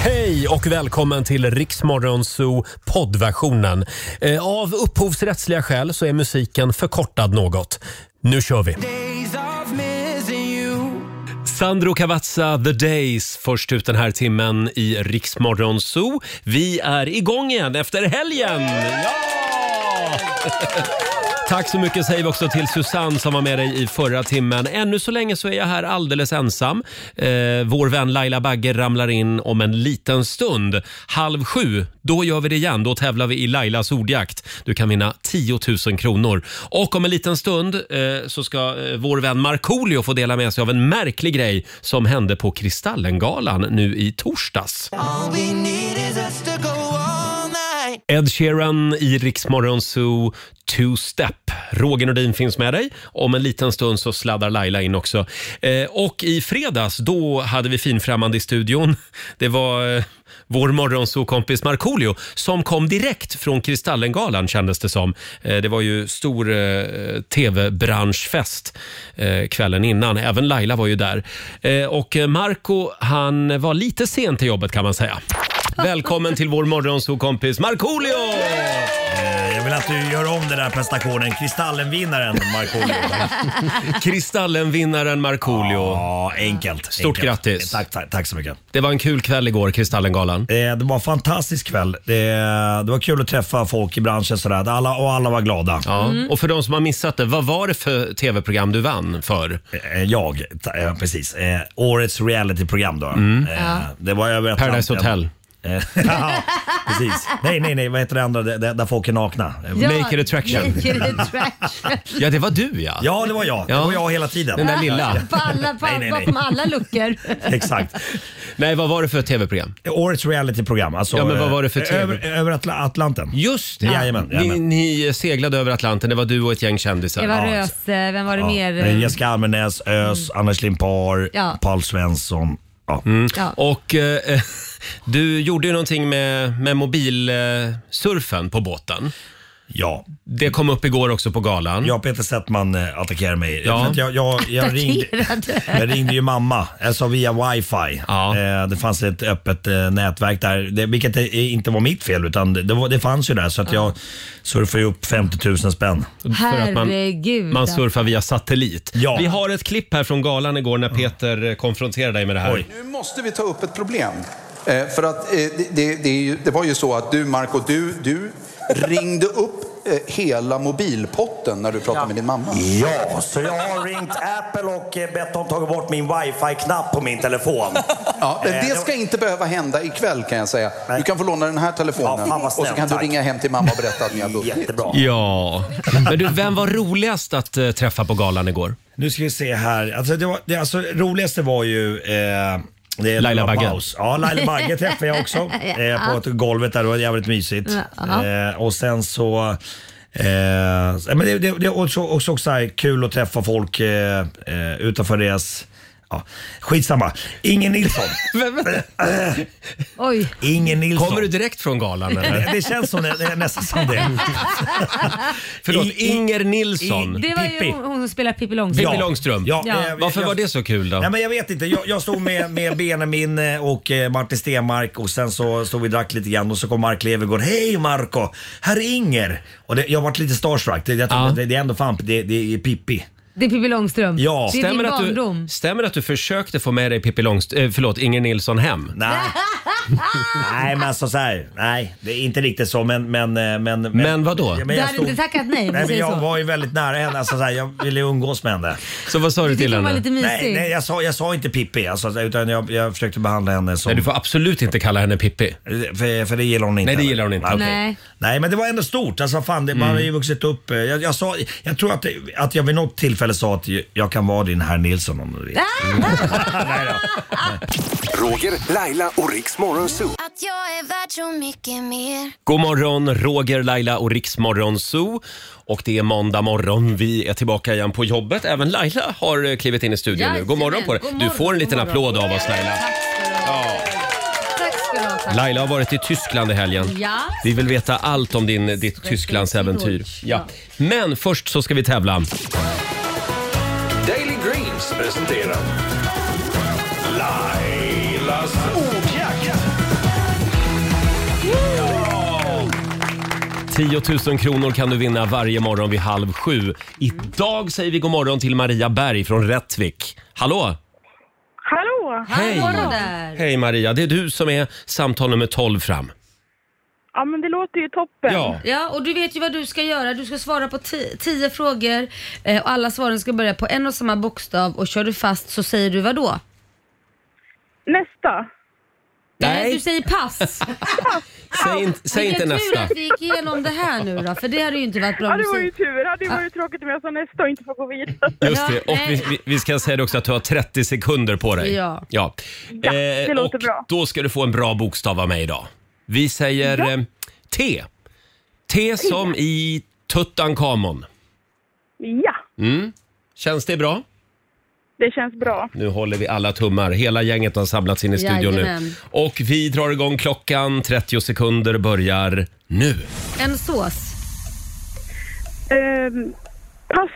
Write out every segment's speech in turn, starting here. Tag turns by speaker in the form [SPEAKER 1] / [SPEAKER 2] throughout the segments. [SPEAKER 1] Hej och välkommen till Riksmorgonzoo poddversionen. Eh, Av upphovsrättsliga skäl så är musiken förkortad något. Nu kör vi! Sandro Cavazza, The Days, först ut den här timmen i Riksmorgonzoo. Vi är igång igen efter helgen! Ja! Tack så mycket säger vi också till Susanne som var med dig i förra timmen. Ännu så länge så är jag här alldeles ensam. Eh, vår vän Laila Bagge ramlar in om en liten stund. Halv sju, då gör vi det igen. Då tävlar vi i Lailas ordjakt. Du kan vinna 10 000 kronor. Och om en liten stund eh, så ska eh, vår vän Markoolio få dela med sig av en märklig grej som hände på Kristallengalan nu i torsdags. Ed Sheeran i Riksmorgon Zoo Two Step. Roger Nordin finns med dig. Om en liten stund så sladdar Laila in också. Eh, och i fredags, då hade vi finfrämmande i studion. Det var eh, vår morgonzoo-kompis Markoolio som kom direkt från Kristallengalan kändes det som. Eh, det var ju stor eh, tv-branschfest eh, kvällen innan. Även Laila var ju där. Eh, och eh, Marco, han var lite sen till jobbet kan man säga. Välkommen till vår morgonzoo-kompis Markoolio!
[SPEAKER 2] Eh, Jag vill att du gör om den där prestationen. Kristallenvinnaren Markoolio.
[SPEAKER 1] Kristallen-vinnaren Markoolio.
[SPEAKER 2] Ja, enkelt.
[SPEAKER 1] Stort
[SPEAKER 2] enkelt.
[SPEAKER 1] grattis.
[SPEAKER 2] Tack, tack, tack så mycket.
[SPEAKER 1] Det var en kul kväll igår, Kristallengalan.
[SPEAKER 2] Eh, Det var en fantastisk kväll. Det, det var kul att träffa folk i branschen sådär. Alla, och alla var glada. Mm.
[SPEAKER 1] Ja. Och för de som har missat det, vad var det för tv-program du vann för?
[SPEAKER 2] Eh, Jag, ta- eh, precis. Eh, Årets realityprogram då. Eh, Det var över Atlanten.
[SPEAKER 1] Mm. Paradise Hotel.
[SPEAKER 2] Eh, ja, precis. Nej, nej, nej. Vad heter det andra? Det- det- Där folk är nakna. Eh,
[SPEAKER 1] Ja. Naked Attraction.
[SPEAKER 3] Naked attraction.
[SPEAKER 1] Ja, det var du ja.
[SPEAKER 2] Ja, det var jag. Det
[SPEAKER 1] Ja.
[SPEAKER 2] var jag hela tiden.
[SPEAKER 1] Den där lilla.
[SPEAKER 3] På alla, på,
[SPEAKER 2] Nej, nej, nej.
[SPEAKER 3] Bakom alla luckor.
[SPEAKER 2] Eh, Exakt.
[SPEAKER 1] Nej, vad var det för tv-program?
[SPEAKER 2] Årets realityprogram. Alltså,
[SPEAKER 1] Ja, men vad
[SPEAKER 2] eh,
[SPEAKER 1] var det för TV?
[SPEAKER 2] Över, över Atla- Atlanten.
[SPEAKER 1] Just det.
[SPEAKER 2] Jajamän,
[SPEAKER 1] ni,
[SPEAKER 2] jajamän.
[SPEAKER 1] ni seglade över Atlanten, det var du och ett gäng kändisar.
[SPEAKER 3] Eva
[SPEAKER 2] Ja.
[SPEAKER 3] Röse, vem var det mer?
[SPEAKER 2] Ja, Jessica Almenäs, Ös, Anders Limpar,
[SPEAKER 3] eh. Mm. Ja.
[SPEAKER 2] Paul Svensson. Ja.
[SPEAKER 1] Mm.
[SPEAKER 3] Ja.
[SPEAKER 1] Och eh, du gjorde ju någonting med, med mobilsurfen på båten.
[SPEAKER 2] ja.
[SPEAKER 1] Det kom upp igår också på galan.
[SPEAKER 2] Jag och Peter Settman eh, attackerade mig.
[SPEAKER 1] Ja.
[SPEAKER 2] För att Jag, jag, jag, ringde, jag ringde ju mamma, alltså via wifi.
[SPEAKER 1] Ja.
[SPEAKER 2] Eh, Det fanns ett öppet eh, nätverk där, det, vilket det inte var mitt fel utan det, det, var, det fanns ju där. Så att jag surfade ju upp 50 000 spänn.
[SPEAKER 1] att man-
[SPEAKER 4] Eh,
[SPEAKER 3] Herregud.
[SPEAKER 1] Man surfar via satellit.
[SPEAKER 2] Ja.
[SPEAKER 1] Vi har ett klipp här från galan igår när Peter eh, konfronterade dig med det här.
[SPEAKER 2] Oj.
[SPEAKER 5] Nu måste vi ta upp ett problem. Eh, för att eh, det, det, det, är ju, det var ju så att du, Marco, du, du ringde upp eh, hela mobilpotten när du pratade med din mamma.
[SPEAKER 2] Ja, så jag har ringt Apple och eh, bett dem ta bort min wifi-knapp på min telefon.
[SPEAKER 5] Ja, men
[SPEAKER 2] Eh,
[SPEAKER 5] det ska inte behöva hända ikväll kan jag säga.
[SPEAKER 2] Nej.
[SPEAKER 5] Du kan få låna den här telefonen
[SPEAKER 2] Ja, fan vad
[SPEAKER 5] och
[SPEAKER 2] snällt,
[SPEAKER 5] så kan du
[SPEAKER 2] tack.
[SPEAKER 5] ringa hem till mamma och berätta att ni har vunnit.
[SPEAKER 2] Jättebra.
[SPEAKER 1] Ja. Men du, vem var roligast att eh, träffa på galan igår?
[SPEAKER 2] Nu ska vi se här. Alltså, det var, det, alltså, roligaste var ju eh, det
[SPEAKER 1] Laila
[SPEAKER 2] det var
[SPEAKER 1] Bagge.
[SPEAKER 2] paus. Ja, Laila Bagge träffade jag också eh, på ett golvet där. Det var jävligt mysigt.
[SPEAKER 3] Ja.
[SPEAKER 2] Eh, och sen så... Eh, men det, det, det är också, också, också så här kul att träffa folk eh, eh, utanför deras... Ja, skitsamma. Ingen Nilsson.
[SPEAKER 3] Oj,
[SPEAKER 2] Ingen Eh, Nilsson.
[SPEAKER 1] Kommer du direkt från galan eller?
[SPEAKER 2] det känns som det, det är nästan som det.
[SPEAKER 1] Förlåt,
[SPEAKER 2] I- i-
[SPEAKER 1] Inger Nilsson.
[SPEAKER 3] det var ju
[SPEAKER 2] Pippi.
[SPEAKER 3] hon hon som spelar Pippi Långstrump.
[SPEAKER 1] Pippi Långström.
[SPEAKER 2] Ja,
[SPEAKER 3] Ja.
[SPEAKER 2] eh,
[SPEAKER 1] Varför
[SPEAKER 2] jag-
[SPEAKER 1] var det så kul då?
[SPEAKER 2] Nej, men jag vet inte. Jag, jag stod med, med Benjamin eh, och eh, Martin Stenmark och sen så stod vi och drack lite grann och så kom Mark Levergård. Hej Marco, här är Inger. Och det, jag varit lite starstruck. Det, jag tänkte,
[SPEAKER 1] Ja.
[SPEAKER 2] det, det är ändå fan, det, det är Pippi.
[SPEAKER 3] Det är Pippi Långstrump.
[SPEAKER 2] Ja.
[SPEAKER 3] Det är
[SPEAKER 1] Stämmer
[SPEAKER 3] din
[SPEAKER 1] att,
[SPEAKER 3] barndom.
[SPEAKER 1] du, stämmer att du försökte få med dig Pippi Långst, eh, förlåt, Inger Nilsson hem?
[SPEAKER 2] Nej. nej men alltså så här, nej det är inte riktigt så men... Men, eh, men, men,
[SPEAKER 1] Men vadå?
[SPEAKER 2] Ja,
[SPEAKER 3] Du
[SPEAKER 2] jag
[SPEAKER 3] hade inte tackat nej, om
[SPEAKER 2] Nej
[SPEAKER 3] vi
[SPEAKER 2] men
[SPEAKER 3] säger
[SPEAKER 2] jag
[SPEAKER 3] så.
[SPEAKER 2] var ju väldigt nära henne. Alltså, så här, jag ville umgås med henne.
[SPEAKER 1] Så vad sa du
[SPEAKER 3] Du
[SPEAKER 1] till
[SPEAKER 3] tyckte hon var
[SPEAKER 1] henne?
[SPEAKER 3] lite
[SPEAKER 2] Nej,
[SPEAKER 3] mysig.
[SPEAKER 2] nej jag, sa, jag sa inte Pippi alltså, utan jag, jag försökte behandla henne som...
[SPEAKER 1] Nej, du får absolut inte kalla henne Pippi.
[SPEAKER 2] För, för det gillar hon inte.
[SPEAKER 1] Nej, det
[SPEAKER 2] heller.
[SPEAKER 1] gillar hon inte. Mm.
[SPEAKER 2] okej.
[SPEAKER 3] Nej.
[SPEAKER 2] Nej, men det var ändå stort. Alltså, fan, det, Man har ju vuxit upp. eh, Jag, jag, sa, jag tror att, det- att jag vid något tillfälle sa att ju- jag kan vara din herr Nilsson om du vill.
[SPEAKER 6] Roger, Laila och Riks Morgonzoo.
[SPEAKER 7] Att jag är värd så mycket mer
[SPEAKER 1] God morgon, Roger, Laila och Riksmorgon Zoo. Och det är måndag morgon. Vi är tillbaka igen på jobbet. Även Laila har eh, klivit in i studion nu. God morgon på dig.
[SPEAKER 3] God
[SPEAKER 1] Du
[SPEAKER 3] morgon,
[SPEAKER 1] får en liten
[SPEAKER 3] god morgon.
[SPEAKER 1] applåd av oss Laila.
[SPEAKER 3] Tack ska du ha. Tack.
[SPEAKER 1] Laila har varit i Tyskland i helgen.
[SPEAKER 3] Ja.
[SPEAKER 1] Vi vill veta allt om din, ditt Tysklandsäventyr. Ja. Men först så ska vi tävla.
[SPEAKER 6] Daily Greens presenterar Lailas ordjakt.
[SPEAKER 1] 10 000 kronor kan du vinna varje morgon vid halv sju. Idag säger vi god morgon till Maria Berg från Rättvik. Hallå!
[SPEAKER 8] Hallå!
[SPEAKER 1] Hej.
[SPEAKER 3] Hallå där.
[SPEAKER 1] Hej Maria, det är du som är samtal nummer 12 fram.
[SPEAKER 8] Ja, men det låter ju toppen.
[SPEAKER 1] Ja.
[SPEAKER 3] Ja, och du vet ju vad du ska göra. Du ska svara på ti- tio frågor eh, och alla svaren ska börja på en och samma bokstav och kör du fast så säger du vad då?
[SPEAKER 8] Nästa.
[SPEAKER 1] Nej.
[SPEAKER 3] Du säger pass.
[SPEAKER 1] Säg, in, säg inte
[SPEAKER 3] Vilken tur
[SPEAKER 1] nästa.
[SPEAKER 3] att vi gick igenom det här nu då, för det hade ju inte varit bra
[SPEAKER 8] Ja, det var ju
[SPEAKER 3] musik.
[SPEAKER 8] tur. Ja, det var ju tråkigt om jag sa nästa och inte får gå vidare.
[SPEAKER 1] Just det.
[SPEAKER 3] Ja,
[SPEAKER 1] Och vi,
[SPEAKER 3] nej.
[SPEAKER 1] vi, vi ska säga det också att du har 30 sekunder på dig.
[SPEAKER 3] Ja.
[SPEAKER 1] ja.
[SPEAKER 8] Ja, det
[SPEAKER 1] Eh,
[SPEAKER 8] låter
[SPEAKER 1] och
[SPEAKER 8] bra.
[SPEAKER 1] Då ska du få en bra bokstav av mig idag. Vi säger eh, T. T som i Tutankhamon. Mm.
[SPEAKER 8] Ja,
[SPEAKER 1] Känns det bra?
[SPEAKER 8] det känns bra.
[SPEAKER 1] Nu håller vi alla tummar. Hela gänget har samlats in i studion nu.
[SPEAKER 3] Jajamän.
[SPEAKER 1] Och vi drar igång klockan. 30 sekunder börjar nu.
[SPEAKER 3] En sås.
[SPEAKER 8] Ehm, pass.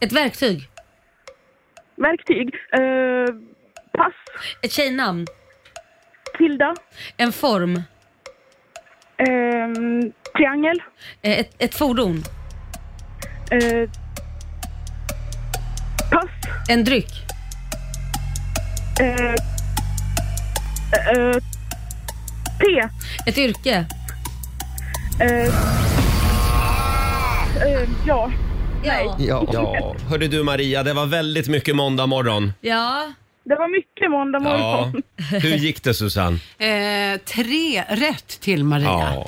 [SPEAKER 3] Ett verktyg.
[SPEAKER 8] Verktyg. Ehm, pass.
[SPEAKER 3] Ett tjejnamn.
[SPEAKER 8] Tilda.
[SPEAKER 3] En form.
[SPEAKER 8] Ehm, triangel.
[SPEAKER 3] Eh, Ett, ett fordon.
[SPEAKER 8] Ehm, pass.
[SPEAKER 3] En dryck.
[SPEAKER 8] Ehm, ehm, T.
[SPEAKER 3] Ett yrke.
[SPEAKER 8] Ehm, ehm, ja.
[SPEAKER 3] Ja.
[SPEAKER 1] Ja. ja. Hörde du Maria, det var väldigt mycket måndag morgon.
[SPEAKER 3] ja.
[SPEAKER 8] Det var mycket måndag
[SPEAKER 1] Ja.
[SPEAKER 8] morgon.
[SPEAKER 1] Hur gick det Susanne?
[SPEAKER 4] Eh, tre rätt till Maria.
[SPEAKER 1] Ja.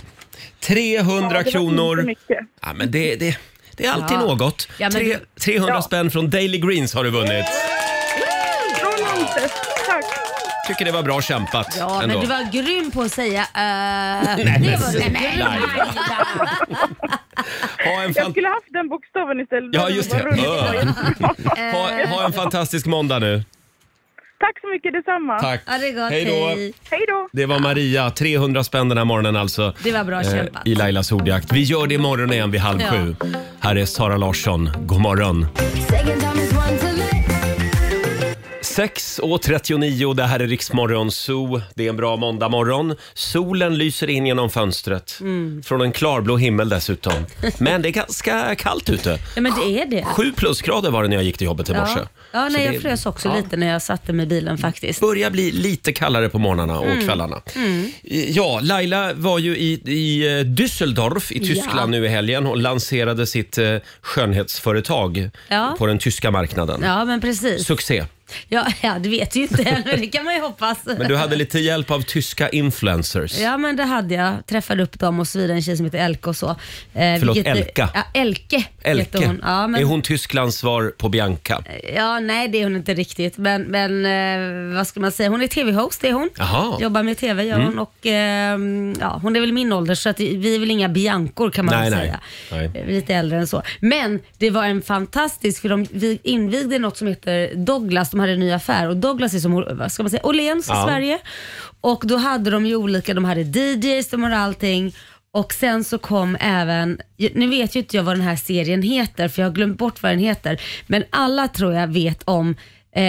[SPEAKER 8] Ja,
[SPEAKER 1] 300
[SPEAKER 8] det var inte
[SPEAKER 1] kronor.
[SPEAKER 8] mycket.
[SPEAKER 1] Ja, men det, det, det är alltid
[SPEAKER 4] Ja.
[SPEAKER 1] något.
[SPEAKER 3] Ja, men
[SPEAKER 1] Tre,
[SPEAKER 3] du-
[SPEAKER 1] 300
[SPEAKER 8] Ja.
[SPEAKER 1] spänn från Daily Greens har du vunnit.
[SPEAKER 8] Från Montes. Tack.
[SPEAKER 1] Tycker det var bra kämpat
[SPEAKER 3] Ja,
[SPEAKER 1] ändå.
[SPEAKER 3] men du var grym på att säga eh,
[SPEAKER 1] men
[SPEAKER 3] Det var
[SPEAKER 1] snälla.
[SPEAKER 3] Nej, men Maja.
[SPEAKER 1] Ha en
[SPEAKER 8] Jag
[SPEAKER 1] fan...
[SPEAKER 8] skulle haft den bokstaven istället.
[SPEAKER 1] Ja, just det.
[SPEAKER 8] Vad roligt var.
[SPEAKER 1] Ö. Ha, ha en fantastisk måndag nu.
[SPEAKER 8] Eh, Tack så mycket, detsamma.
[SPEAKER 1] Tack.
[SPEAKER 3] Ja, det är gott.
[SPEAKER 1] Hej då.
[SPEAKER 3] Hej.
[SPEAKER 8] Hej då.
[SPEAKER 1] Det var Maria, 300 spänn den här morgonen alltså.
[SPEAKER 3] Det var bra kämpat.
[SPEAKER 1] I Lailas ordjakt. Vi gör det imorgon igen vid halv
[SPEAKER 3] Ja.
[SPEAKER 1] sju. Här är Sara Larsson. God morgon.
[SPEAKER 7] Second time is one too late.
[SPEAKER 1] 6.39, det här är Riksmorgon Zoo. Det är en bra måndagmorgon. Solen lyser in genom fönstret.
[SPEAKER 3] Mm.
[SPEAKER 1] Från en klarblå himmel dessutom. Men det är ganska kallt ute.
[SPEAKER 3] Ja, men det är det.
[SPEAKER 1] Sju plusgrader var det när jag gick till jobbet i morse.
[SPEAKER 3] Ja, ja
[SPEAKER 1] Så
[SPEAKER 3] nej,
[SPEAKER 1] det
[SPEAKER 3] jag frös också lite när jag satte mig i bilen faktiskt.
[SPEAKER 1] börjar bli lite kallare på morgnarna och
[SPEAKER 3] Mm.
[SPEAKER 1] kvällarna. Ja, Laila var ju i, i eh, Düsseldorf i Tyskland
[SPEAKER 3] Ja.
[SPEAKER 1] nu i helgen och lanserade sitt eh, skönhetsföretag
[SPEAKER 3] Ja.
[SPEAKER 1] på den tyska marknaden.
[SPEAKER 3] Ja, men precis.
[SPEAKER 1] Succé.
[SPEAKER 3] Ja, ja, det vet ju inte än, men det kan man ju hoppas.
[SPEAKER 1] Men du hade lite hjälp av tyska influencers.
[SPEAKER 3] Ja men det hade jag. Träffade upp dem och så vidare, en tjej som heter Elke och så. Eh,
[SPEAKER 1] Förlåt,
[SPEAKER 3] vilket-
[SPEAKER 1] Elka?
[SPEAKER 3] Ja, Elke
[SPEAKER 1] Elke,
[SPEAKER 3] heter hon. Ja, men,
[SPEAKER 1] är hon Tysklands svar på Bianca?
[SPEAKER 3] ja, nej det är hon inte riktigt. Men, men eh, vad ska man säga, hon är TV-host det är hon.
[SPEAKER 1] Jaha. Mm.
[SPEAKER 3] Jobbar med TV gör hon och eh, ja, hon är väl min ålder så att vi är väl inga Biancor kan man
[SPEAKER 1] Nej,
[SPEAKER 3] väl
[SPEAKER 1] nej.
[SPEAKER 3] säga.
[SPEAKER 1] Nej.
[SPEAKER 3] Eh, Lite äldre än så. Men det var en fantastisk, för de vi invigde något som heter Douglas, de hade en ny affär och Douglas är som, vad ska man säga, Åhléns i
[SPEAKER 1] Ja.
[SPEAKER 3] Sverige. Sverige. Och då hade de ju olika, de hade DJs, de hade allting. Och sen så kom även, nu vet ju inte jag vad den här serien heter för jag har glömt bort vad den heter. Men alla tror jag vet om eh,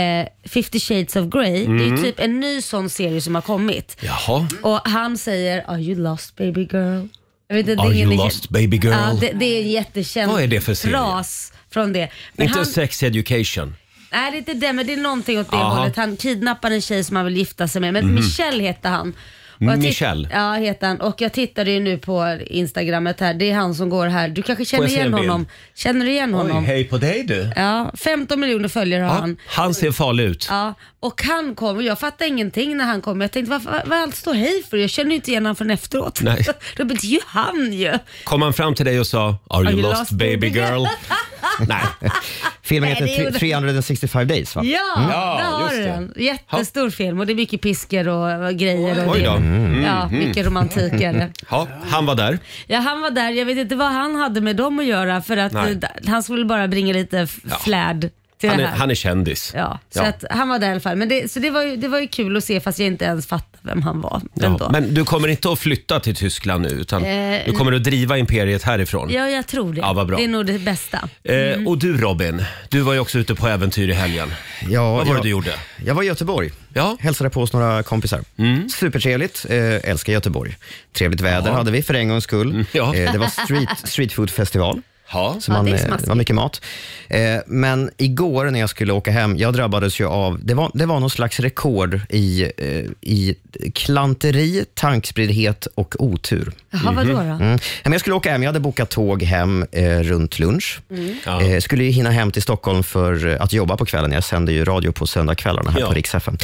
[SPEAKER 3] 50 shades of Grey. Det
[SPEAKER 1] Mm.
[SPEAKER 3] är ju typ en ny sån serie som har kommit.
[SPEAKER 1] Jaha.
[SPEAKER 3] Och han säger “Are you lost baby girl?” jag vet, inte,
[SPEAKER 1] Are
[SPEAKER 3] det är
[SPEAKER 1] you
[SPEAKER 3] ingen-
[SPEAKER 1] lost, baby girl?
[SPEAKER 3] Ja, det, det är en jättekänd
[SPEAKER 1] Vad är det för serie?
[SPEAKER 3] fras från det. Men
[SPEAKER 1] Inte
[SPEAKER 3] han-
[SPEAKER 1] sex education.
[SPEAKER 3] Nej det är inte det, men det är någonting åt det
[SPEAKER 1] Aha. Mhm.
[SPEAKER 3] hållet. Han kidnappar en tjej som han vill gifta sig med. Men Michel heter han. Och jag titt-
[SPEAKER 1] Michel?
[SPEAKER 3] Ja, heter han. Och jag tittade ju nu på instagrammet här. Det är han som går här. Du kanske känner
[SPEAKER 1] jag se en
[SPEAKER 3] igen
[SPEAKER 1] bild?
[SPEAKER 3] honom? Känner du
[SPEAKER 1] Mm,
[SPEAKER 3] igen honom?
[SPEAKER 1] hej på dig du.
[SPEAKER 3] Ja, 15 miljoner följare har han.
[SPEAKER 1] han ser farlig ut.
[SPEAKER 3] Ja, och han kom och jag fattade ingenting när han kom. Jag tänkte varför- vad, vad allt står hej för? Jag känner ju inte igen honom förrän efteråt.
[SPEAKER 1] Nej.
[SPEAKER 3] Då blir det ju han ju.
[SPEAKER 1] Kom han fram till dig och sa “Are you, lost, baby girl?” Nej.
[SPEAKER 9] Filmen
[SPEAKER 3] Nej,
[SPEAKER 9] heter
[SPEAKER 3] det gjorde-
[SPEAKER 9] Thr- 365 days va? Mm.
[SPEAKER 3] Ja,
[SPEAKER 1] Ja,
[SPEAKER 3] där har
[SPEAKER 1] just
[SPEAKER 3] du
[SPEAKER 1] det.
[SPEAKER 3] den. Jättestor film och det är mycket pisker och grejer. Och
[SPEAKER 1] Oj
[SPEAKER 3] det-
[SPEAKER 1] då. Mm.
[SPEAKER 3] Ja, mycket romantik är det.
[SPEAKER 1] Ja, han var där.
[SPEAKER 3] Ja, han var där. Jag vet inte vad han hade med dem att göra för att
[SPEAKER 1] Nej.
[SPEAKER 3] eh, d- han skulle bara bringa lite f- flärd. till
[SPEAKER 1] han,
[SPEAKER 3] det
[SPEAKER 1] är,
[SPEAKER 3] här.
[SPEAKER 1] han är kändis.
[SPEAKER 3] Ja, så Att, han var där i alla fall. Men det, så det var, ju, det var ju kul att se fast jag inte ens fattade vem han var. Ändå.
[SPEAKER 1] Ja, men du kommer inte att flytta till Tyskland nu utan
[SPEAKER 3] Eh,
[SPEAKER 1] du kommer att driva imperiet härifrån.
[SPEAKER 3] Ja, jag tror det.
[SPEAKER 1] Ja, vad bra.
[SPEAKER 3] Det är nog det bästa.
[SPEAKER 1] Eh, och du Robin, du var ju också ute på äventyr i helgen.
[SPEAKER 9] Ja,
[SPEAKER 1] Vad var det
[SPEAKER 9] jag-
[SPEAKER 1] du gjorde?
[SPEAKER 9] Jag var i Göteborg.
[SPEAKER 1] Ja. Mm.
[SPEAKER 9] Hälsade på hos några kompisar. Supertrevligt. Eh, älskar Göteborg. Trevligt väder hade vi för en gångs skull.
[SPEAKER 1] Mm, ja.
[SPEAKER 9] Eh, det var street, street food festival.
[SPEAKER 1] Ja.
[SPEAKER 9] Så
[SPEAKER 3] Ja,
[SPEAKER 9] man,
[SPEAKER 3] det är
[SPEAKER 9] eh,
[SPEAKER 3] smaskigt.
[SPEAKER 9] det var mycket mat. Eh, men igår när jag skulle åka hem, jag drabbades ju av, det var, det var någon slags rekord i, eh, i klanteri, tankspriddhet och otur.
[SPEAKER 3] Jaha, vadå då?
[SPEAKER 9] Mm. Ja, Men jag skulle åka hem. Jag hade bokat tåg hem eh, runt lunch.
[SPEAKER 1] Ja.
[SPEAKER 9] Eh, skulle ju hinna hem till Stockholm för eh, att jobba på kvällen. Jag sänder ju radio på söndagskvällarna här
[SPEAKER 1] Ja.
[SPEAKER 9] på Rix FM.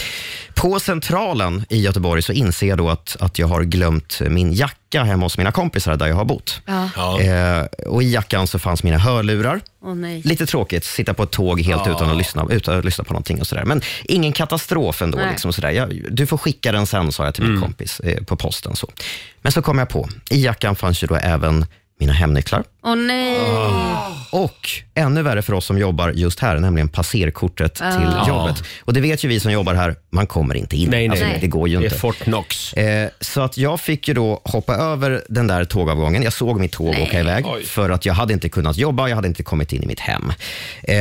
[SPEAKER 9] På Centralen i Göteborg så inser jag då att, att jag har glömt min jacka hemma hos mina kompisar där jag har bott.
[SPEAKER 3] Ja.
[SPEAKER 1] Ja.
[SPEAKER 9] Eh, och I jackan så fanns mina hörlurar.
[SPEAKER 3] Åh nej.
[SPEAKER 9] Lite tråkigt, sitta på ett tåg helt utan, att lyssna, utan att lyssna på någonting och sådär. Men ingen katastrof ändå.
[SPEAKER 3] Nej.
[SPEAKER 9] Liksom sådär. Jag, du får skicka den sen, sa jag till min
[SPEAKER 1] Mm.
[SPEAKER 9] kompis eh, på posten. Så. Men så kom jag på, i jackan fanns ju då även mina hemnycklar.
[SPEAKER 3] Åh nej.
[SPEAKER 1] Ah.
[SPEAKER 9] Och ännu värre för oss som jobbar just här, nämligen passerkortet
[SPEAKER 3] Ah.
[SPEAKER 9] till jobbet. Och det vet ju vi som jobbar här, man kommer inte in.
[SPEAKER 1] Nej, nej.
[SPEAKER 9] Alltså, det går ju
[SPEAKER 1] Det är
[SPEAKER 9] inte.
[SPEAKER 1] Fort Knox.
[SPEAKER 9] Eh, Så att jag fick ju då hoppa över den där tågavgången. Jag såg mitt tåg åka iväg för att jag hade inte kunnat jobba, jag hade inte kommit in i mitt hem. Eh,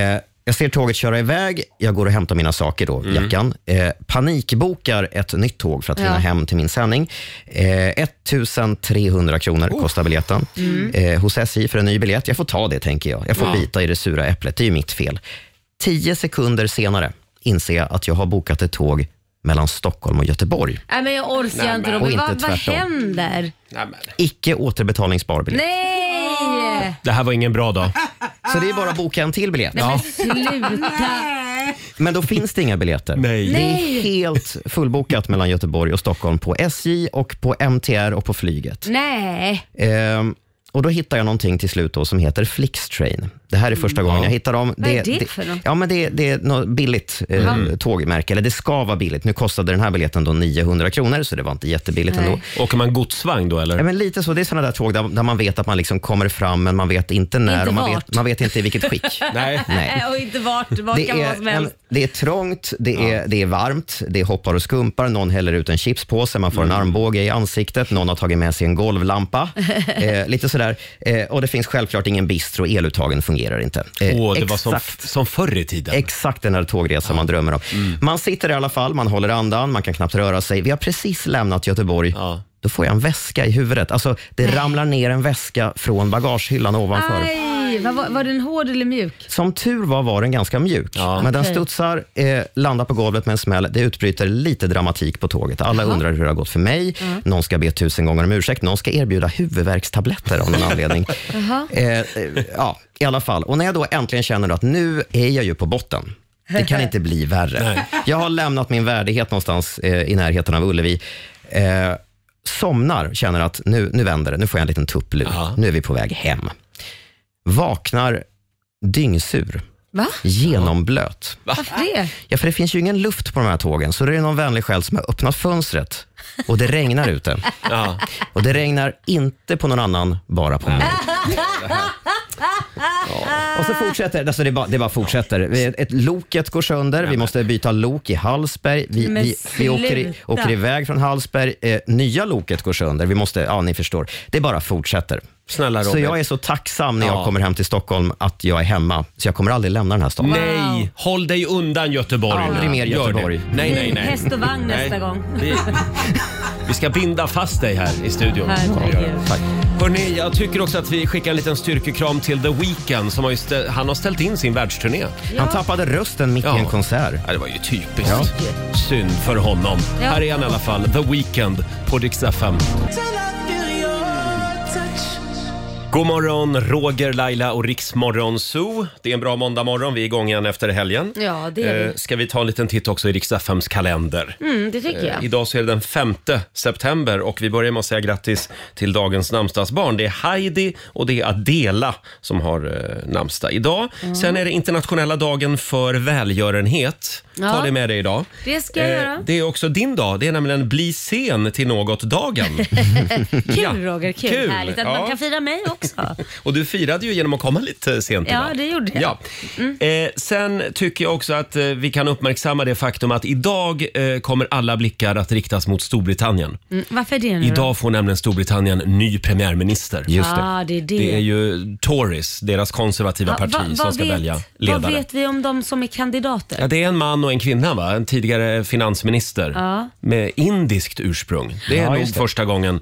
[SPEAKER 9] Jag ser tåget köra iväg, jag går och hämtar mina saker
[SPEAKER 1] Mm.
[SPEAKER 9] då, jackan. Eh, Panikbokar ett nytt tåg för att hinna
[SPEAKER 3] Ja.
[SPEAKER 9] hem till min sändning. Eh, 1300 kronor
[SPEAKER 1] Oh.
[SPEAKER 9] kostar biljetten
[SPEAKER 3] Mm.
[SPEAKER 9] eh, hos SJ för en ny biljett. Jag får ta det tänker jag. Jag får bita i det sura äpplet, det är ju mitt fel. Tio sekunder senare inser jag att jag har bokat ett tåg mellan Stockholm och Göteborg.
[SPEAKER 3] Nej men jag orkar
[SPEAKER 1] Nej,
[SPEAKER 3] inte
[SPEAKER 1] men-
[SPEAKER 9] och
[SPEAKER 3] Robin.
[SPEAKER 9] inte
[SPEAKER 3] Vad, vad
[SPEAKER 9] tvärtom.
[SPEAKER 3] händer?
[SPEAKER 9] Icke återbetalningsbar biljett.
[SPEAKER 3] Nej!
[SPEAKER 1] Det här var ingen bra dag.
[SPEAKER 9] Så det är bara att boka en till biljett.
[SPEAKER 3] Men sluta.
[SPEAKER 9] Men då finns det inga biljetter.
[SPEAKER 1] Nej.
[SPEAKER 9] Det är helt fullbokat mellan Göteborg och Stockholm på SJ och på MTR och på flyget.
[SPEAKER 3] Nej.
[SPEAKER 9] Ehm, och då hittar jag någonting till slut då som heter Flixtrain. Det här är första gången jag hittar dem.
[SPEAKER 3] Mm. Vad är det för något?
[SPEAKER 9] Ja, men det, det är något billigt eh, tågmärke, eller det ska vara billigt. Nu kostade den här biljetten då 900 kronor, så det var inte jättebilligt
[SPEAKER 3] Nej.
[SPEAKER 9] ändå.
[SPEAKER 1] Åker man godsvagn då
[SPEAKER 9] Ja,
[SPEAKER 1] eller?
[SPEAKER 9] men lite så. Det är sådana där tåg där, där man vet att man liksom kommer fram, men man vet inte när
[SPEAKER 3] Inte
[SPEAKER 9] och man
[SPEAKER 3] vart.
[SPEAKER 9] vet, man vet inte i vilket skick.
[SPEAKER 1] Nej.
[SPEAKER 9] Nej.
[SPEAKER 3] Äh, Och inte vart. Vad
[SPEAKER 9] Det
[SPEAKER 3] kan vara
[SPEAKER 9] är,
[SPEAKER 3] som
[SPEAKER 9] en,
[SPEAKER 3] helst.
[SPEAKER 9] det är trångt, det, är, det är varmt, det är hoppar och skumpar, någon häller ut en chipspåse, man får
[SPEAKER 3] Mm.
[SPEAKER 9] en armbåge i ansiktet, någon har tagit med sig en golvlampa. eh, lite sådär. Eh, och det finns självklart ingen bistro, eluttagen fungerar inte. Eh,
[SPEAKER 1] Åh, det var som,
[SPEAKER 9] exakt-
[SPEAKER 1] som förr i tiden. Mm.
[SPEAKER 9] Exakt den här tågresan man drömmer om. Man sitter i alla fall, man håller andan, man kan knappt röra sig. Vi har precis lämnat Göteborg.
[SPEAKER 1] Ja.
[SPEAKER 9] Då får jag en väska i huvudet. Alltså, det ramlar ner en väska från bagagehyllan ovanför.
[SPEAKER 3] Aj, vad var, var den hård eller mjuk?
[SPEAKER 9] Som tur var var den ganska mjuk, men den
[SPEAKER 3] Okej.
[SPEAKER 9] studsar, eh, landar på golvet med en smäll. Det utbryter lite dramatik på tåget. Alla undrar hur det har gått för mig. Någon ska be tusen gånger om ursäkt. Någon ska erbjuda huvudvärkstabletter av någon anledning. eh, eh, ja, i alla fall. Och när jag då äntligen känner att nu är jag ju på botten. Det kan inte bli värre. Jag har lämnat min värdighet någonstans eh, i närheten av Ullevi. Eh, somnar, känner att nu, nu vänder det. Nu får jag en liten tupplur. Nu är vi på väg hem. Vaknar dyngsur,
[SPEAKER 3] Va?
[SPEAKER 9] genomblöt.
[SPEAKER 3] Varför det?
[SPEAKER 9] Ja, för det finns ju ingen luft på de här tågen, så det är någon vänlig själ som har öppnat fönstret och det regnar ute.
[SPEAKER 1] Ja.
[SPEAKER 9] Och det regnar inte på någon annan, bara på mig. Ja. Och så fortsätter alltså det, bara, det bara fortsätter. Vi- Ett, loket går sönder, vi måste byta lok i Hallsberg. Vi,
[SPEAKER 3] Men
[SPEAKER 9] vi, vi åker, i,
[SPEAKER 3] sluta.
[SPEAKER 9] åker iväg från Hallsberg, eh, nya loket går sönder. Vi måste, ja ni förstår. Det bara fortsätter.
[SPEAKER 1] Snälla
[SPEAKER 9] Så
[SPEAKER 1] Robin.
[SPEAKER 9] jag är så tacksam när
[SPEAKER 1] Ja.
[SPEAKER 9] jag kommer hem till Stockholm att jag är hemma. Så jag kommer aldrig lämna den här staden.
[SPEAKER 1] Nej, håll dig undan Göteborg.
[SPEAKER 9] Aldrig mer
[SPEAKER 1] Gör det.
[SPEAKER 9] Göteborg.
[SPEAKER 1] Nej, nej,
[SPEAKER 3] Bli
[SPEAKER 1] nej.
[SPEAKER 3] häst och vagn
[SPEAKER 1] Nej.
[SPEAKER 3] nästa gång.
[SPEAKER 1] Vi, vi ska binda fast dig här i studion.
[SPEAKER 3] Herregud.
[SPEAKER 9] Tack.
[SPEAKER 1] Hörrni, jag tycker också att vi skickar en liten styrkekram till The Weeknd. Som har ju stä- han har ställt in sin världsturné.
[SPEAKER 9] Han tappade rösten mitt i en konsert.
[SPEAKER 1] Ja, det var ju typiskt. Synd för honom.
[SPEAKER 3] Ja.
[SPEAKER 1] Här är han i alla fall, The Weeknd på Dix FM. God morgon, Roger, Laila och Riksmorgon Zoo. Det är en bra måndagmorgon. Vi är igång igen efter helgen. Eh,
[SPEAKER 3] Ja, det är vi.
[SPEAKER 1] Ska vi ta en liten titt också i Rix FMs kalender? Eh,
[SPEAKER 3] Mm, det tycker jag.
[SPEAKER 1] Idag så är det den 5 september och vi börjar med att säga grattis till dagens namnsdagsbarn. Det är Heidi och det är Adela
[SPEAKER 3] Mm.
[SPEAKER 1] som har eh, namnsdag idag. Sen är det internationella dagen för välgörenhet. Ta
[SPEAKER 3] Ja.
[SPEAKER 1] det med dig idag.
[SPEAKER 3] Det ska jag
[SPEAKER 1] Eh,
[SPEAKER 3] göra.
[SPEAKER 1] Det är också din dag. Det är nämligen bli sen till något-dagen.
[SPEAKER 3] Kul
[SPEAKER 1] Eh, ja.
[SPEAKER 3] Roger, kul.
[SPEAKER 1] Kul,
[SPEAKER 3] Härligt att
[SPEAKER 1] ja.
[SPEAKER 3] man kan fira mig också.
[SPEAKER 1] Och du firade ju genom att komma lite sent
[SPEAKER 3] Ja, Mm.
[SPEAKER 1] idag.
[SPEAKER 3] det gjorde jag.
[SPEAKER 1] Ja. Eh, sen tycker jag också att eh, vi kan uppmärksamma det faktum att idag eh, kommer alla blickar att riktas mot Storbritannien.
[SPEAKER 3] Mm, varför det nu då?
[SPEAKER 1] Idag får nämligen Storbritannien ny premiärminister.
[SPEAKER 9] Just det.
[SPEAKER 3] Ah, det är det.
[SPEAKER 1] Det är ju Tories, deras konservativa
[SPEAKER 3] Ja,
[SPEAKER 1] parti,
[SPEAKER 3] va-
[SPEAKER 1] som
[SPEAKER 3] vad
[SPEAKER 1] ska
[SPEAKER 3] vet-
[SPEAKER 1] välja ledare.
[SPEAKER 3] Vad vet vi om de som är kandidater?
[SPEAKER 1] Ja, det är en man och en kvinna, va? en tidigare finansminister
[SPEAKER 3] Ja.
[SPEAKER 1] med indiskt ursprung. Det är
[SPEAKER 9] Ja,
[SPEAKER 1] nog
[SPEAKER 9] just det.
[SPEAKER 1] första gången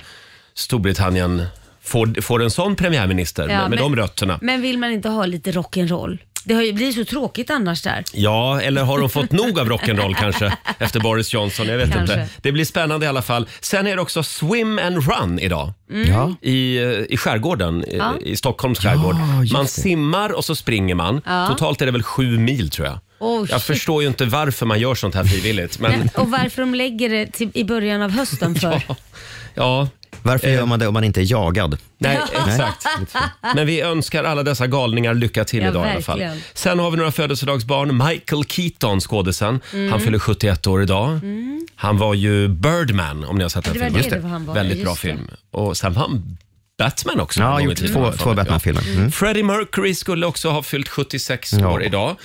[SPEAKER 1] Storbritannien får, får en sån premiärminister med,
[SPEAKER 3] Ja,
[SPEAKER 1] med
[SPEAKER 3] men-
[SPEAKER 1] de rötterna.
[SPEAKER 3] Men vill man inte ha lite rock'n'roll? Det har ju blir så tråkigt annars där.
[SPEAKER 1] Ja, eller har de fått nog av rock'n'roll kanske efter Boris Johnson? Jag vet
[SPEAKER 3] Kanske.
[SPEAKER 1] inte. Det blir spännande i alla fall. Sen är det också swim and run idag.
[SPEAKER 9] Mm. Ja.
[SPEAKER 1] I, eh, I skärgården, i- i Stockholms skärgård.
[SPEAKER 9] Ja, just
[SPEAKER 1] man
[SPEAKER 9] det.
[SPEAKER 1] simmar och så springer man. Totalt är det väl sju mil tror jag.
[SPEAKER 3] Oh,
[SPEAKER 1] jag
[SPEAKER 3] shit.
[SPEAKER 1] förstår ju inte varför man gör sånt här frivilligt. Men
[SPEAKER 3] Men, och varför de lägger det till, i början av hösten för?
[SPEAKER 1] ja, Eh.
[SPEAKER 9] Varför gör man det om man inte är jagad?
[SPEAKER 1] Nej, exakt. Men vi önskar alla dessa galningar lycka till
[SPEAKER 3] Ja,
[SPEAKER 1] idag i alla fall.
[SPEAKER 3] verkligen.
[SPEAKER 1] Sen har vi några födelsedagsbarn. Michael Keaton, skådisen.
[SPEAKER 3] Mm.
[SPEAKER 1] Han fyller 71 år idag. Han var ju Birdman, om ni har sett den
[SPEAKER 3] Det var
[SPEAKER 1] filmen.
[SPEAKER 3] det det var han var,
[SPEAKER 1] Väldigt
[SPEAKER 3] just
[SPEAKER 1] bra
[SPEAKER 3] det.
[SPEAKER 1] film. Och sen var han Batman också. en
[SPEAKER 9] Ja,
[SPEAKER 1] gång i
[SPEAKER 9] gjort
[SPEAKER 1] tiden,
[SPEAKER 9] två,
[SPEAKER 1] har jag för
[SPEAKER 9] två
[SPEAKER 1] mig. Ja.
[SPEAKER 9] Batman-filmer. Mm.
[SPEAKER 1] Freddie Mercury skulle också ha fyllt 76
[SPEAKER 9] Ja.
[SPEAKER 1] år idag.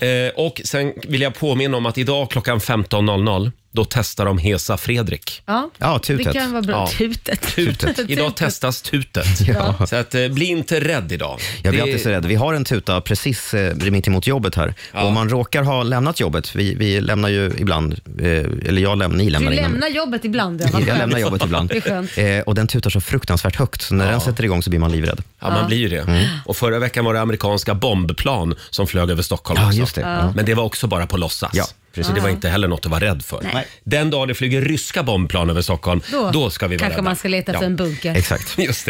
[SPEAKER 1] Eh, och sen vill jag påminna om att idag klockan 15.00, då testar de Hesa Fredrik.
[SPEAKER 3] Ja.
[SPEAKER 9] Ja, tutet.
[SPEAKER 3] Det kan vara bra.
[SPEAKER 1] Ja.
[SPEAKER 3] Tutet.
[SPEAKER 1] Tutet. Idag testas tutet.
[SPEAKER 9] Ja.
[SPEAKER 1] Så att, eh, bli inte rädd idag.
[SPEAKER 9] Jag blir
[SPEAKER 1] Det-
[SPEAKER 9] alltid så rädd. Vi har en tuta precis eh, mitt emot jobbet här. Och om man råkar ha lämnat jobbet, vi, vi lämnar ju ibland, eh, eller jag lämnar, ni
[SPEAKER 3] Du
[SPEAKER 9] lämnar innan.
[SPEAKER 3] lämnar jobbet ibland. Ja, vad
[SPEAKER 9] Jag
[SPEAKER 3] skönt.
[SPEAKER 9] lämnar jobbet ibland.
[SPEAKER 3] Det är skönt.
[SPEAKER 9] Eh, och den tutar så fruktansvärt högt, så när den sätter igång så blir man livrädd. Mm.
[SPEAKER 1] Ja, man blir ju det. Och förra veckan var det amerikanska bombplan som flög över Stockholm
[SPEAKER 9] Ja,
[SPEAKER 1] också.
[SPEAKER 9] just det. Ja.
[SPEAKER 1] Men det var också bara på låtsas.
[SPEAKER 9] Ja,
[SPEAKER 1] precis. Det var inte heller något att vara rädd för.
[SPEAKER 9] Nej.
[SPEAKER 1] Den dag det flyger ryska bombplan över Stockholm, då,
[SPEAKER 3] Då
[SPEAKER 1] ska vi vara
[SPEAKER 3] kanske
[SPEAKER 1] rädda.
[SPEAKER 3] man ska leta
[SPEAKER 1] Ja.
[SPEAKER 3] efter en bunker.
[SPEAKER 9] Exakt. Mhm.
[SPEAKER 1] Just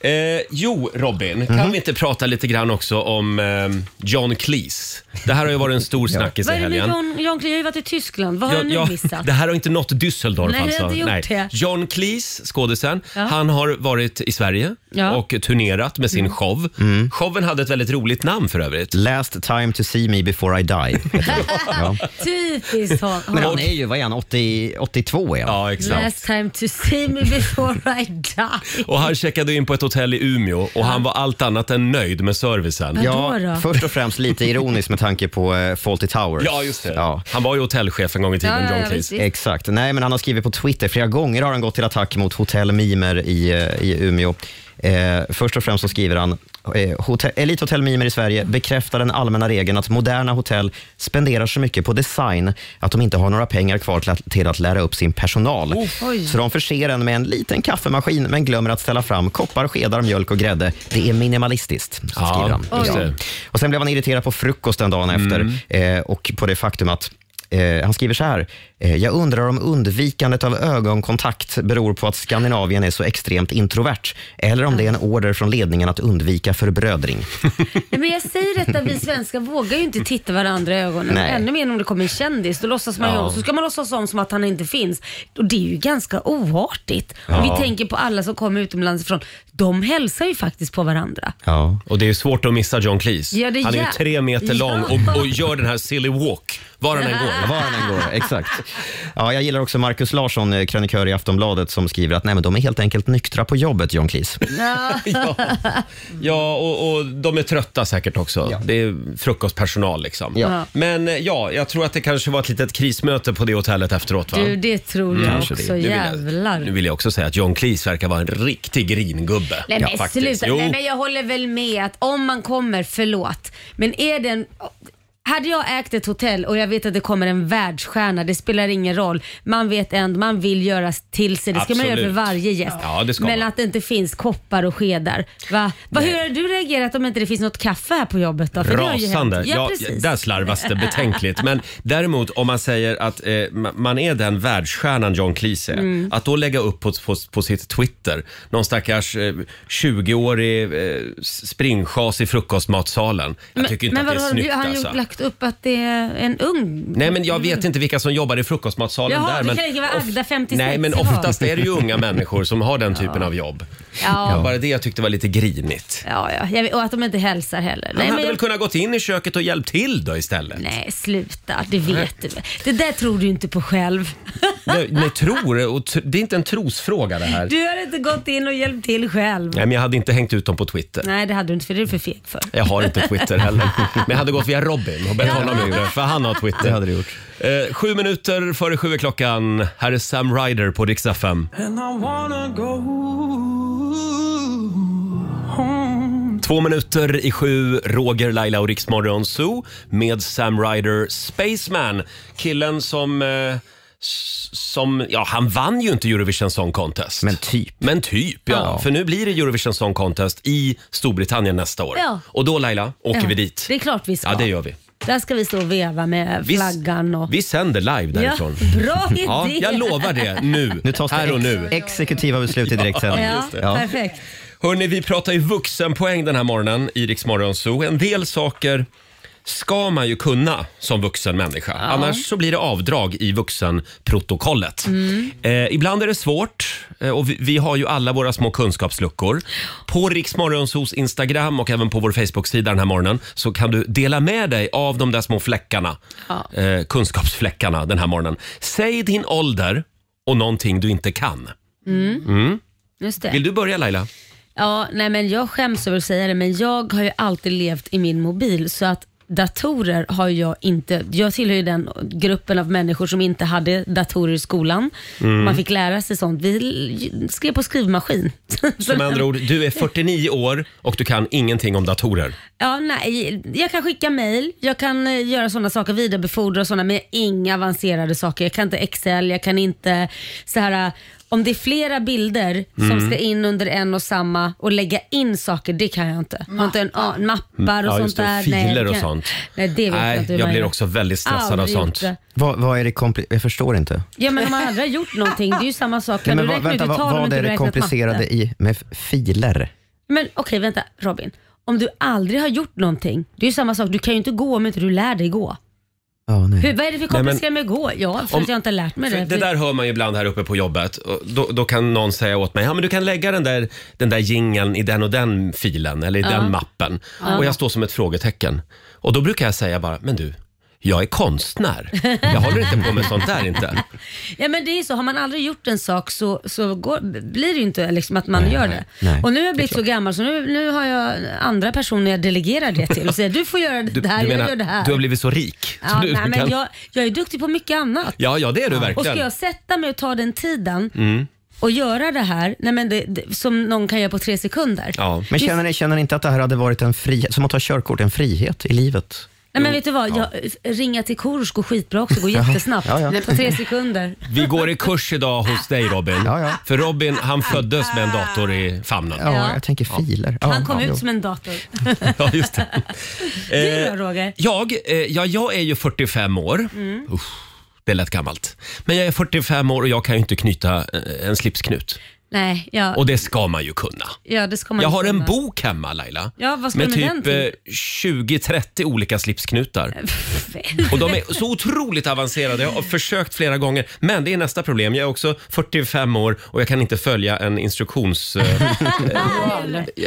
[SPEAKER 1] det. Eh, jo, Robin, kan vi inte prata lite grann också om eh, John Cleese? Det här har ju varit en stor snackis i
[SPEAKER 3] Vad är det med
[SPEAKER 1] helgen.
[SPEAKER 3] John, John Cleese? Jag har ju varit i Tyskland. Vad har jag nu missat?
[SPEAKER 1] Det här har inte nått Düsseldorf
[SPEAKER 3] Nej, det har
[SPEAKER 1] alltså.
[SPEAKER 3] inte gjort det.
[SPEAKER 1] John Cleese, skådisen,
[SPEAKER 3] Ja.
[SPEAKER 1] han har varit i Sverige
[SPEAKER 3] Ja. Mm.
[SPEAKER 1] och turnerat med sin show. Showen hade ett väldigt roligt namn för övrigt.
[SPEAKER 9] Mm. Last time to see me before I die. ja.
[SPEAKER 3] Typiskt hon-
[SPEAKER 9] Men han
[SPEAKER 3] honom.
[SPEAKER 9] är ju, vad är han, 80, 82 är han.
[SPEAKER 1] Ja, exakt.
[SPEAKER 3] Last time to see me before I die.
[SPEAKER 1] Och han checkade in på ett hotell i Umeå och han var allt annat än nöjd med servicen.
[SPEAKER 9] Ja,
[SPEAKER 3] Vadå då?
[SPEAKER 9] först och främst lite ironiskt med tanke på eh, Fawlty Towers.
[SPEAKER 1] Ja, just det.
[SPEAKER 9] Ja.
[SPEAKER 1] Han var ju hotellchef en gång i tiden,
[SPEAKER 3] Ja, ja,
[SPEAKER 1] John
[SPEAKER 3] ja,
[SPEAKER 1] Cleese.
[SPEAKER 3] visst.
[SPEAKER 9] Exakt. Nej, men han har skrivit på Twitter, flera gånger har han gått till attack mot hotellmimer i, eh, i Umeå. Eh, först och främst så skriver han, eh, hotell, Elithotell Mimer i Sverige bekräftar den allmänna regeln att moderna hotell spenderar så mycket på design att de inte har några pengar kvar till att, till att lära upp sin personal.
[SPEAKER 1] Oh.
[SPEAKER 3] Oj.
[SPEAKER 9] Så de förser en med en liten kaffemaskin men glömmer att ställa fram koppar, skedar, mjölk och grädde. Det är minimalistiskt, så
[SPEAKER 1] Ja,
[SPEAKER 9] skriver han.
[SPEAKER 1] just
[SPEAKER 9] Ja.
[SPEAKER 1] det.
[SPEAKER 9] Och Sen blev han irriterad på frukosten dagen
[SPEAKER 1] Mm.
[SPEAKER 9] efter eh, och på det faktum att Eh, han skriver så här. Eh, jag undrar om undvikandet av ögonkontakt beror på att Skandinavien är så extremt introvert eller om det är en order från ledningen att undvika förbrödring.
[SPEAKER 3] Nej, men jag säger detta, vi svenskar vågar ju inte titta varandra i ögonen.
[SPEAKER 9] Nej.
[SPEAKER 3] Ännu mer om det kommer en kändis. Då låtsas man ju om, så ska man låtsas om som att han inte finns. Och det är ju ganska oartigt. Om vi tänker på alla som kommer utomlands ifrån. De hälsar ju faktiskt på varandra.
[SPEAKER 9] Ja.
[SPEAKER 1] Och det är ju svårt att missa John Cleese.
[SPEAKER 3] Ja, det är
[SPEAKER 1] han är ju
[SPEAKER 3] jä-
[SPEAKER 1] tre meter lång
[SPEAKER 3] Ja.
[SPEAKER 1] och, och gör den här silly walk, var han än går.
[SPEAKER 9] Var den går, exakt. Ja, jag gillar också Markus Larsson, eh, krönikör i Aftonbladet, som skriver att Nej, men de är helt enkelt nyktra på jobbet, John Cleese.
[SPEAKER 1] Ja, ja och, och de är trötta säkert också. Det är frukostpersonal liksom.
[SPEAKER 9] Ja.
[SPEAKER 1] Men eh, ja, jag tror att det kanske var ett litet krismöte på det hotellet efteråt va?
[SPEAKER 3] Du, det tror jag
[SPEAKER 1] Kanske
[SPEAKER 3] också.
[SPEAKER 1] det. Nu vill jag-
[SPEAKER 3] Jävlar.
[SPEAKER 1] Nu vill jag också säga att John Cleese verkar vara en riktig gringubbe.
[SPEAKER 3] Nej men
[SPEAKER 1] faktiskt.
[SPEAKER 3] sluta.
[SPEAKER 1] Jo,
[SPEAKER 3] Nej, men jag håller väl med att om man kommer, förlåt, men är det en... Hade jag ägt ett hotell och jag vet att det kommer en världsstjärna, det spelar ingen roll. Man vet ändå, man vill göra till sig. Det ska man göra
[SPEAKER 1] Absolut.
[SPEAKER 3] för varje gäst.
[SPEAKER 1] Ja, det ska
[SPEAKER 3] men
[SPEAKER 1] man.
[SPEAKER 3] att det inte finns koppar och skedar. Va? Va, hur har du reagerat om inte det finns något kaffe här på jobbet då? det har ju
[SPEAKER 1] Rasande.
[SPEAKER 3] hänt.
[SPEAKER 1] Ja,
[SPEAKER 3] Ja, precis.
[SPEAKER 1] där slarvas det betänkligt. Men däremot om man säger att eh, ma- man är den världsstjärnan John Cleese är,
[SPEAKER 3] Mm.
[SPEAKER 1] att då lägga upp på, på, på sitt Twitter någon stackars eh, 20-årig eh, springschas i frukostmatsalen. Jag
[SPEAKER 3] Men-
[SPEAKER 1] tycker inte
[SPEAKER 3] men
[SPEAKER 1] att det är
[SPEAKER 3] vadå, har de-
[SPEAKER 1] snyggt
[SPEAKER 3] har han
[SPEAKER 1] alltså.
[SPEAKER 3] gjort- lagt högt upp att det är en ung?
[SPEAKER 1] Nej, men jag vet inte vilka som jobbar i frukostmatsalen
[SPEAKER 3] Jaha,
[SPEAKER 1] där.
[SPEAKER 3] det
[SPEAKER 1] Men
[SPEAKER 3] kan lika vara Agda, 56
[SPEAKER 1] Nej, men
[SPEAKER 3] år.
[SPEAKER 1] oftast är det ju unga människor som har den typen av jobb.
[SPEAKER 3] Ja.
[SPEAKER 1] Bara det jag tyckte var lite grinigt.
[SPEAKER 3] Ja, ja. Jag vet, och att de inte hälsar heller.
[SPEAKER 1] Han
[SPEAKER 3] Nej,
[SPEAKER 1] hade
[SPEAKER 3] men
[SPEAKER 1] väl kunnat gått in i köket och hjälpt till då istället?
[SPEAKER 3] Nej, sluta. Det vet du väl. Det där tror du inte på själv.
[SPEAKER 1] Nej, nej tror och tr- det är inte en trosfråga det här.
[SPEAKER 3] Du har inte gått in och hjälpt till själv.
[SPEAKER 1] Nej, men jag hade inte hängt ut dem på Twitter.
[SPEAKER 3] Nej, det hade du inte för det är du för feg för.
[SPEAKER 1] Jag har inte Twitter heller. Men jag hade gått via Robin och bett honom göra det, för han har Twitter.
[SPEAKER 9] Det hade du gjort.
[SPEAKER 1] Eh, sju minuter före sju är klockan. Här är Sam Ryder på Rix FM. Två minuter i sju, Roger, Laila och Rix Morgon Zoo med Sam Ryder, Spaceman. Killen som... Eh, s- som, ja, han vann ju inte Eurovision Song Contest.
[SPEAKER 9] Men typ.
[SPEAKER 1] Men typ, ja.
[SPEAKER 9] Ja.
[SPEAKER 1] För nu blir det Eurovision Song Contest i Storbritannien nästa år.
[SPEAKER 3] Ja.
[SPEAKER 1] Och då Laila, åker
[SPEAKER 3] Ja,
[SPEAKER 1] vi dit.
[SPEAKER 3] Det är klart vi ska.
[SPEAKER 1] Ja, det gör vi.
[SPEAKER 3] Där ska vi stå och veva med
[SPEAKER 1] Vi,
[SPEAKER 3] flaggan och...
[SPEAKER 1] vi sänder live
[SPEAKER 3] ja,
[SPEAKER 1] därifrån.
[SPEAKER 3] bra idé!
[SPEAKER 1] Ja, jag lovar det nu.
[SPEAKER 9] Nu tas det
[SPEAKER 1] här och
[SPEAKER 9] ex-
[SPEAKER 1] nu.
[SPEAKER 9] exekutiva beslut i direktsändning.
[SPEAKER 3] Ja, perfekt.
[SPEAKER 1] Hörni, vi pratar ju vuxenpoäng den här morgonen i Rix Morgon Zoo. En del saker ska man ju kunna som vuxen människa. Annars så blir det avdrag i vuxenprotokollet. Eh, ibland är det svårt eh, och vi, vi har ju alla våra små kunskapsluckor. På Rix Morgon Zoos Instagram och även på vår Facebook-sida den här morgonen så kan du dela med dig av de där små fläckarna, eh, kunskapsfläckarna den här morgonen. Säg din ålder och någonting du inte kan.
[SPEAKER 3] Mm,
[SPEAKER 1] Mm.
[SPEAKER 3] Just det.
[SPEAKER 1] Vill du börja Laila?
[SPEAKER 3] Ja, nej men jag skäms över att säga det, men jag har ju alltid levt i min mobil så att datorer har jag inte. Jag tillhör ju den gruppen av människor som inte hade datorer i skolan. Man fick lära sig sånt. Vi l- skrev på skrivmaskin.
[SPEAKER 1] Som andra ord, du är 49 år och du kan ingenting om datorer.
[SPEAKER 3] Ja, nej, jag kan skicka mail, jag kan eh, göra sådana saker, vidarebefordra och sådana, men inga avancerade saker. Jag kan inte Excel, jag kan inte så här, eh, om det är flera bilder som ska in under en och samma och lägga in saker, det kan jag inte. Jag har inte en, ah, mappar och
[SPEAKER 1] Ja,
[SPEAKER 3] sånt
[SPEAKER 1] just det.
[SPEAKER 3] där.
[SPEAKER 1] Filer
[SPEAKER 3] det
[SPEAKER 1] och
[SPEAKER 3] kan-
[SPEAKER 1] sånt.
[SPEAKER 3] Nej, det vet jag
[SPEAKER 1] Nej,
[SPEAKER 3] inte hur
[SPEAKER 1] jag
[SPEAKER 3] man
[SPEAKER 1] blir
[SPEAKER 3] gör.
[SPEAKER 1] också väldigt stressad av
[SPEAKER 3] Aldrig
[SPEAKER 1] sånt.
[SPEAKER 3] gjort det.
[SPEAKER 9] Vad, vad är det kompli- Jag förstår inte.
[SPEAKER 3] Ja, men om man aldrig har gjort någonting, det är ju samma sak. Kan
[SPEAKER 9] Nej, men
[SPEAKER 3] du
[SPEAKER 9] vad-
[SPEAKER 3] räkna ut
[SPEAKER 9] vänta,
[SPEAKER 3] hur
[SPEAKER 9] vad,
[SPEAKER 3] tal om
[SPEAKER 9] vad
[SPEAKER 3] inte
[SPEAKER 9] är
[SPEAKER 3] du
[SPEAKER 9] det
[SPEAKER 3] räknat matte?
[SPEAKER 9] komplicerade i med f- filer?
[SPEAKER 3] Men okej, vänta Robin. Om du aldrig har gjort någonting, det är ju samma sak. Du kan ju inte gå om inte du lär dig gå.
[SPEAKER 9] Ja, nej.
[SPEAKER 3] Hur, vad är det för komplicerat med att gå? Ja, för
[SPEAKER 1] Om-
[SPEAKER 3] att jag inte har lärt mig
[SPEAKER 1] För
[SPEAKER 3] det.
[SPEAKER 1] det där hör man ju ibland här uppe på jobbet. Och Då, då kan någon säga åt mig, ja men du kan lägga den där, den där jingeln i den och den filen eller i den mappen. Och jag står som ett frågetecken. Och då brukar jag säga bara, men du, jag är konstnär. Jag håller inte på med sånt där inte.
[SPEAKER 3] Ja men det är ju så, har man aldrig gjort en sak så, så går, blir det ju inte liksom att man gör det.
[SPEAKER 9] nej.
[SPEAKER 3] och nu har jag blivit så gammal så nu, nu har jag andra personer jag delegerar det till och säger du får göra
[SPEAKER 1] Du,
[SPEAKER 3] det här,
[SPEAKER 1] du
[SPEAKER 3] jag gör det här.
[SPEAKER 1] du har blivit så rik.
[SPEAKER 3] ja,
[SPEAKER 1] du
[SPEAKER 3] nej, men
[SPEAKER 1] kan-
[SPEAKER 3] jag, jag är duktig på mycket annat.
[SPEAKER 1] ja, ja, det är du
[SPEAKER 3] Och ska
[SPEAKER 1] verkligen. Mm.
[SPEAKER 3] jag sätta mig och ta den tiden och göra det här nej, men det, det, som någon kan göra på tre sekunder.
[SPEAKER 1] Ja.
[SPEAKER 9] Men känner ni, känner ni inte att det här hade varit en frihet, som att ta körkort, en frihet i livet?
[SPEAKER 3] Nej, men vet du vad, jag, eh, ringa till Korosh går skitbra också, går jättesnabbt.
[SPEAKER 9] Ja, ja.
[SPEAKER 3] På tre sekunder.
[SPEAKER 1] Vi går i kurs idag hos dig Robin.
[SPEAKER 9] Ja, ja.
[SPEAKER 1] För Robin, han föddes med en dator i famnen.
[SPEAKER 9] Ja,
[SPEAKER 3] Ja.
[SPEAKER 9] jag tänker filer. Ja,
[SPEAKER 3] Han kom
[SPEAKER 9] ja,
[SPEAKER 3] ut
[SPEAKER 9] jo.
[SPEAKER 3] som en dator.
[SPEAKER 1] Ja, just det.
[SPEAKER 3] Du
[SPEAKER 1] Eh,
[SPEAKER 3] då Roger? Mm.
[SPEAKER 1] Jag, eh, ja, jag är ju 45 år. Uff, det lät gammalt. Men jag är 45 år och jag kan ju inte knyta eh, en slipsknut.
[SPEAKER 3] Nej, ja,
[SPEAKER 1] Och det ska man ju kunna.
[SPEAKER 3] ja, det ska man
[SPEAKER 1] Jag
[SPEAKER 3] ju
[SPEAKER 1] har en
[SPEAKER 3] kunna.
[SPEAKER 1] bok hemma Laila.
[SPEAKER 3] Ja, vad ska
[SPEAKER 1] med
[SPEAKER 3] du med den
[SPEAKER 1] typ
[SPEAKER 3] till? Eh,
[SPEAKER 1] eh, 20-30 olika slipsknutar. Och de är så otroligt avancerade. Jag har försökt flera gånger. Men det är nästa problem. Jag är också 45 år och jag kan inte följa en instruktions... Eh,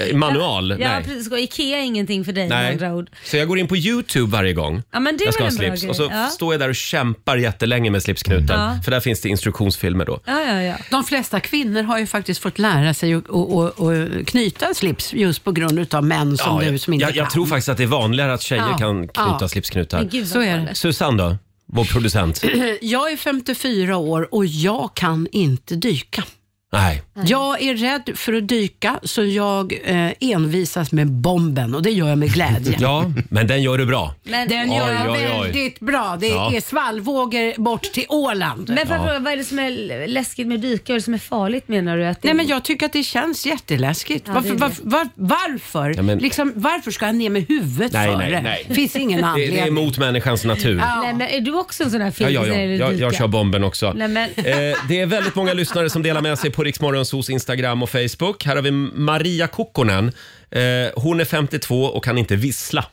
[SPEAKER 1] eh, manual.
[SPEAKER 3] Ja,
[SPEAKER 1] Nej.
[SPEAKER 3] precis. Och Ikea är ingenting för dig med
[SPEAKER 1] Nej.
[SPEAKER 3] andra ord.
[SPEAKER 1] Så jag går in på YouTube varje gång
[SPEAKER 3] Ja, men det är
[SPEAKER 1] jag ska ha
[SPEAKER 3] väl en bra
[SPEAKER 1] slips.
[SPEAKER 3] grej.
[SPEAKER 1] Och så
[SPEAKER 3] Ja.
[SPEAKER 1] står jag där och kämpar jättelänge med slipsknuten.
[SPEAKER 3] Ja.
[SPEAKER 1] För där finns det instruktionsfilmer då.
[SPEAKER 3] Ja, ja, ja.
[SPEAKER 4] De flesta kvinnor har ju faktiskt fått lära sig att och, och, och knyta slips just på grund av män som
[SPEAKER 1] Ja,
[SPEAKER 4] du som
[SPEAKER 1] jag,
[SPEAKER 4] inte
[SPEAKER 1] jag, jag
[SPEAKER 4] kan.
[SPEAKER 1] tror faktiskt att det är vanligare att tjejer
[SPEAKER 4] Ja.
[SPEAKER 1] kan knyta
[SPEAKER 4] Ja.
[SPEAKER 1] slipsknutar.
[SPEAKER 3] Men gud vad
[SPEAKER 4] Så är det.
[SPEAKER 3] galet.
[SPEAKER 1] Susanne då, vår producent.
[SPEAKER 4] Jag är 54 år och jag kan inte dyka.
[SPEAKER 1] Nej.
[SPEAKER 4] Jag är rädd för att dyka så jag eh, envisas med bomben och det gör jag med glädje.
[SPEAKER 1] Ja, men den gör du bra.
[SPEAKER 3] Men,
[SPEAKER 4] Den gör jag
[SPEAKER 1] Oj, oj, oj.
[SPEAKER 4] väldigt bra. Det
[SPEAKER 1] Ja.
[SPEAKER 4] är svallvågor bort till Åland.
[SPEAKER 3] men för att fråga, vad är det som är läskigt med att dyka? Vad är det som är farligt menar du? Att det...
[SPEAKER 4] Nej men jag tycker att det känns jätteläskigt.
[SPEAKER 3] Ja, det
[SPEAKER 4] varför,
[SPEAKER 3] är det.
[SPEAKER 4] varför, var, varför?
[SPEAKER 1] Ja, men-
[SPEAKER 4] liksom, varför ska jag ner med huvudet
[SPEAKER 1] Nej,
[SPEAKER 4] för
[SPEAKER 1] nej,
[SPEAKER 4] det?
[SPEAKER 1] nej.
[SPEAKER 4] finns ingen
[SPEAKER 1] Det,
[SPEAKER 4] anledning.
[SPEAKER 1] det är emot människans natur.
[SPEAKER 4] Ja.
[SPEAKER 3] Nej, men är du också en sån här
[SPEAKER 1] Ja,
[SPEAKER 3] film
[SPEAKER 1] ja, ja.
[SPEAKER 3] när du
[SPEAKER 1] Jag, jag
[SPEAKER 3] dykar?
[SPEAKER 1] kör bomben också.
[SPEAKER 3] Nej, men-
[SPEAKER 1] Eh, det är väldigt många lyssnare som delar med sig på Riksmorgonsos Instagram och Facebook. Här har vi Maria Kokkonen. Eh, hon är 52 och kan inte vissla.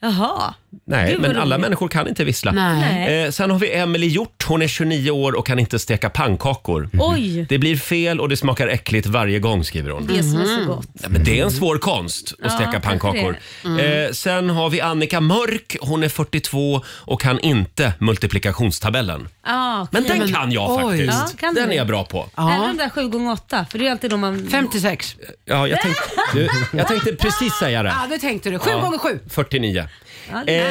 [SPEAKER 3] Jaha.
[SPEAKER 1] Nej,
[SPEAKER 3] Gud, vad
[SPEAKER 1] men alla
[SPEAKER 3] roligt.
[SPEAKER 1] människor kan inte vissla.
[SPEAKER 4] Nej.
[SPEAKER 3] Nej.
[SPEAKER 1] Eh, sen har vi Emily Hjort. Hon är 29 år och kan inte steka pannkakor.
[SPEAKER 3] Oj,
[SPEAKER 1] Mm. Det blir fel och det smakar äckligt varje gång, skriver hon.
[SPEAKER 3] det som är så gott.
[SPEAKER 1] Ja, men det är en svår konst att steka
[SPEAKER 3] kanske
[SPEAKER 1] pannkakor.
[SPEAKER 3] Mm.
[SPEAKER 1] Eh, sen har vi Annika Mörk. Hon är 42 och kan inte multiplikationstabellen.
[SPEAKER 3] Ah,
[SPEAKER 1] Men den
[SPEAKER 4] men-
[SPEAKER 1] kan jag
[SPEAKER 4] oj.
[SPEAKER 1] faktiskt.
[SPEAKER 3] Ja, kan du
[SPEAKER 1] den
[SPEAKER 3] det?
[SPEAKER 1] är jag bra på.
[SPEAKER 3] Eller de där 7 gånger 8 för det är ju alltid de man...
[SPEAKER 4] 56.
[SPEAKER 1] Ja, jag, tänkte, du, jag tänkte precis säga det.
[SPEAKER 4] Ja, det tänkte du. Sju gånger sju.
[SPEAKER 1] 49.
[SPEAKER 3] Ja, det-
[SPEAKER 1] Eh,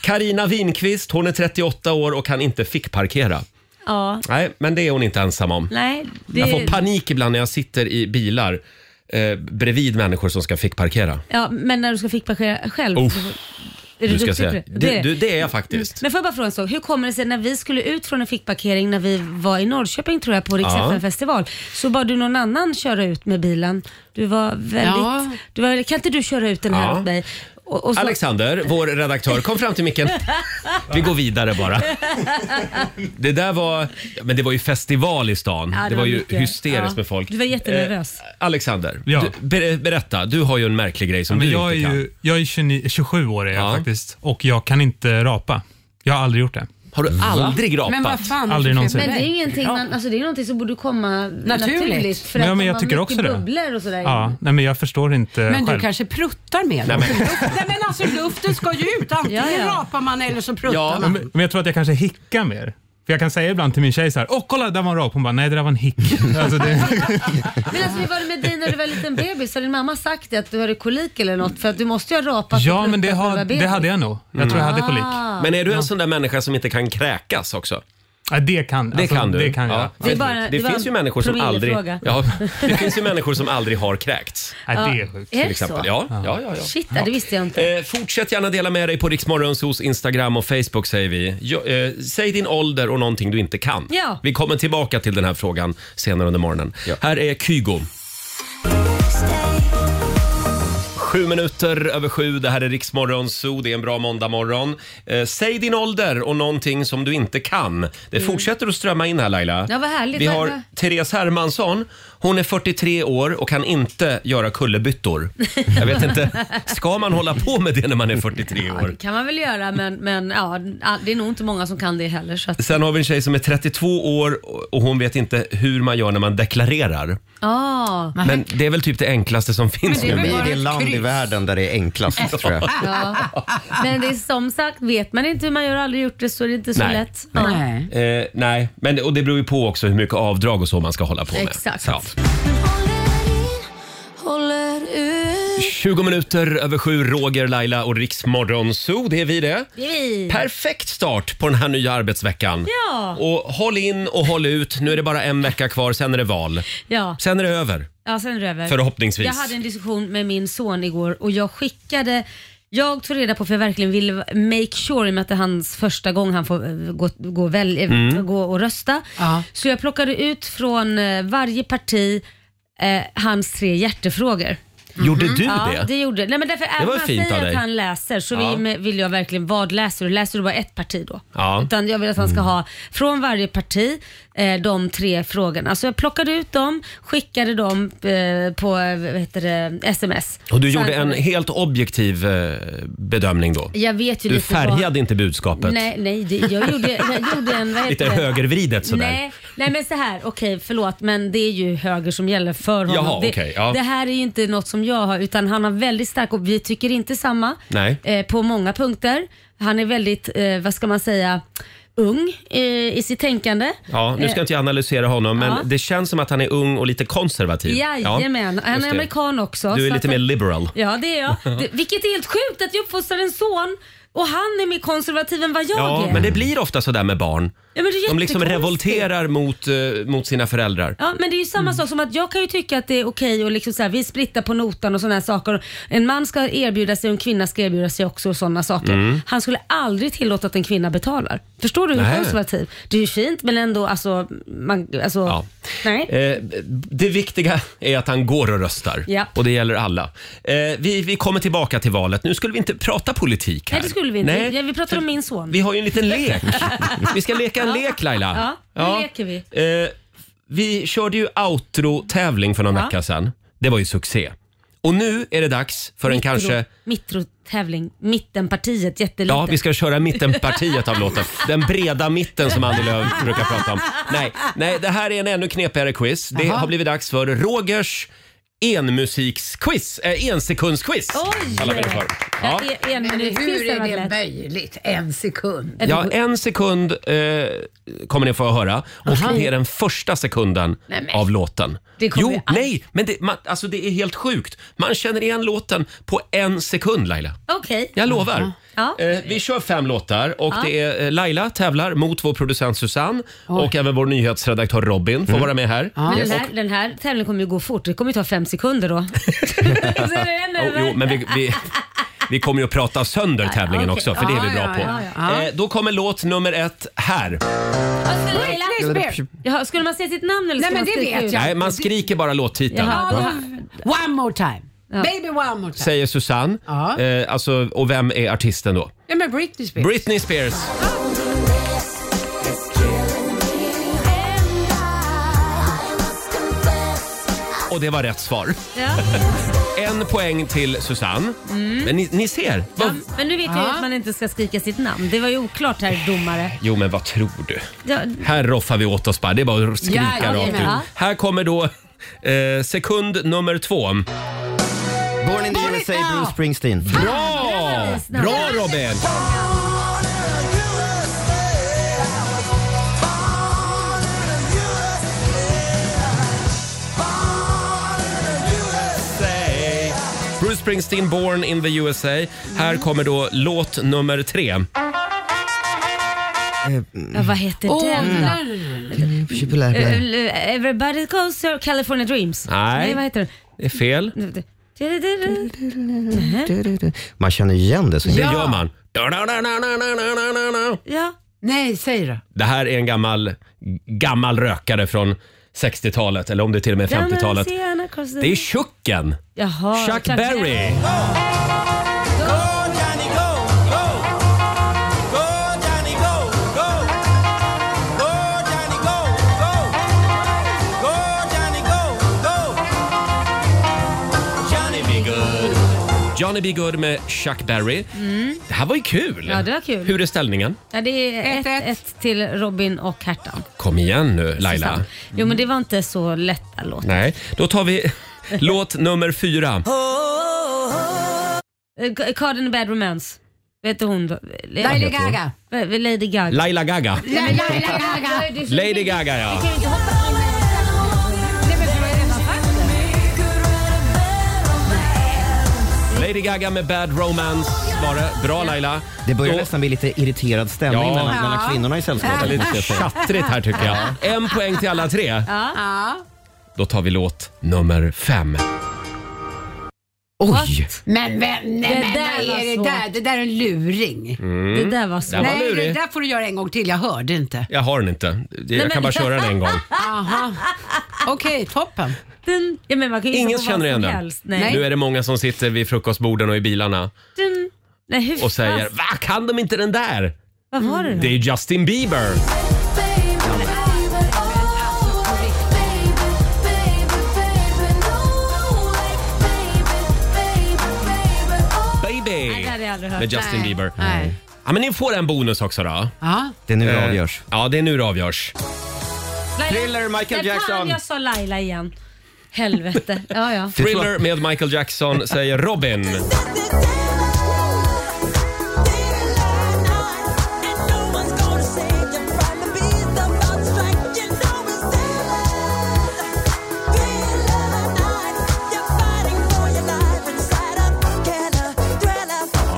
[SPEAKER 1] Carina Winqvist, hon är 38 år och kan inte fickparkera.
[SPEAKER 3] ja.
[SPEAKER 1] Nej, men det är hon inte ensam om.
[SPEAKER 3] Nej, det...
[SPEAKER 1] Jag får panik ibland när jag sitter i bilar eh, bredvid människor som ska fickparkera.
[SPEAKER 3] Ja, men när du ska fickparkera själv.
[SPEAKER 1] Uff,
[SPEAKER 3] är du
[SPEAKER 1] Du ska
[SPEAKER 3] duktig
[SPEAKER 1] säga.
[SPEAKER 3] på det? Det
[SPEAKER 1] Det,
[SPEAKER 3] är
[SPEAKER 1] du,
[SPEAKER 3] det.
[SPEAKER 1] det är jag faktiskt.
[SPEAKER 3] Men får jag bara fråga en sak. Hur kommer det sig när vi skulle ut från en fickparkering när vi var i Norrköping tror jag på Rix
[SPEAKER 1] Ja.
[SPEAKER 3] FM festival så bad du någon annan köra ut med bilen. Du var väldigt...
[SPEAKER 4] Ja.
[SPEAKER 3] Du var, väldigt- kan inte du köra ut den här
[SPEAKER 1] Ja.
[SPEAKER 3] åt mig? Och, och så,
[SPEAKER 1] Alexander, vår redaktör, kom fram till micken. Vi går vidare bara. Det där var, men det var ju festival i stan.
[SPEAKER 3] Ja,
[SPEAKER 1] det, var ju
[SPEAKER 3] mycket.
[SPEAKER 1] hysteriskt
[SPEAKER 3] Ja.
[SPEAKER 1] med folk.
[SPEAKER 3] Du var jättenervös.
[SPEAKER 1] Eh, Alexander,
[SPEAKER 10] Ja.
[SPEAKER 1] du, ber, berätta. Du har ju en märklig grej som
[SPEAKER 10] Men
[SPEAKER 1] du
[SPEAKER 10] jag, är
[SPEAKER 1] inte kan.
[SPEAKER 10] ju, jag är 29, 27 år är jag
[SPEAKER 1] Ja.
[SPEAKER 10] faktiskt och jag kan inte rapa. Jag har aldrig gjort det. Mm.
[SPEAKER 1] Har du aldrig rapat?
[SPEAKER 4] Men vad fan.
[SPEAKER 10] Aldrig någonsin.
[SPEAKER 3] Men det är ju ingenting man, alltså det är någonting som borde komma naturligt. för
[SPEAKER 10] Men
[SPEAKER 3] att
[SPEAKER 10] ja, men
[SPEAKER 3] de
[SPEAKER 10] jag
[SPEAKER 3] har
[SPEAKER 10] tycker
[SPEAKER 3] mycket
[SPEAKER 10] också det.
[SPEAKER 3] bubblor och sådär.
[SPEAKER 10] Ja, nej, men jag förstår inte
[SPEAKER 4] Men du
[SPEAKER 10] själv.
[SPEAKER 4] kanske pruttar med
[SPEAKER 1] Nej,
[SPEAKER 4] den?
[SPEAKER 1] men-
[SPEAKER 4] Nej men alltså luften ska ju ut. Antingen
[SPEAKER 3] Ja, ja.
[SPEAKER 4] rapar man eller så pruttar
[SPEAKER 1] Ja,
[SPEAKER 10] Ja,
[SPEAKER 4] man.
[SPEAKER 10] Men, men jag tror att jag kanske hickar mer. För jag kan säga ibland till min tjej så här, åh kolla där var en rap. Hon bara, nej det där var en hick. alltså, det,
[SPEAKER 3] Men alltså hur var det med dig när du var liten bebis? Har din mamma sagt det, att du hade kolik eller något? För att du måste ju ha rapat
[SPEAKER 10] ja men det, har,
[SPEAKER 3] hade
[SPEAKER 10] det hade jag nog. Jag tror jag hade
[SPEAKER 3] Ah.
[SPEAKER 10] kolik.
[SPEAKER 1] Mm. Men är du en sån där människa som inte kan kräkas också?
[SPEAKER 10] Ja, det kan,
[SPEAKER 1] Det
[SPEAKER 10] alltså,
[SPEAKER 1] kan du.
[SPEAKER 10] Det kan jag.
[SPEAKER 1] Ja.
[SPEAKER 10] Ja.
[SPEAKER 3] är bara- det
[SPEAKER 1] det
[SPEAKER 3] var
[SPEAKER 1] finns ju
[SPEAKER 3] en
[SPEAKER 1] människor som aldrig...
[SPEAKER 3] promillefråga.
[SPEAKER 1] Ja, det finns ju människor som aldrig har kräkts.
[SPEAKER 10] Nej, det är sjukt.
[SPEAKER 3] Är
[SPEAKER 1] Till
[SPEAKER 3] det så?
[SPEAKER 1] exempel. Ja, ja, ja, ja.
[SPEAKER 3] Shit, det visste jag inte.
[SPEAKER 1] Eh, fortsätt gärna dela med dig på Riksmorgonsos Instagram och Facebook säger vi. Jo, eh, säg din ålder och någonting du inte kan.
[SPEAKER 3] Ja.
[SPEAKER 1] Vi kommer tillbaka till den här frågan senare under morgonen. Här är Kygo. Sju minuter över sju, det här är Riksmorgon Zoo, det är en bra måndagmorgon. Eh, säg din ålder och någonting som du inte kan. Det fortsätter att strömma in här Laila.
[SPEAKER 3] Mm. Ja, vad härligt.
[SPEAKER 1] Vi
[SPEAKER 3] Vad-
[SPEAKER 1] har
[SPEAKER 3] vad-
[SPEAKER 1] Therese Hermansson. Hon är 43 år och kan inte göra kullerbyttor. Jag vet inte, ska man hålla på med det när man är 43 år?
[SPEAKER 3] kan man väl göra men, men ja, det är nog inte många som kan det heller. Så att,
[SPEAKER 1] Sen har vi en tjej som är 32 år och hon vet inte hur man gör när man deklarerar.
[SPEAKER 3] ah,
[SPEAKER 1] Men det är väl typ det enklaste som finns
[SPEAKER 4] det är
[SPEAKER 1] nu.
[SPEAKER 4] väl
[SPEAKER 9] Vi
[SPEAKER 4] bara
[SPEAKER 9] är det
[SPEAKER 4] ett
[SPEAKER 9] land i
[SPEAKER 4] kryss.
[SPEAKER 9] världen där det är enklast tror jag.
[SPEAKER 3] ja. Men det är som sagt, vet man inte hur man gör och aldrig gjort det så är det inte så
[SPEAKER 1] Nej.
[SPEAKER 3] lätt. Ja.
[SPEAKER 4] Nej.
[SPEAKER 1] Eh, nej, men, och det beror ju på också hur mycket avdrag och så man ska hålla på med.
[SPEAKER 3] Exakt.
[SPEAKER 1] Så, ja. 20 minuter över sju, Roger, Laila och Riksmorgon Zoo. Det är vi det.
[SPEAKER 3] Det är vi.
[SPEAKER 1] Perfekt start på den här nya arbetsveckan.
[SPEAKER 3] Ja.
[SPEAKER 1] Och håll in och håll ut. Nu är det bara en vecka kvar, sen är det val.
[SPEAKER 3] Ja.
[SPEAKER 1] Sen är det över.
[SPEAKER 3] Ja, sen är det över.
[SPEAKER 1] Förhoppningsvis.
[SPEAKER 3] Jag hade en diskussion med min son igår och jag skickade jag tog reda på för jag verkligen ville make sure i och med att det är hans första gång han får eh, gå, gå, och väl, eh, gå och rösta.
[SPEAKER 4] Ja.
[SPEAKER 3] Så jag plockade ut från eh, varje parti eh, hans tre hjärtefrågor.
[SPEAKER 1] Gjorde du
[SPEAKER 3] Mm-hmm. Mm. Ja,
[SPEAKER 1] det?
[SPEAKER 3] det gjorde Nej, men därför, Även
[SPEAKER 1] var
[SPEAKER 3] om han
[SPEAKER 1] fint av
[SPEAKER 3] säger
[SPEAKER 1] dig.
[SPEAKER 3] att han läser så
[SPEAKER 1] Ja.
[SPEAKER 3] vill, vill jag verkligen, vad läser du? Läser du bara ett parti då?
[SPEAKER 1] Ja. Mm.
[SPEAKER 3] Utan jag vill att han ska ha från varje parti eh, de tre frågorna. Så jag plockade ut dem, skickade dem eh, på eh, vad heter det, sms.
[SPEAKER 1] Och du
[SPEAKER 3] Så
[SPEAKER 1] gjorde
[SPEAKER 3] han-
[SPEAKER 1] en helt objektiv eh, bedömning då?
[SPEAKER 3] Jag vet ju
[SPEAKER 1] Du
[SPEAKER 3] lite vad-
[SPEAKER 1] färgade inte budskapet?
[SPEAKER 3] Nej, nej det, jag, gjorde, jag gjorde en... Vad heter
[SPEAKER 1] Lite
[SPEAKER 3] det?
[SPEAKER 1] högervridet sådär?
[SPEAKER 3] Nej, nej men så här, okej förlåt men det är ju höger som gäller för honom.
[SPEAKER 1] Jaha,
[SPEAKER 3] det,
[SPEAKER 1] okej, ja.
[SPEAKER 3] det här är ju inte något som jag har utan han har väldigt stark och vi tycker inte samma
[SPEAKER 1] Nej.
[SPEAKER 3] Eh, på många punkter. Han är väldigt, eh, vad ska man säga, ung eh, i sitt tänkande.
[SPEAKER 1] Ja, nu ska inte jag analysera honom, men
[SPEAKER 3] ja.
[SPEAKER 1] det känns som att han är ung och lite konservativ.
[SPEAKER 3] Jajamän, han
[SPEAKER 1] Typ. just
[SPEAKER 3] är
[SPEAKER 1] det.
[SPEAKER 3] amerikan också.
[SPEAKER 1] Du är
[SPEAKER 3] så
[SPEAKER 1] lite
[SPEAKER 3] att-
[SPEAKER 1] mer liberal.
[SPEAKER 3] Ja det är jag. Det, vilket är helt sjukt att jag uppfostrar en son och han är mer konservativ än vad jag
[SPEAKER 1] Ja,
[SPEAKER 3] är.
[SPEAKER 1] men det blir ofta sådär med barn.
[SPEAKER 3] Ja, men det är
[SPEAKER 1] De liksom
[SPEAKER 3] jättekonstigt.
[SPEAKER 1] revolterar mot, eh, mot sina föräldrar.
[SPEAKER 3] Ja, men det är ju
[SPEAKER 1] Mm.
[SPEAKER 3] samma sak som att jag kan ju tycka att det är okej och liksom så här, vi splittar på notan och sådana här saker. En man ska erbjuda sig och en kvinna ska erbjuda sig också och sådana saker. Han skulle aldrig tillåta att en kvinna betalar. Förstår du hur
[SPEAKER 1] Mm. Nej.
[SPEAKER 3] konservativ? Det är ju fint men ändå alltså, man, alltså
[SPEAKER 1] Ja.
[SPEAKER 3] nej.
[SPEAKER 1] Eh, det viktiga är att han går och röstar.
[SPEAKER 3] Ja.
[SPEAKER 1] Och det gäller alla. Eh, vi, vi kommer tillbaka till valet. Nu skulle vi inte prata politik här.
[SPEAKER 3] Nej det skulle vi inte.
[SPEAKER 1] Nej.
[SPEAKER 3] Ja, vi pratar om min son.
[SPEAKER 1] Vi har ju en liten lek. Vi ska leka en lek Laila.
[SPEAKER 3] Ja, nu leker vi.
[SPEAKER 1] Eh, vi körde ju outro-tävling för någon
[SPEAKER 3] Ja.
[SPEAKER 1] vecka sedan. Det var ju succé. Och Och nu är det dags för en kanske...
[SPEAKER 3] Mittrotävling. Mittenpartiet, jättelitet.
[SPEAKER 1] Ja, vi ska köra mittenpartiet av låten. Den breda mitten som Annie Lööf brukar prata om. Nej, nej, det här är en ännu knepigare quiz. Det
[SPEAKER 3] Jaha.
[SPEAKER 1] har blivit dags för Rogers enmusiksquiz. Äh, ensekundsquiz kallar vi det för. Ja.
[SPEAKER 3] Ja, e- en
[SPEAKER 11] Men
[SPEAKER 3] minut
[SPEAKER 11] hur
[SPEAKER 3] sista
[SPEAKER 11] är det
[SPEAKER 3] var lätt.
[SPEAKER 11] möjligt? En sekund?
[SPEAKER 1] Ja, en sekund eh, kommer ni få höra. Och
[SPEAKER 11] Aha.
[SPEAKER 1] det är den första sekunden
[SPEAKER 11] Nej, men.
[SPEAKER 1] av låten.
[SPEAKER 11] Det kommer
[SPEAKER 1] jo,
[SPEAKER 11] ju aldrig-
[SPEAKER 1] nej, men det, man, alltså det är helt sjukt. Man känner igen låten på en sekund, Laila.
[SPEAKER 3] Okej.
[SPEAKER 1] Jag lovar.
[SPEAKER 3] Ja.
[SPEAKER 1] Eh, vi kör fem låtar och
[SPEAKER 3] Ja.
[SPEAKER 1] det är eh, Laila tävlar mot vår producent Susanne
[SPEAKER 3] Oj.
[SPEAKER 1] och även vår nyhetsredaktör Robin får vara med här.
[SPEAKER 3] Men
[SPEAKER 1] Yes.
[SPEAKER 3] den, här, den här tävlingen kommer ju gå fort. Det kommer ju ta fem sekunder då. Så är det en
[SPEAKER 1] Jo,
[SPEAKER 3] över.
[SPEAKER 1] jo, men vi, vi, vi kommer ju att prata sönder tävlingen
[SPEAKER 3] okej.
[SPEAKER 1] också, för det är vi
[SPEAKER 3] Ja,
[SPEAKER 1] bra
[SPEAKER 3] ja,
[SPEAKER 1] på.
[SPEAKER 3] ja, ja.
[SPEAKER 1] Eh, då kommer låt nummer ett här.
[SPEAKER 3] Alltså, Laila. Jaha, skulle man säga sitt namn eller
[SPEAKER 4] Nej,
[SPEAKER 3] skulle
[SPEAKER 4] men
[SPEAKER 3] man
[SPEAKER 4] det
[SPEAKER 3] skrika
[SPEAKER 4] vet
[SPEAKER 3] ut?
[SPEAKER 1] Nej, man skriker bara låttiteln.
[SPEAKER 3] Jaha,
[SPEAKER 4] One more time. Baby one more time.
[SPEAKER 1] Säger Susanne.
[SPEAKER 4] Ja.
[SPEAKER 1] Eh, alltså, och vem är artisten då?
[SPEAKER 4] Ja, men Britney Spears.
[SPEAKER 1] Britney Spears. Och det var rätt svar. En poäng till Susanne.
[SPEAKER 3] Mm.
[SPEAKER 1] Men ni, ni ser. Vad,
[SPEAKER 3] Men nu vet jag ju
[SPEAKER 4] Ja.
[SPEAKER 3] att man inte ska skrika sitt namn. Det var ju oklart här domare.
[SPEAKER 1] Jo, men vad tror du?
[SPEAKER 3] Ja,
[SPEAKER 1] Här roffar vi åt oss bara. Det är bara att skrika
[SPEAKER 3] Ja, ja,
[SPEAKER 1] rakt
[SPEAKER 3] ja.
[SPEAKER 1] ut. Här kommer då eh, sekund nummer två.
[SPEAKER 9] Born in the USA, Bruce Springsteen.
[SPEAKER 1] Bra! Bra Robin! Bruce Springsteen, Born in the USA. Här kommer då låt nummer
[SPEAKER 9] Eh,
[SPEAKER 1] tre.
[SPEAKER 3] Ja, vad heter
[SPEAKER 4] Åh,
[SPEAKER 3] den då?
[SPEAKER 9] Populär.
[SPEAKER 3] Eh, eh, Everybody goes to California Dreams.
[SPEAKER 1] Nej.
[SPEAKER 3] vad heter den?
[SPEAKER 1] Det är fel.
[SPEAKER 9] Man känner igen det så
[SPEAKER 1] Det
[SPEAKER 9] himla-
[SPEAKER 1] gör man.
[SPEAKER 3] Ja.
[SPEAKER 4] Nej, säg då.
[SPEAKER 1] Det här är en gammal, gammal rökare från 60-talet, eller om det till och med är 50-talet. Det är Chucken!
[SPEAKER 3] Jaha,
[SPEAKER 1] Chuck Berry! Johnny B. Good med Chuck Berry.
[SPEAKER 3] Mm.
[SPEAKER 1] Det här var ju kul!
[SPEAKER 3] Ja, det var kul.
[SPEAKER 1] Hur är ställningen?
[SPEAKER 3] Ja, det är 1-1 till Robin och Hertan.
[SPEAKER 1] Kom igen nu Laila.
[SPEAKER 3] Jo, men det var inte så lätta låt.
[SPEAKER 1] Nej, då tar vi låt nummer fyra.
[SPEAKER 3] Eh, G- Card in a Bad Romance. Vet du hon då?
[SPEAKER 1] Lady Gaga.
[SPEAKER 3] Eh, Lady Gaga.
[SPEAKER 1] Laila Gaga.
[SPEAKER 3] Nej, men Lady Gaga. Du-
[SPEAKER 1] Lady Gaga ja. Lady Gaga med Bad Romance var det. Bra Laila.
[SPEAKER 9] Det börjar nästan bli lite irriterad stämning
[SPEAKER 1] Ja.
[SPEAKER 9] mellan,
[SPEAKER 1] Ja.
[SPEAKER 9] mellan kvinnorna i
[SPEAKER 1] Det är
[SPEAKER 9] sällskapet.
[SPEAKER 1] lite tjattrigt här tycker jag. En poäng till alla tre.
[SPEAKER 3] Ja.
[SPEAKER 1] Då tar vi låt nummer fem. Oj!
[SPEAKER 4] Men, men, nej,
[SPEAKER 11] Det
[SPEAKER 4] men
[SPEAKER 11] där
[SPEAKER 4] vad
[SPEAKER 11] var
[SPEAKER 4] är det
[SPEAKER 11] svårt.
[SPEAKER 4] där? Det där är en luring.
[SPEAKER 1] Mm. Det där var svårt. Den var
[SPEAKER 4] Nej, det
[SPEAKER 1] lurig.
[SPEAKER 4] där får du göra en gång till. Jag hörde inte.
[SPEAKER 1] Jag har den inte.
[SPEAKER 4] Nej,
[SPEAKER 1] Jag kan
[SPEAKER 4] men-
[SPEAKER 1] bara köra den en gång.
[SPEAKER 4] Aha. Okej, toppen.
[SPEAKER 3] Den, ja, men man kan ju
[SPEAKER 1] Ingen
[SPEAKER 3] gissa på vad
[SPEAKER 1] känner igen
[SPEAKER 3] som
[SPEAKER 1] den.
[SPEAKER 3] helst. Nej.
[SPEAKER 1] Nu är det många som sitter vid frukostborden och i bilarna
[SPEAKER 3] Den- Nej, hur
[SPEAKER 1] och säger
[SPEAKER 3] fast-
[SPEAKER 1] Va, kan de inte den där?
[SPEAKER 3] Vad var det då?
[SPEAKER 1] Det är Justin Bieber.
[SPEAKER 3] Nej,
[SPEAKER 12] oh.
[SPEAKER 1] Baby
[SPEAKER 3] det hade jag aldrig hört.
[SPEAKER 1] med Justin
[SPEAKER 3] Nej.
[SPEAKER 1] Bieber.
[SPEAKER 3] Nej.
[SPEAKER 1] Ja, men ni får en bonus också då. Eh,
[SPEAKER 4] Ja.
[SPEAKER 9] Det är nu det avgörs.
[SPEAKER 1] Ja, det är nu det avgörs.
[SPEAKER 3] Laila-
[SPEAKER 1] Thriller, Michael
[SPEAKER 3] Nej,
[SPEAKER 1] Jackson.
[SPEAKER 3] Fan, jag sa Laila igen. Helvete. Ja, ja.
[SPEAKER 1] Thriller med Michael Jackson säger Robin.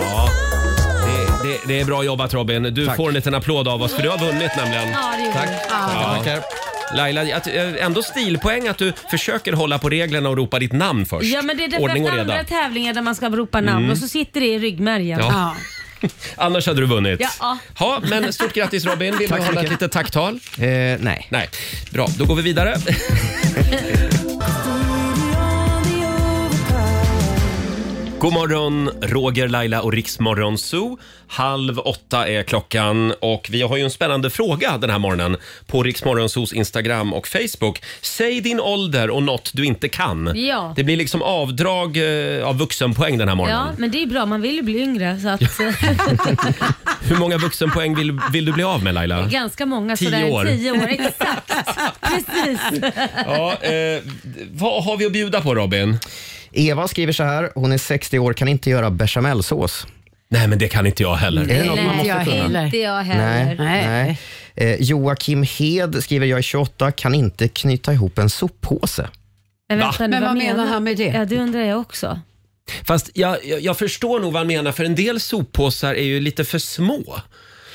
[SPEAKER 1] Ja, det, det, det är bra jobbat Robin. Du får en liten applåd av oss för du har vunnit nämligen.
[SPEAKER 3] Ja, det gjorde
[SPEAKER 1] Tack.
[SPEAKER 3] du.
[SPEAKER 1] Ja. Laila, jag ty- eh, ändå stilpoäng att du försöker hålla på reglerna och ropa ditt namn först.
[SPEAKER 3] Ja, men det är därför
[SPEAKER 1] Ordning och
[SPEAKER 3] att
[SPEAKER 1] reda.
[SPEAKER 3] andra tävlingar där man ska ropa namn
[SPEAKER 1] Mm.
[SPEAKER 3] och så sitter det i ryggmärgen.
[SPEAKER 1] Ja. Annars hade du vunnit.
[SPEAKER 3] Ja.
[SPEAKER 1] Ja, men stort grattis Robin. Vill du
[SPEAKER 9] Tack så
[SPEAKER 1] hålla ett
[SPEAKER 9] mycket.
[SPEAKER 1] litet tacktal?
[SPEAKER 9] Eh, nej.
[SPEAKER 1] Nej. Bra, då går vi vidare. God morgon, Roger, Laila och Riksmorgon Zoo. Halv åtta är klockan och vi har ju en spännande fråga den här morgonen på Riksmorgon Zoos Instagram och Facebook. Säg din ålder och något du inte kan.
[SPEAKER 3] Ja.
[SPEAKER 1] Det blir liksom avdrag eh, av vuxenpoäng den här morgonen.
[SPEAKER 3] Ja, men det är bra. Man vill ju bli yngre. Så att,
[SPEAKER 1] Hur många vuxenpoäng vill, vill du bli av med Laila?
[SPEAKER 3] ganska många.
[SPEAKER 1] Tio
[SPEAKER 3] sådär,
[SPEAKER 1] år.
[SPEAKER 3] Tio år, exakt. Precis.
[SPEAKER 1] Ja, eh, vad har vi att bjuda på Robin?
[SPEAKER 9] Eva skriver så här, hon är 60 år, kan inte göra bechamelsås.
[SPEAKER 1] Nej, men det kan inte jag heller.
[SPEAKER 9] Är det något man måste kunna?
[SPEAKER 3] Inte jag
[SPEAKER 9] Nej,
[SPEAKER 3] heller.
[SPEAKER 9] nej. Eh, Joakim Hed skriver, jag är 28, kan inte knyta ihop en soppåse.
[SPEAKER 3] Men,
[SPEAKER 1] Va?
[SPEAKER 3] vänta, nu,
[SPEAKER 4] Men vad menar han med det?
[SPEAKER 3] Ja, det undrar jag också.
[SPEAKER 1] Fast jag, jag, jag förstår nog vad han menar för en del soppåsar är ju lite för små.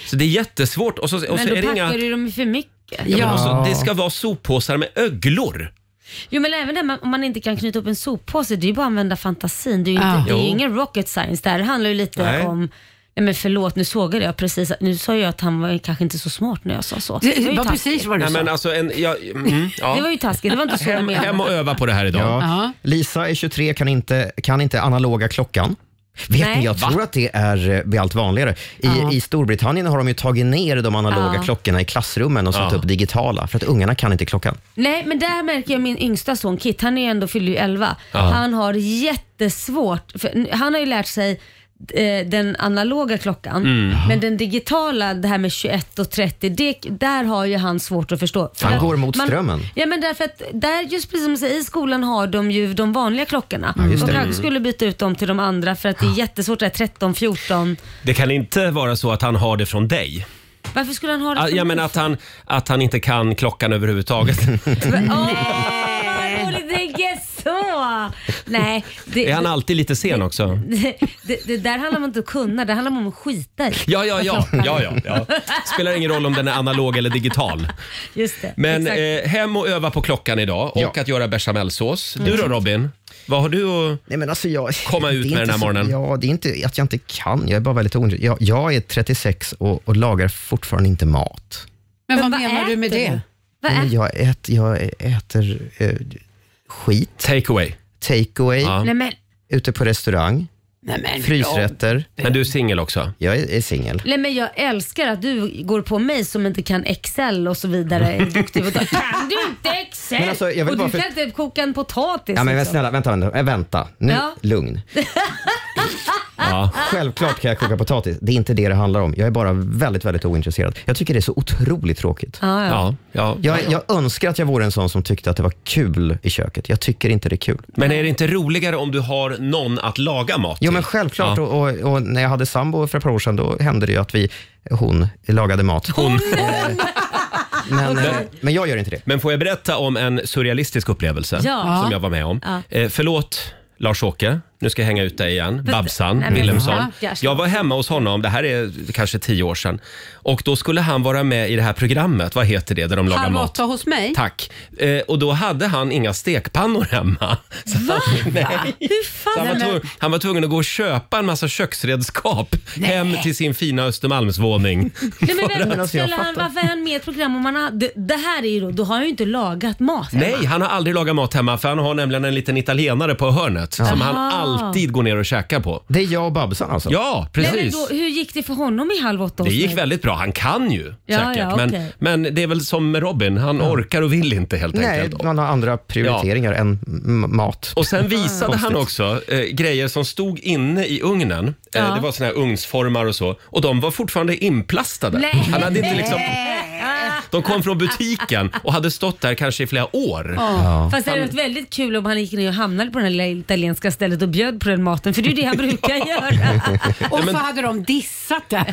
[SPEAKER 1] Så det är jättesvårt. Och så, och
[SPEAKER 3] men
[SPEAKER 1] så
[SPEAKER 3] då
[SPEAKER 1] är det
[SPEAKER 3] packar
[SPEAKER 1] inga...
[SPEAKER 3] du dem ju för mycket.
[SPEAKER 1] Ja. men också, det ska vara soppåsar med öglor.
[SPEAKER 3] Jo men även det med, om man inte kan knyta upp en soppåse, det är ju bara att använda fantasin. Det är ju,
[SPEAKER 1] Ja.
[SPEAKER 3] inte, det är ju
[SPEAKER 1] Jo.
[SPEAKER 3] ingen rocket science där. Det handlar ju lite
[SPEAKER 1] Nej.
[SPEAKER 3] om Nej men förlåt, nu sågade jag precis. Nu sa jag att han var kanske inte så smart när jag sa så.
[SPEAKER 4] Det-
[SPEAKER 3] ju
[SPEAKER 4] det var
[SPEAKER 3] taskigt.
[SPEAKER 4] precis vad du
[SPEAKER 1] Nej, men alltså en, ja, mm, ja.
[SPEAKER 3] Det var ju taskigt, det var inte så jag
[SPEAKER 1] hem,
[SPEAKER 3] menade.
[SPEAKER 1] hem och öva på det här idag.
[SPEAKER 9] Ja. Lisa är 23, kan inte, kan inte analoga klockan. Vet
[SPEAKER 3] Nej.
[SPEAKER 9] ni, jag
[SPEAKER 3] Va?
[SPEAKER 9] tror att det är eh, blir allt vanligare. I,
[SPEAKER 4] Ja.
[SPEAKER 9] I Storbritannien har de ju tagit ner de analoga
[SPEAKER 3] Ja.
[SPEAKER 9] klockorna i klassrummen och satt
[SPEAKER 1] Ja.
[SPEAKER 9] upp digitala, för att ungarna kan inte klockan.
[SPEAKER 3] Nej, men där märker jag min yngsta son Kit, han är ju ändå fyller ju 11.
[SPEAKER 9] Ja.
[SPEAKER 3] Han har jättesvårt, för han har ju lärt sig eh, den analoga klockan,
[SPEAKER 9] Mm.
[SPEAKER 3] men den digitala, det här med 21 och 30, det, där har ju han svårt att förstå. För
[SPEAKER 9] Han
[SPEAKER 3] att
[SPEAKER 9] går mot
[SPEAKER 3] man-
[SPEAKER 9] strömmen.
[SPEAKER 3] Ja, men därför att där, just precis som du säger, i skolan har de ju de vanliga klockorna.
[SPEAKER 1] Ja, just
[SPEAKER 3] de
[SPEAKER 1] det.
[SPEAKER 3] kanske
[SPEAKER 1] Mm.
[SPEAKER 3] skulle byta ut dem till de andra för att det är jättesvårt, det här 13, 14.
[SPEAKER 1] Det kan inte vara så att han har det från dig.
[SPEAKER 3] Varför skulle han ha det
[SPEAKER 1] Ah,
[SPEAKER 3] från
[SPEAKER 1] Jag menar att han, att han inte kan klockan överhuvudtaget.
[SPEAKER 3] Åh, vad roligt, tänker så! Nej, det,
[SPEAKER 1] är han alltid lite sen också?
[SPEAKER 3] Det, det, det där handlar om inte att kunna, det handlar om att skita i.
[SPEAKER 1] Ja, ja, ja. ja, ja, ja. Spelar ingen roll om den är analog eller digital.
[SPEAKER 3] Just det.
[SPEAKER 1] Men
[SPEAKER 3] Exakt.
[SPEAKER 1] eh, hem och öva på klockan idag och att göra bechamelsås. Du då
[SPEAKER 9] Mm.
[SPEAKER 1] Robin? Vad har du att
[SPEAKER 9] Nej, men alltså jag,
[SPEAKER 1] komma ut
[SPEAKER 9] Det är
[SPEAKER 1] med
[SPEAKER 9] inte
[SPEAKER 1] den här
[SPEAKER 9] så-
[SPEAKER 1] morgonen?
[SPEAKER 9] Ja, det är inte att jag inte kan, jag är bara väldigt ointresserad. Jag, jag är 36 och, och lagar fortfarande inte mat.
[SPEAKER 4] Men, vad menar du med det?
[SPEAKER 9] Nej, men jag, ät, jag äter eh, skit.
[SPEAKER 1] Take away.
[SPEAKER 9] Take away.
[SPEAKER 1] Nej,
[SPEAKER 3] men-
[SPEAKER 9] Ute på restaurang.
[SPEAKER 4] Nej, men,
[SPEAKER 9] Frysrätter.
[SPEAKER 1] Men du är singel också?
[SPEAKER 9] Jag är, är singel.
[SPEAKER 3] Nej, men jag älskar att du går på mig som inte kan Excel och så vidare. Är duktig på det. kan du inte Excel?
[SPEAKER 9] Men alltså, jag vill
[SPEAKER 3] och du
[SPEAKER 9] bara för-
[SPEAKER 3] kan inte koka en potatis.
[SPEAKER 9] Ja, men
[SPEAKER 3] liksom.
[SPEAKER 9] snälla, vänta, vänta, Eh, vänta. Nu,
[SPEAKER 3] Ja.
[SPEAKER 9] lugn. Självklart kan jag koka potatis. Det är inte det det handlar om. Jag är bara väldigt, väldigt ointresserad. Jag tycker det är så otroligt tråkigt.
[SPEAKER 3] Ja, ja. Ja,
[SPEAKER 9] Jag, jag önskar att jag vore en sån som tyckte att det var kul i köket. Jag tycker inte det är kul.
[SPEAKER 1] Men är det inte roligare om du har någon att laga mat
[SPEAKER 9] Jo, men självklart. Och, och, och när jag hade sambo för ett par år sedan, då hände det ju att vi, hon lagade mat.
[SPEAKER 1] Hon.
[SPEAKER 9] Men, eh, men jag gör inte det.
[SPEAKER 1] Men får jag berätta om en surrealistisk upplevelse
[SPEAKER 9] Ja.
[SPEAKER 1] som jag var med om?
[SPEAKER 9] Ja.
[SPEAKER 1] Eh, förlåt Lars-Åke, nu ska jag hänga ut dig igen. Babsan
[SPEAKER 9] nej, men-
[SPEAKER 1] Willemsson.
[SPEAKER 9] Stackars.
[SPEAKER 1] Jag var hemma hos honom, det här är kanske tio år sedan. Och då skulle han vara med i det här programmet, vad heter det, där de lagar
[SPEAKER 4] Halv
[SPEAKER 1] mat?
[SPEAKER 4] åtta hos mig?
[SPEAKER 1] Tack. Eh, och då hade han inga stekpannor hemma. Så han, nej.
[SPEAKER 3] Hur
[SPEAKER 1] Så
[SPEAKER 3] fan?
[SPEAKER 1] han, var tvungen, han var tvungen att gå och köpa en massa köksredskap hem till sin fina Östermalmsvåning.
[SPEAKER 3] Nej, men
[SPEAKER 1] För
[SPEAKER 3] vänta,
[SPEAKER 1] att-
[SPEAKER 3] skulle han, varför är han med i ett program om han har, det, det här är ju då, då har han ju inte lagat mat hemma.
[SPEAKER 1] Nej, han har aldrig lagat mat hemma för han har nämligen en liten italienare på hörnet som han
[SPEAKER 3] Aha.
[SPEAKER 1] alltid går ner och käkar på.
[SPEAKER 9] Det är jag och Babsan alltså?
[SPEAKER 1] Ja,
[SPEAKER 3] Nej, men
[SPEAKER 1] precis.
[SPEAKER 3] då, hur gick det för honom i Halv åtta
[SPEAKER 1] Det
[SPEAKER 3] hos
[SPEAKER 1] gick
[SPEAKER 3] mig?
[SPEAKER 1] väldigt bra. Han kan ju
[SPEAKER 3] Ja,
[SPEAKER 1] säkert.
[SPEAKER 3] ja, okej.
[SPEAKER 1] men, men det är väl som med Robin, han orkar och vill inte helt
[SPEAKER 9] Nej,
[SPEAKER 1] enkelt.
[SPEAKER 9] man har andra prioriteringar än m- mat.
[SPEAKER 1] Och sen visade han
[SPEAKER 9] Konstigt.
[SPEAKER 1] också eh, grejer som stod inne i ugnen.
[SPEAKER 3] Ja.
[SPEAKER 1] Eh, det var såna här ugnsformar och så. Och de var fortfarande inplastade.
[SPEAKER 3] Nej.
[SPEAKER 1] Han hade inte liksom, de kom från butiken och hade stått där kanske i flera år.
[SPEAKER 3] Ja. Fast det hade
[SPEAKER 1] Han-
[SPEAKER 3] varit väldigt kul om han gick ner och hamnade på det här lilla italienska stället och bjöd på den maten, för det är ju det han brukar göra.
[SPEAKER 4] Och
[SPEAKER 1] men-
[SPEAKER 4] så hade de dissat det.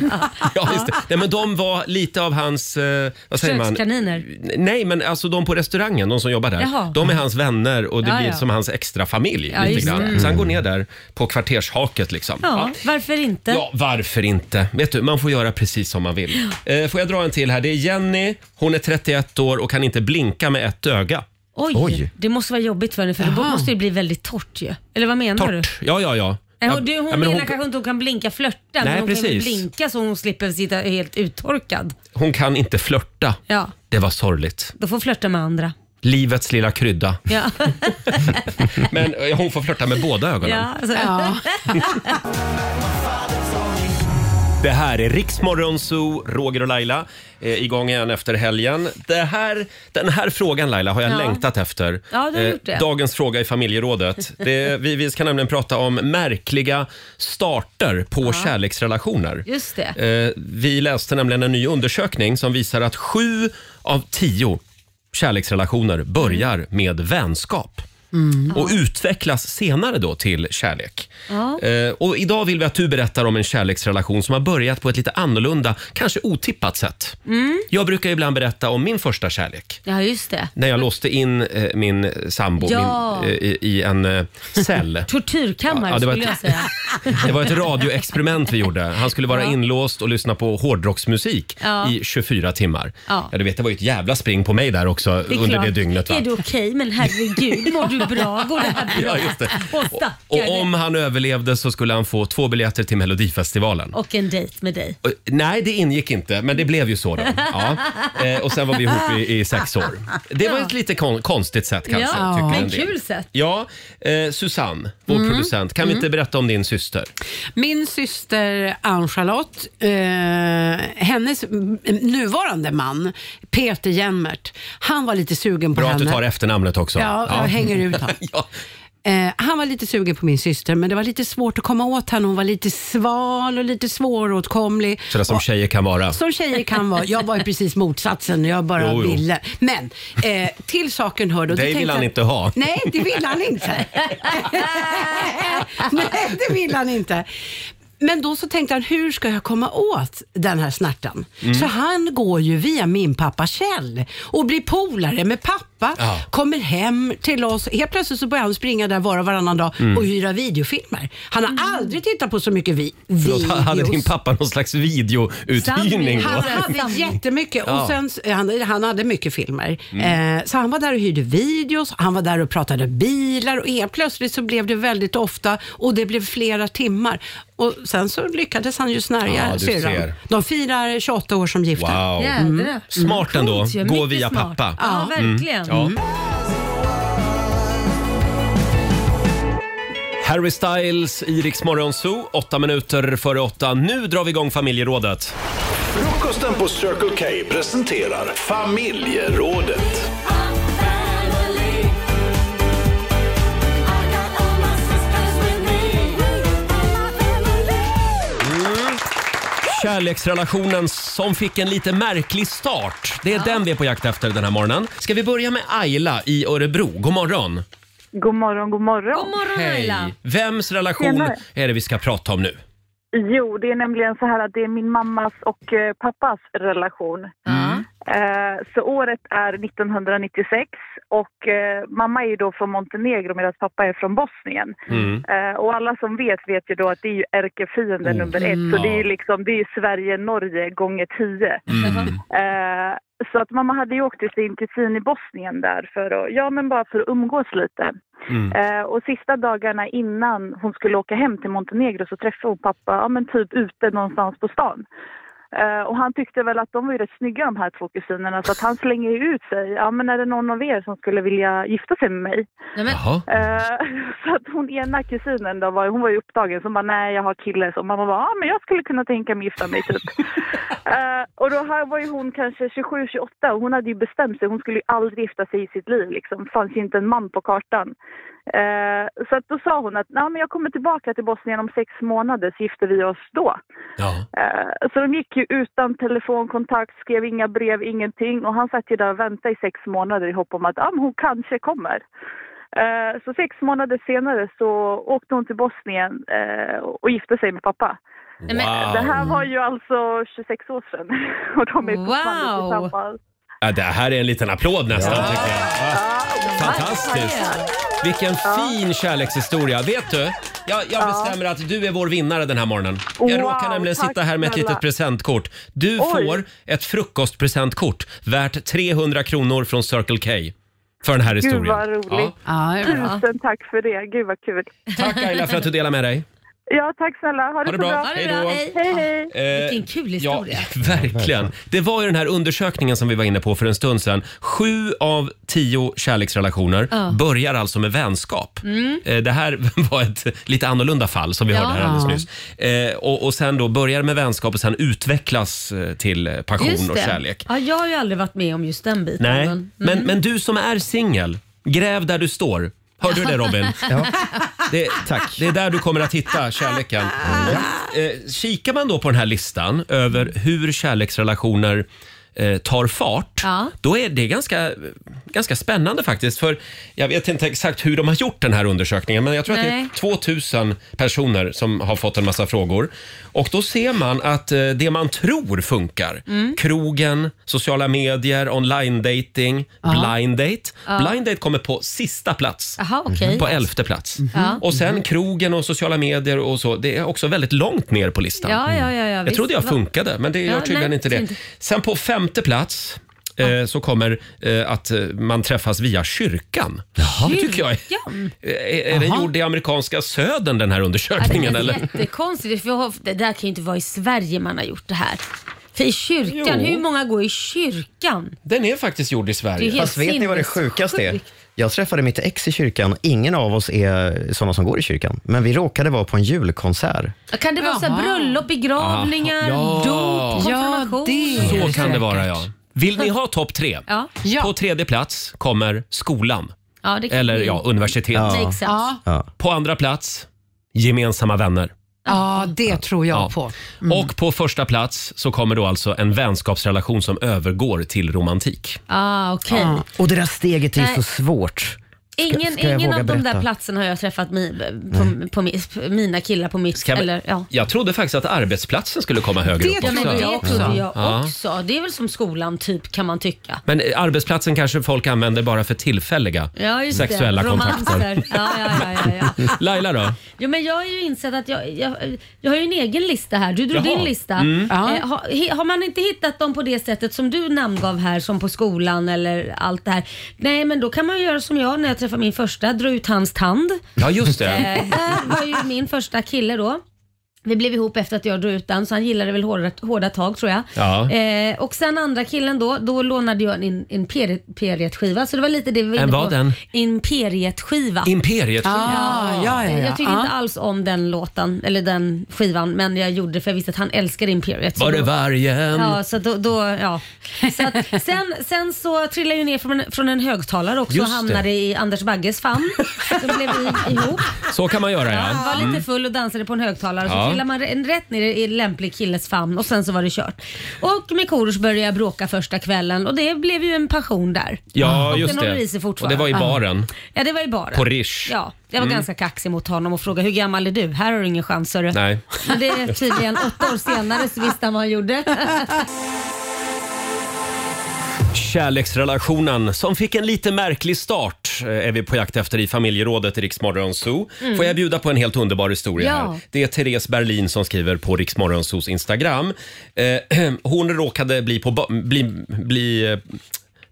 [SPEAKER 1] Ja, just det. Nej, men de var lite av hans... Eh, vad säger man?
[SPEAKER 3] Försökskaniner.
[SPEAKER 1] Nej, men alltså de på restaurangen, de som jobbar där,
[SPEAKER 3] Jaha.
[SPEAKER 1] de är hans vänner och det
[SPEAKER 3] Ja,
[SPEAKER 1] blir
[SPEAKER 3] ja.
[SPEAKER 1] som hans extra familj
[SPEAKER 3] Ja, just
[SPEAKER 1] lite grann.
[SPEAKER 3] det. Mm.
[SPEAKER 1] Så han går ner där på kvartershaket liksom.
[SPEAKER 3] Ja,
[SPEAKER 1] Ja.
[SPEAKER 3] varför inte?
[SPEAKER 1] Ja, varför inte? Vet du, man får göra precis som man vill. Eh, får jag dra en till här? Det är Jenny, hon är 31 år och kan inte blinka med ett öga.
[SPEAKER 3] Oj, det måste vara jobbigt för henne för då måste det bli väldigt torrt ju. Eller vad menar du?
[SPEAKER 1] Ja, ja, ja.
[SPEAKER 3] Nej,
[SPEAKER 1] Ja,
[SPEAKER 3] Äh, hon, du, hon
[SPEAKER 1] ja, men
[SPEAKER 3] menar
[SPEAKER 1] hon,
[SPEAKER 3] kanske inte hon kan blinka flörta, men
[SPEAKER 1] Nej,
[SPEAKER 3] hon kan ju
[SPEAKER 1] precis.
[SPEAKER 3] blinka så hon slipper sitta helt uttorkad.
[SPEAKER 1] hon kan inte flörta.
[SPEAKER 3] Ja,
[SPEAKER 1] Det var sorgligt.
[SPEAKER 3] då får hon flörta med andra.
[SPEAKER 1] Livets lilla krydda.
[SPEAKER 3] Ja.
[SPEAKER 1] Men eh, hon får flirta med båda ögonen.
[SPEAKER 3] Ja, alltså.
[SPEAKER 1] Det här är Riksmorgon Zoo, Roger och Laila. Eh, igång igen efter helgen. Det här, den här frågan Laila har jag
[SPEAKER 3] Ja.
[SPEAKER 1] längtat efter. Eh,
[SPEAKER 3] Ja, du har gjort det.
[SPEAKER 1] Dagens fråga i familjerådet. Det, vi, vi ska nämligen prata om märkliga starter på kärleksrelationer.
[SPEAKER 3] Just det.
[SPEAKER 1] Eh, vi läste nämligen en ny undersökning som visar att sju av tio kärleksrelationer börjar med vänskap och utvecklas senare då till kärlek.
[SPEAKER 3] Ja.
[SPEAKER 1] Eh, och idag vill vi att du berättar om en kärleksrelation som har börjat på ett lite annorlunda, kanske otippat sätt.
[SPEAKER 3] Mm.
[SPEAKER 1] Jag brukar ibland berätta om min första kärlek.
[SPEAKER 3] ja, just det.
[SPEAKER 1] När jag låste in eh, min sambo
[SPEAKER 3] Ja.
[SPEAKER 1] min, eh, i, i en eh, cell.
[SPEAKER 3] Tortyrkammare
[SPEAKER 1] Ja, det var
[SPEAKER 3] skulle jag
[SPEAKER 1] ett-
[SPEAKER 3] säga.
[SPEAKER 1] Det var ett radioexperiment vi gjorde. Han skulle vara
[SPEAKER 3] Ja.
[SPEAKER 1] inlåst och lyssna på hårdrocksmusik
[SPEAKER 3] Ja.
[SPEAKER 1] i 24 timmar.
[SPEAKER 3] Ja.
[SPEAKER 1] Ja. du vet, det var ju ett jävla spring på mig där också
[SPEAKER 3] är
[SPEAKER 1] under det
[SPEAKER 3] klart.
[SPEAKER 1] dygnet. Va?
[SPEAKER 3] Är du okej? Men herregud, mår du bra? Går det här bra?
[SPEAKER 1] Ja, just det.
[SPEAKER 3] Och stackare.
[SPEAKER 1] Och om han överlevde så skulle han få två biljetter till Melodifestivalen.
[SPEAKER 3] Och en dejt med dig.
[SPEAKER 1] Eh, Nej, det ingick inte, men det blev ju så då. Ja. Eh, och sen var vi ihop i, i sex år. Det var ett lite kon- konstigt sätt kanske.
[SPEAKER 3] ja,
[SPEAKER 1] tycker en
[SPEAKER 3] men
[SPEAKER 1] del.
[SPEAKER 3] kul sätt.
[SPEAKER 1] Ja, eh, Susanne, vår
[SPEAKER 4] Mm.
[SPEAKER 1] producent, kan vi inte
[SPEAKER 4] Mm.
[SPEAKER 1] berätta om din syster?
[SPEAKER 4] Min syster Ann-Charlotte, eh, hennes m- nuvarande man Peter Jenmert, han var lite sugen på
[SPEAKER 1] Bra att
[SPEAKER 4] henne.
[SPEAKER 1] du tar efternamnet också.
[SPEAKER 4] Ja, jag hänger ut honom.
[SPEAKER 1] ja.
[SPEAKER 4] Eh, han var lite sugen på min syster, men det var lite svårt att komma åt henne. Hon var lite sval och lite svåråtkomlig.
[SPEAKER 1] Sådär som tjejer kan vara.
[SPEAKER 4] Som tjejer kan vara. Jag var ju precis motsatsen. Jag bara
[SPEAKER 1] Jo, jo.
[SPEAKER 4] ville. Men eh, till saken hörde... och det
[SPEAKER 1] Dig vill
[SPEAKER 4] tänkte
[SPEAKER 1] han
[SPEAKER 4] jag-
[SPEAKER 1] inte ha.
[SPEAKER 4] Nej, det vill han inte. Nej, det vill han inte. Men då så tänkte han, hur ska jag komma åt den här snärtan?
[SPEAKER 13] Mm.
[SPEAKER 4] Så han går ju via min pappa Kjell och blir polare med pappa,
[SPEAKER 13] Ja.
[SPEAKER 4] kommer hem till oss. Helt plötsligt så börjar han springa där var och varannan dag
[SPEAKER 1] Mm.
[SPEAKER 4] och hyra videofilmer. Han har aldrig tittat på så mycket vi-
[SPEAKER 1] Förlåt,
[SPEAKER 4] videos.
[SPEAKER 1] hade din pappa någon slags videouthyrning? då?
[SPEAKER 4] Han hade jättemycket.
[SPEAKER 1] Ja.
[SPEAKER 4] Och sen, han, han hade mycket filmer.
[SPEAKER 1] Mm.
[SPEAKER 4] Eh, så han var där och hyrde videos, han var där och pratade bilar och helt plötsligt så blev det väldigt ofta och det blev flera timmar. Och sen så lyckades han ju snärja
[SPEAKER 1] Ja, du
[SPEAKER 4] syrran.
[SPEAKER 1] ser.
[SPEAKER 4] De firar 28 år som gifta.
[SPEAKER 1] Wow. Mm. Smart ändå.
[SPEAKER 4] Coolt ju,
[SPEAKER 1] Gå
[SPEAKER 4] mycket
[SPEAKER 1] via
[SPEAKER 4] smart.
[SPEAKER 1] pappa.
[SPEAKER 4] Ja,
[SPEAKER 1] Mm.
[SPEAKER 4] verkligen.
[SPEAKER 1] Ja.
[SPEAKER 4] Mm.
[SPEAKER 1] Harry Styles i Rix Morgon Zoo, åtta minuter före åtta. Nu drar vi igång familjerådet.
[SPEAKER 12] Frukosten på Circle K presenterar familjerådet.
[SPEAKER 1] Kärleksrelationen som fick en lite märklig start. Det är den vi är på jakt efter den här morgonen. Ska vi börja med Ayla i Örebro? God morgon.
[SPEAKER 8] God morgon, god morgon. God
[SPEAKER 3] morgon
[SPEAKER 1] Vems relation
[SPEAKER 8] Tjenare.
[SPEAKER 1] är det vi ska prata om nu?
[SPEAKER 8] Jo, det är nämligen så här att det är min mammas och eh, pappas relation.
[SPEAKER 14] Mm.
[SPEAKER 8] Eh, Så året är 1996 och eh, mamma är ju då från Montenegro medan pappa är från Bosnien.
[SPEAKER 14] Mm.
[SPEAKER 8] Eh, Och alla som vet vet ju då att det är ju ärkefienden
[SPEAKER 14] Oh.
[SPEAKER 8] nummer ett.
[SPEAKER 14] Mm.
[SPEAKER 8] Så det är ju
[SPEAKER 14] Ja.
[SPEAKER 8] liksom, det är ju Sverige-Norge gånger tio.
[SPEAKER 14] Mm.
[SPEAKER 8] Eh, Så att mamma hade ju åkt till sin kusin i Bosnien där för att, ja men bara för att umgås lite.
[SPEAKER 13] Mm.
[SPEAKER 1] Mm.
[SPEAKER 8] Eh, och sista dagarna innan hon skulle åka hem till Montenegro så träffade hon pappa, ja men typ ute någonstans på stan. Eh, och han tyckte väl att de var ju rätt snygga de här två kusinerna så att han slänger ju ut sig, ja men är det någon av er som skulle vilja gifta sig med mig?
[SPEAKER 1] Jaha.
[SPEAKER 8] Eh, så att hon ena kusinen då, var, hon var ju upptagen, så hon bara nej jag har kille. Så mamma bara, ja men jag skulle kunna tänka mig gifta mig typ. Eh, och då här var ju hon kanske 27-28 och hon hade ju bestämt sig, hon skulle ju aldrig gifta sig i sitt liv liksom. Fanns ju inte en man på kartan. Eh, så att då sa hon att, nej men jag kommer tillbaka till Bosnien om sex månader så gifter vi oss då. Eh, Så de gick ju utan telefonkontakt, skrev inga brev, ingenting. Och han satt ju där och väntade i sex månader i hopp om att ah, men hon kanske kommer. Eh, Så sex månader senare så åkte hon till Bosnien eh, och gifte sig med pappa.
[SPEAKER 3] Nej, men- Wow.
[SPEAKER 8] Det här var ju alltså 26 år sedan. Och de är fortfarande
[SPEAKER 3] Wow.
[SPEAKER 8] tillsammans.
[SPEAKER 1] Ja, det här är en liten applåd nästan tycker jag. Ja. Fantastiskt. Vilken fin kärlekshistoria. Vet du, jag, jag
[SPEAKER 8] Ja.
[SPEAKER 1] bestämmer att du är vår vinnare den här morgonen. Jag
[SPEAKER 8] Wow,
[SPEAKER 1] råkar nämligen
[SPEAKER 8] tack
[SPEAKER 1] sitta här med ett
[SPEAKER 8] snälla.
[SPEAKER 1] litet presentkort. Du
[SPEAKER 8] Oj.
[SPEAKER 1] får ett frukostpresentkort värt 300 kronor från Circle K för den här
[SPEAKER 8] Gud
[SPEAKER 1] historien.
[SPEAKER 8] vad roligt.
[SPEAKER 1] Ja.
[SPEAKER 8] Tusen tack för det. Gud vad kul.
[SPEAKER 1] Tack Laila för att du delar med dig.
[SPEAKER 8] Ja, tack snälla. Ha det,
[SPEAKER 1] det
[SPEAKER 8] så
[SPEAKER 1] bra.
[SPEAKER 8] bra.
[SPEAKER 1] Ha det bra. Hej
[SPEAKER 8] Hej, hej.
[SPEAKER 1] Eh,
[SPEAKER 3] Vilken kul historia.
[SPEAKER 1] Ja, verkligen. Det var ju den här undersökningen som vi var inne på för en stund sedan. Sju av tio kärleksrelationer
[SPEAKER 3] Ja.
[SPEAKER 1] börjar alltså med vänskap.
[SPEAKER 3] Mm.
[SPEAKER 1] Eh, Det här var ett lite annorlunda fall som vi
[SPEAKER 3] Ja.
[SPEAKER 1] hörde här alldeles
[SPEAKER 3] Ja.
[SPEAKER 1] nyss. Eh, Och, och sen då börjar det med vänskap och sen utvecklas eh, till eh, passion
[SPEAKER 3] Just
[SPEAKER 1] och
[SPEAKER 3] det.
[SPEAKER 1] kärlek.
[SPEAKER 3] Ja, Mm. jag har ju aldrig varit med om just den biten.
[SPEAKER 1] Nej,
[SPEAKER 3] Men,
[SPEAKER 1] men, men du som är singel, gräv där du står. Hörde du det Robin?
[SPEAKER 9] Ja.
[SPEAKER 1] Det, Tack. det är där du kommer att hitta kärleken. Eh, kikar man då på den här listan över hur kärleksrelationer eh, tar fart,
[SPEAKER 3] Ja.
[SPEAKER 1] då är det ganska, ganska spännande faktiskt. För Jag vet inte exakt hur de har gjort den här undersökningen, men jag tror
[SPEAKER 3] Nej.
[SPEAKER 1] att det är 2000 personer som har fått en massa frågor. Och då ser man att eh, det man tror funkar,
[SPEAKER 13] Mm.
[SPEAKER 1] krogen, sociala medier, online dating,
[SPEAKER 3] Ja.
[SPEAKER 1] blind date.
[SPEAKER 3] Ja.
[SPEAKER 1] Blind date kommer på sista plats.
[SPEAKER 3] Jaha, okej.
[SPEAKER 1] Mhm.
[SPEAKER 3] Mhm.
[SPEAKER 1] På elfte plats.
[SPEAKER 3] Ja.
[SPEAKER 1] Och sen krogen och sociala medier och så, det är också väldigt långt ner på listan.
[SPEAKER 3] Ja, ja, ja, ja,
[SPEAKER 1] jag
[SPEAKER 3] visst.
[SPEAKER 1] trodde jag
[SPEAKER 3] Va-
[SPEAKER 1] funkade, men det gör
[SPEAKER 3] Ja,
[SPEAKER 1] tydligen
[SPEAKER 3] nej,
[SPEAKER 1] inte det.
[SPEAKER 3] inte.
[SPEAKER 1] Sen på femte plats eh, så kommer eh, att eh, man träffas via kyrkan. Det tycker jag är... Är, är den
[SPEAKER 3] Jaha.
[SPEAKER 1] gjord i amerikanska södern den här
[SPEAKER 3] Ja,
[SPEAKER 1] undersökningen
[SPEAKER 3] det är
[SPEAKER 1] eller?
[SPEAKER 3] jättekonstigt. För jag har- det där kan ju inte vara i Sverige man har gjort det här. För i kyrkan,
[SPEAKER 9] Jo.
[SPEAKER 3] hur många går i kyrkan?
[SPEAKER 1] Den är faktiskt gjord i
[SPEAKER 3] Det är
[SPEAKER 1] Sverige.
[SPEAKER 3] helt
[SPEAKER 9] Fast vet ni vad det sjukaste är?
[SPEAKER 3] sinnessjukt.
[SPEAKER 9] Jag träffade mitt ex i kyrkan. Ingen av oss är såna som går i kyrkan. Men vi råkade vara på en julkonsert.
[SPEAKER 3] Kan det vara så här bröllop, begravningar,
[SPEAKER 9] Aha. Ja.
[SPEAKER 3] dop, konfirmation?
[SPEAKER 1] Så kan det vara ja. Vill ni ha topp tre?
[SPEAKER 3] Ja.
[SPEAKER 1] På tredje plats kommer skolan.
[SPEAKER 3] Ja, det kan
[SPEAKER 1] Eller
[SPEAKER 3] bli.
[SPEAKER 1] ja, universitet.
[SPEAKER 3] Ja. Makes sense. Ja.
[SPEAKER 1] På andra plats, gemensamma vänner.
[SPEAKER 4] Ja, det tror jag på.
[SPEAKER 3] Mm.
[SPEAKER 1] Och på första plats så kommer då alltså en vänskapsrelation som övergår till romantik.
[SPEAKER 3] Ah, okej.
[SPEAKER 9] Ja. Och det där steget är ju
[SPEAKER 3] Nej.
[SPEAKER 9] så svårt.
[SPEAKER 3] Ingen,
[SPEAKER 1] ska jag
[SPEAKER 3] ingen
[SPEAKER 1] våga
[SPEAKER 3] av de
[SPEAKER 1] berätta?
[SPEAKER 3] där platserna har jag träffat mi, på, på, mi- på mina killar på mitt...
[SPEAKER 1] Ska vi-
[SPEAKER 3] eller, ja.
[SPEAKER 1] Jag trodde faktiskt att arbetsplatsen skulle komma högre upp
[SPEAKER 3] ja,
[SPEAKER 1] också.
[SPEAKER 3] men det trodde jag
[SPEAKER 1] Ja.
[SPEAKER 3] också. Det är väl som skolan typ kan man tycka.
[SPEAKER 1] Men eh, arbetsplatsen kanske folk använder bara för tillfälliga
[SPEAKER 3] Ja, just
[SPEAKER 1] sexuella
[SPEAKER 3] det.
[SPEAKER 1] kontakter.
[SPEAKER 3] Romanser. Ja, ja, ja, ja, ja.
[SPEAKER 1] Laila då?
[SPEAKER 3] Jo, men jag har ju insett att jag, jag, jag har ju en egen lista här. Du drog
[SPEAKER 1] Jaha.
[SPEAKER 3] din lista.
[SPEAKER 1] Mm.
[SPEAKER 3] Eh,
[SPEAKER 1] Ja.
[SPEAKER 3] har, he- har man inte hittat dem på det sättet som du namngav här, som på skolan eller allt det här. Nej, men då kan man ju göra som jag när jag träffade min första, dra ut hans tand.
[SPEAKER 1] Ja, just
[SPEAKER 3] Eh,
[SPEAKER 1] det.
[SPEAKER 3] där var ju min första kille då. Vi blev ihop efter att jag drog ut den, så han gillade väl hårda, hårda tag tror jag.
[SPEAKER 1] Ja.
[SPEAKER 3] Eh, och sen andra killen då, då lånade jag en, en Imperiet-skiva. Så det var lite det vi var
[SPEAKER 1] En
[SPEAKER 3] inne
[SPEAKER 1] vad
[SPEAKER 3] på.
[SPEAKER 1] den?
[SPEAKER 3] Imperiet-skiva.
[SPEAKER 1] Imperiet-skiva.
[SPEAKER 4] Ah, ja, ja, ja.
[SPEAKER 3] Jag tyckte
[SPEAKER 4] Ah.
[SPEAKER 3] inte alls om den låten, eller den skivan, men jag gjorde det för jag visste att han älskade Imperiet. så
[SPEAKER 1] Var det
[SPEAKER 3] då-
[SPEAKER 1] vargen?
[SPEAKER 3] Ja, så då, då ja. Så att, sen, sen så trillade jag ju ner från en, från en högtalare också
[SPEAKER 1] Just
[SPEAKER 3] och
[SPEAKER 1] det.
[SPEAKER 3] hamnade i Anders Bagges famn. Så blev vi ihop.
[SPEAKER 1] Så kan man göra ja.
[SPEAKER 3] Han var
[SPEAKER 1] Mm.
[SPEAKER 3] lite full och dansade på en högtalare
[SPEAKER 1] Ja.
[SPEAKER 3] så trillade man en rätt ner i en lämplig killes famn och sen så var det kört. Och med Korosh började jag bråka första kvällen och det blev ju en passion där.
[SPEAKER 1] Ja,
[SPEAKER 3] och
[SPEAKER 1] just
[SPEAKER 3] den håller i sig
[SPEAKER 1] det. Och
[SPEAKER 3] fortfarande.
[SPEAKER 1] det var i
[SPEAKER 3] Ja.
[SPEAKER 1] baren.
[SPEAKER 3] Ja, det var i baren.
[SPEAKER 1] På Rish.
[SPEAKER 3] Ja, jag var
[SPEAKER 1] Mm.
[SPEAKER 3] ganska kaxig mot honom och frågade hur gammal är du? Här har du ingen chans hörru.
[SPEAKER 1] Nej.
[SPEAKER 3] Men det är tydligen åtta år senare så visste han vad han gjorde.
[SPEAKER 1] Kärleksrelationen som fick en lite märklig start eh, är vi på jakt efter i familjerådet i Riksmorgon Zoo.
[SPEAKER 13] Mm.
[SPEAKER 1] Får jag bjuda på en helt underbar historia
[SPEAKER 13] Ja.
[SPEAKER 1] här? Det är Therese Berlin som skriver på Riksmorgon Zoos Instagram. Eh, hon råkade bli, på ba- bli, bli eh,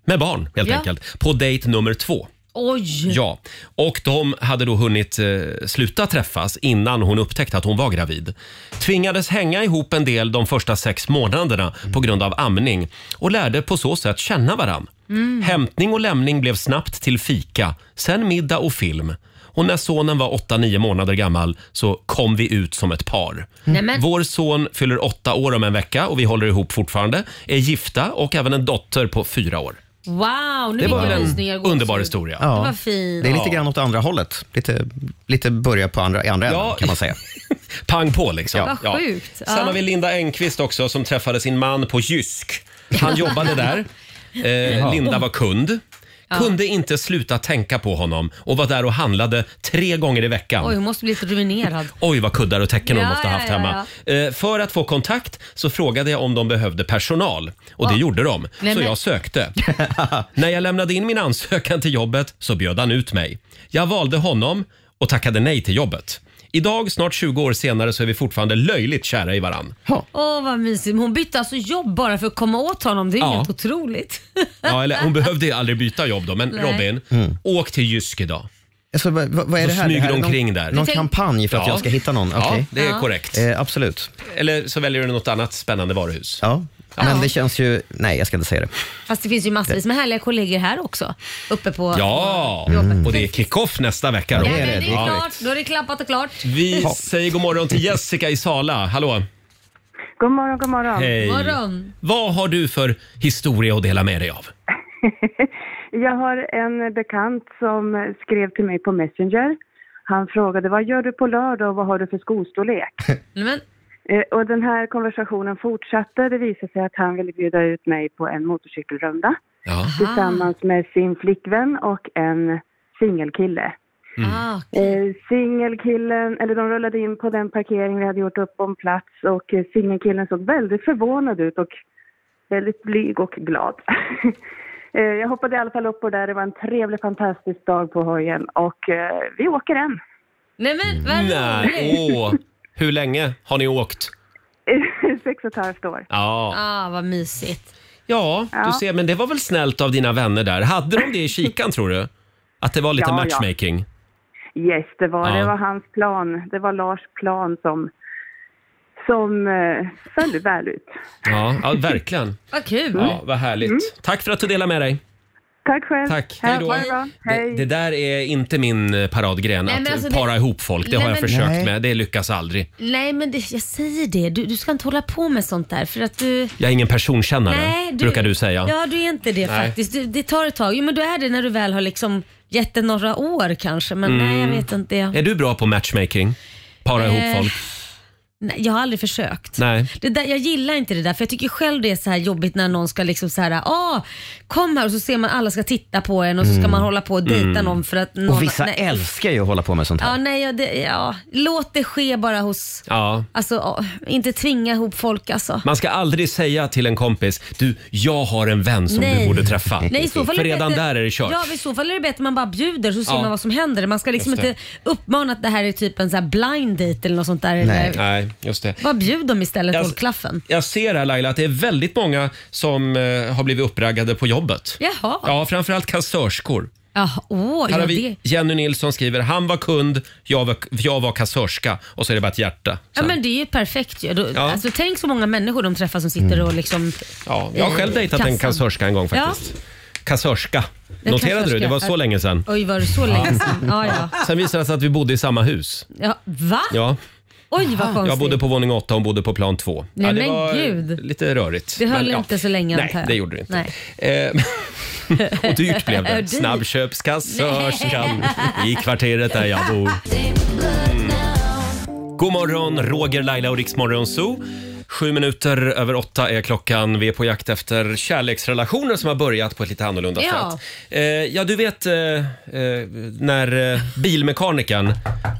[SPEAKER 1] med barn helt
[SPEAKER 3] Ja.
[SPEAKER 1] enkelt på dejt nummer två.
[SPEAKER 3] Oj!
[SPEAKER 1] Ja, och de hade då hunnit eh, sluta träffas innan hon upptäckte att hon var gravid. Tvingades hänga ihop en del de första sex månaderna på grund av amning och lärde på så sätt känna varann.
[SPEAKER 13] Mm.
[SPEAKER 1] Hämtning och lämning blev snabbt till fika, sen middag och film. Och när sonen var 8-9 månader gammal så kom vi ut som ett par.
[SPEAKER 3] Nej, men-
[SPEAKER 1] Vår son fyller åtta år om en vecka och vi håller ihop fortfarande, är gifta och även en dotter på fyra år.
[SPEAKER 3] Wow, nu
[SPEAKER 1] Det
[SPEAKER 3] fick
[SPEAKER 1] var
[SPEAKER 3] jag
[SPEAKER 1] väl
[SPEAKER 3] rysningar
[SPEAKER 1] en
[SPEAKER 3] och gåshud.
[SPEAKER 1] underbar historia.
[SPEAKER 3] Det var fint.
[SPEAKER 9] Det är lite grann åt andra hållet. Lite, lite börja på andra, i andra änden kan man säga.
[SPEAKER 1] Pang på liksom.
[SPEAKER 9] Ja.
[SPEAKER 3] Vad sjukt. Ja.
[SPEAKER 1] Sen har vi Linda Engqvist också som träffade sin man på Jysk. Han jobbade där. Eh,
[SPEAKER 13] Jaha.
[SPEAKER 1] Linda var kund.
[SPEAKER 3] Ja.
[SPEAKER 1] Kunde inte sluta tänka på honom och var där och handlade tre gånger i veckan.
[SPEAKER 3] Oj, hon måste bli lite ruinerad.
[SPEAKER 1] Oj, vad kuddar och täcken hon
[SPEAKER 3] Ja,
[SPEAKER 1] måste ha
[SPEAKER 3] ja,
[SPEAKER 1] haft
[SPEAKER 3] ja,
[SPEAKER 1] hemma. Eh, För att få kontakt så frågade jag om de behövde personal och det
[SPEAKER 3] Va?
[SPEAKER 1] gjorde de.
[SPEAKER 3] Nej,
[SPEAKER 1] så
[SPEAKER 3] men-
[SPEAKER 1] jag sökte. När jag lämnade in min ansökan till jobbet så bjöd han ut mig. Jag valde honom och tackade nej till jobbet. Idag, snart 20 år senare, så är vi fortfarande löjligt kära i varann.
[SPEAKER 3] Åh vad mysigt. Hon bytte alltså jobb bara för att komma åt honom. Det är
[SPEAKER 1] Ja.
[SPEAKER 3] helt otroligt.
[SPEAKER 1] Ja, eller, hon behövde ju aldrig byta jobb då, men
[SPEAKER 3] Nej.
[SPEAKER 1] Robin, åk till Jysk idag.
[SPEAKER 9] Alltså, vad, vad Mm. vad är
[SPEAKER 1] Så
[SPEAKER 9] det här? Det här
[SPEAKER 1] smyger
[SPEAKER 9] är
[SPEAKER 1] de
[SPEAKER 9] någon,
[SPEAKER 1] kring där.
[SPEAKER 9] Någon
[SPEAKER 1] Tänk-
[SPEAKER 9] kampanj för att
[SPEAKER 1] Ja.
[SPEAKER 9] jag ska hitta någon?
[SPEAKER 1] Ja,
[SPEAKER 9] Okej.
[SPEAKER 1] det är Ja. korrekt.
[SPEAKER 9] Eh, absolut.
[SPEAKER 1] Eller så väljer du något annat spännande varuhus.
[SPEAKER 9] Ja. Men det känns ju... Nej, jag ska inte säga det.
[SPEAKER 3] Fast det finns ju massvis med härliga kollegor här också. Uppe på...
[SPEAKER 1] Ja, och det är kick-off nästa vecka. Då.
[SPEAKER 3] Ja, men det är klart. Då är det klappat och klart.
[SPEAKER 1] Vi säger god morgon till Jessica i Sala. Hallå!
[SPEAKER 13] God morgon, god morgon.
[SPEAKER 1] Hej.
[SPEAKER 3] Morgon.
[SPEAKER 1] Vad har du för historia att dela med dig av?
[SPEAKER 13] Jag har en bekant som skrev till mig på Messenger. Han frågade vad gör du på lördag och vad har du för skostorlek? Eh, Och den här konversationen fortsatte. Det visade sig att han ville bjuda ut mig på en motorcykelrunda tillsammans med sin flickvän och en singelkille.
[SPEAKER 3] Ah,
[SPEAKER 13] Eh, Singelkillen, eller de rullade in på den parkering vi hade gjort upp om plats och eh, singelkillen såg väldigt förvånad ut och väldigt blyg och glad. Eh, Jag hoppade i alla fall upp på det där, det var en trevlig fantastisk dag på hojen och eh, vi åker än.
[SPEAKER 3] Nej men vad
[SPEAKER 1] Nej, åh. Hur länge har ni åkt?
[SPEAKER 13] Sex och ett halvt år.
[SPEAKER 1] Ja,
[SPEAKER 3] Ah, vad mysigt.
[SPEAKER 1] Ja, du ser, men det var väl snällt av dina vänner där. Hade de det i kikan tror du? Att det var lite
[SPEAKER 13] Ja, ja.
[SPEAKER 1] matchmaking?
[SPEAKER 13] Yes, det var
[SPEAKER 1] Ja.
[SPEAKER 13] det. var hans plan. Det var Lars plan som, som eh, föll väl ut.
[SPEAKER 1] Ja, ja verkligen.
[SPEAKER 3] Vad kul. Mm.
[SPEAKER 1] Ja, vad härligt. Tack för att du delade med dig.
[SPEAKER 13] Tack själv.
[SPEAKER 1] Tack.
[SPEAKER 13] Ha det
[SPEAKER 1] Hej då.
[SPEAKER 13] bra. Hej.
[SPEAKER 1] Det där är inte min eh, paradgren,
[SPEAKER 3] Nej,
[SPEAKER 1] att
[SPEAKER 3] men alltså det-
[SPEAKER 1] para ihop folk. Det
[SPEAKER 3] Nej,
[SPEAKER 1] har jag
[SPEAKER 3] men-
[SPEAKER 1] försökt
[SPEAKER 3] Nej.
[SPEAKER 1] med. Det lyckas aldrig.
[SPEAKER 3] Nej men det, jag säger det, du, du ska inte hålla på med sånt där för att du...
[SPEAKER 1] Jag är ingen personkännare, brukar du säga.
[SPEAKER 3] Ja, du är inte det
[SPEAKER 1] Nej.
[SPEAKER 3] faktiskt. Du, det tar ett tag. Jo, men du är det när du väl har liksom gett det några år kanske. Men nej, jag
[SPEAKER 1] Mm.
[SPEAKER 3] vet inte. Jag,
[SPEAKER 1] Är du bra på matchmaking? Para ihop
[SPEAKER 3] Eh,
[SPEAKER 1] folk?
[SPEAKER 3] nej, jag har aldrig försökt.
[SPEAKER 1] Nej.
[SPEAKER 3] Det där, jag gillar inte det där för jag tycker själv det är så här jobbigt när någon ska liksom så här, ah, kom här och så ser man alla ska titta på en och så ska
[SPEAKER 9] Mm.
[SPEAKER 3] man hålla på och dejta
[SPEAKER 9] Mm.
[SPEAKER 3] någon för att någon...
[SPEAKER 9] Och vissa
[SPEAKER 3] nej.
[SPEAKER 9] älskar ju att hålla på med sånt här.
[SPEAKER 3] Ja, nej, ja, det, ja, låt det ske bara hos...
[SPEAKER 1] Ja.
[SPEAKER 3] Alltså, ah, inte tvinga ihop folk alltså.
[SPEAKER 1] Man ska aldrig säga till en kompis, du, jag har en vän som du
[SPEAKER 3] Nej.
[SPEAKER 1] borde träffa.
[SPEAKER 3] Nej, i så fall
[SPEAKER 1] För
[SPEAKER 3] är det
[SPEAKER 1] redan
[SPEAKER 3] bättre-
[SPEAKER 1] där är det kört.
[SPEAKER 3] Ja, i så fall är det bättre man bara bjuder så ser
[SPEAKER 1] Ja.
[SPEAKER 3] man vad som händer. Man ska liksom
[SPEAKER 1] Just det.
[SPEAKER 3] inte uppmana att det här är typ en så här blind date eller något sånt där.
[SPEAKER 1] Nej.
[SPEAKER 3] Eller,
[SPEAKER 1] Nej, just det.
[SPEAKER 3] vad bjud dem istället,
[SPEAKER 1] Jag-
[SPEAKER 3] håll klaffen.
[SPEAKER 1] Jag ser här Laila att det är väldigt många som eh, har blivit uppraggade på jobbet.
[SPEAKER 3] Jaha.
[SPEAKER 1] Ja, framförallt kassörskor.
[SPEAKER 3] Jaha, åh,
[SPEAKER 1] här
[SPEAKER 3] ja,
[SPEAKER 1] har
[SPEAKER 3] det.
[SPEAKER 1] vi Jenny Nilsson skriver, han var kund, jag var, jag var kassörska och så är det bara ett hjärta.
[SPEAKER 3] Ja men det är ju perfekt ju. Då,
[SPEAKER 1] Ja. Mm.
[SPEAKER 3] alltså, tänk så många människor de träffar som sitter och liksom...
[SPEAKER 1] Ja, jag har
[SPEAKER 3] eh,
[SPEAKER 1] själv dejtat en
[SPEAKER 3] kassan.
[SPEAKER 1] kassörska en gång
[SPEAKER 3] Ja.
[SPEAKER 1] faktiskt. Kassörska.
[SPEAKER 3] En
[SPEAKER 1] Noterade du? Det var
[SPEAKER 3] kassörska.
[SPEAKER 1] så länge sedan.
[SPEAKER 3] Oj, var det så länge sedan? Ja, ja.
[SPEAKER 1] Sen visade det sig att vi bodde i samma hus.
[SPEAKER 3] ja va?
[SPEAKER 1] Ja,
[SPEAKER 3] Oj, vad konstigt.
[SPEAKER 1] jag bodde på våning åtta och hon bodde på plan två.
[SPEAKER 3] Nej,
[SPEAKER 1] ja, det
[SPEAKER 3] men
[SPEAKER 1] var
[SPEAKER 3] gud.
[SPEAKER 1] lite rörigt.
[SPEAKER 3] Det höll
[SPEAKER 1] Men, ja.
[SPEAKER 3] inte så länge antar
[SPEAKER 1] Nej,
[SPEAKER 3] jag.
[SPEAKER 1] det gjorde det inte.
[SPEAKER 3] Nej.
[SPEAKER 1] Eh, och dyrt blev
[SPEAKER 3] Ja,
[SPEAKER 1] det.
[SPEAKER 3] dyrt.
[SPEAKER 1] Snabbköpskassörskan i kvarteret där jag bor. Mm. God morgon, Roger, Laila och Riksmorgon Zoo. Sju minuter över åtta är klockan. Vi är på jakt efter kärleksrelationer som har börjat på ett lite annorlunda
[SPEAKER 14] Ja.
[SPEAKER 1] sätt. Eh, ja, du vet eh, eh, när eh, bilmekanikern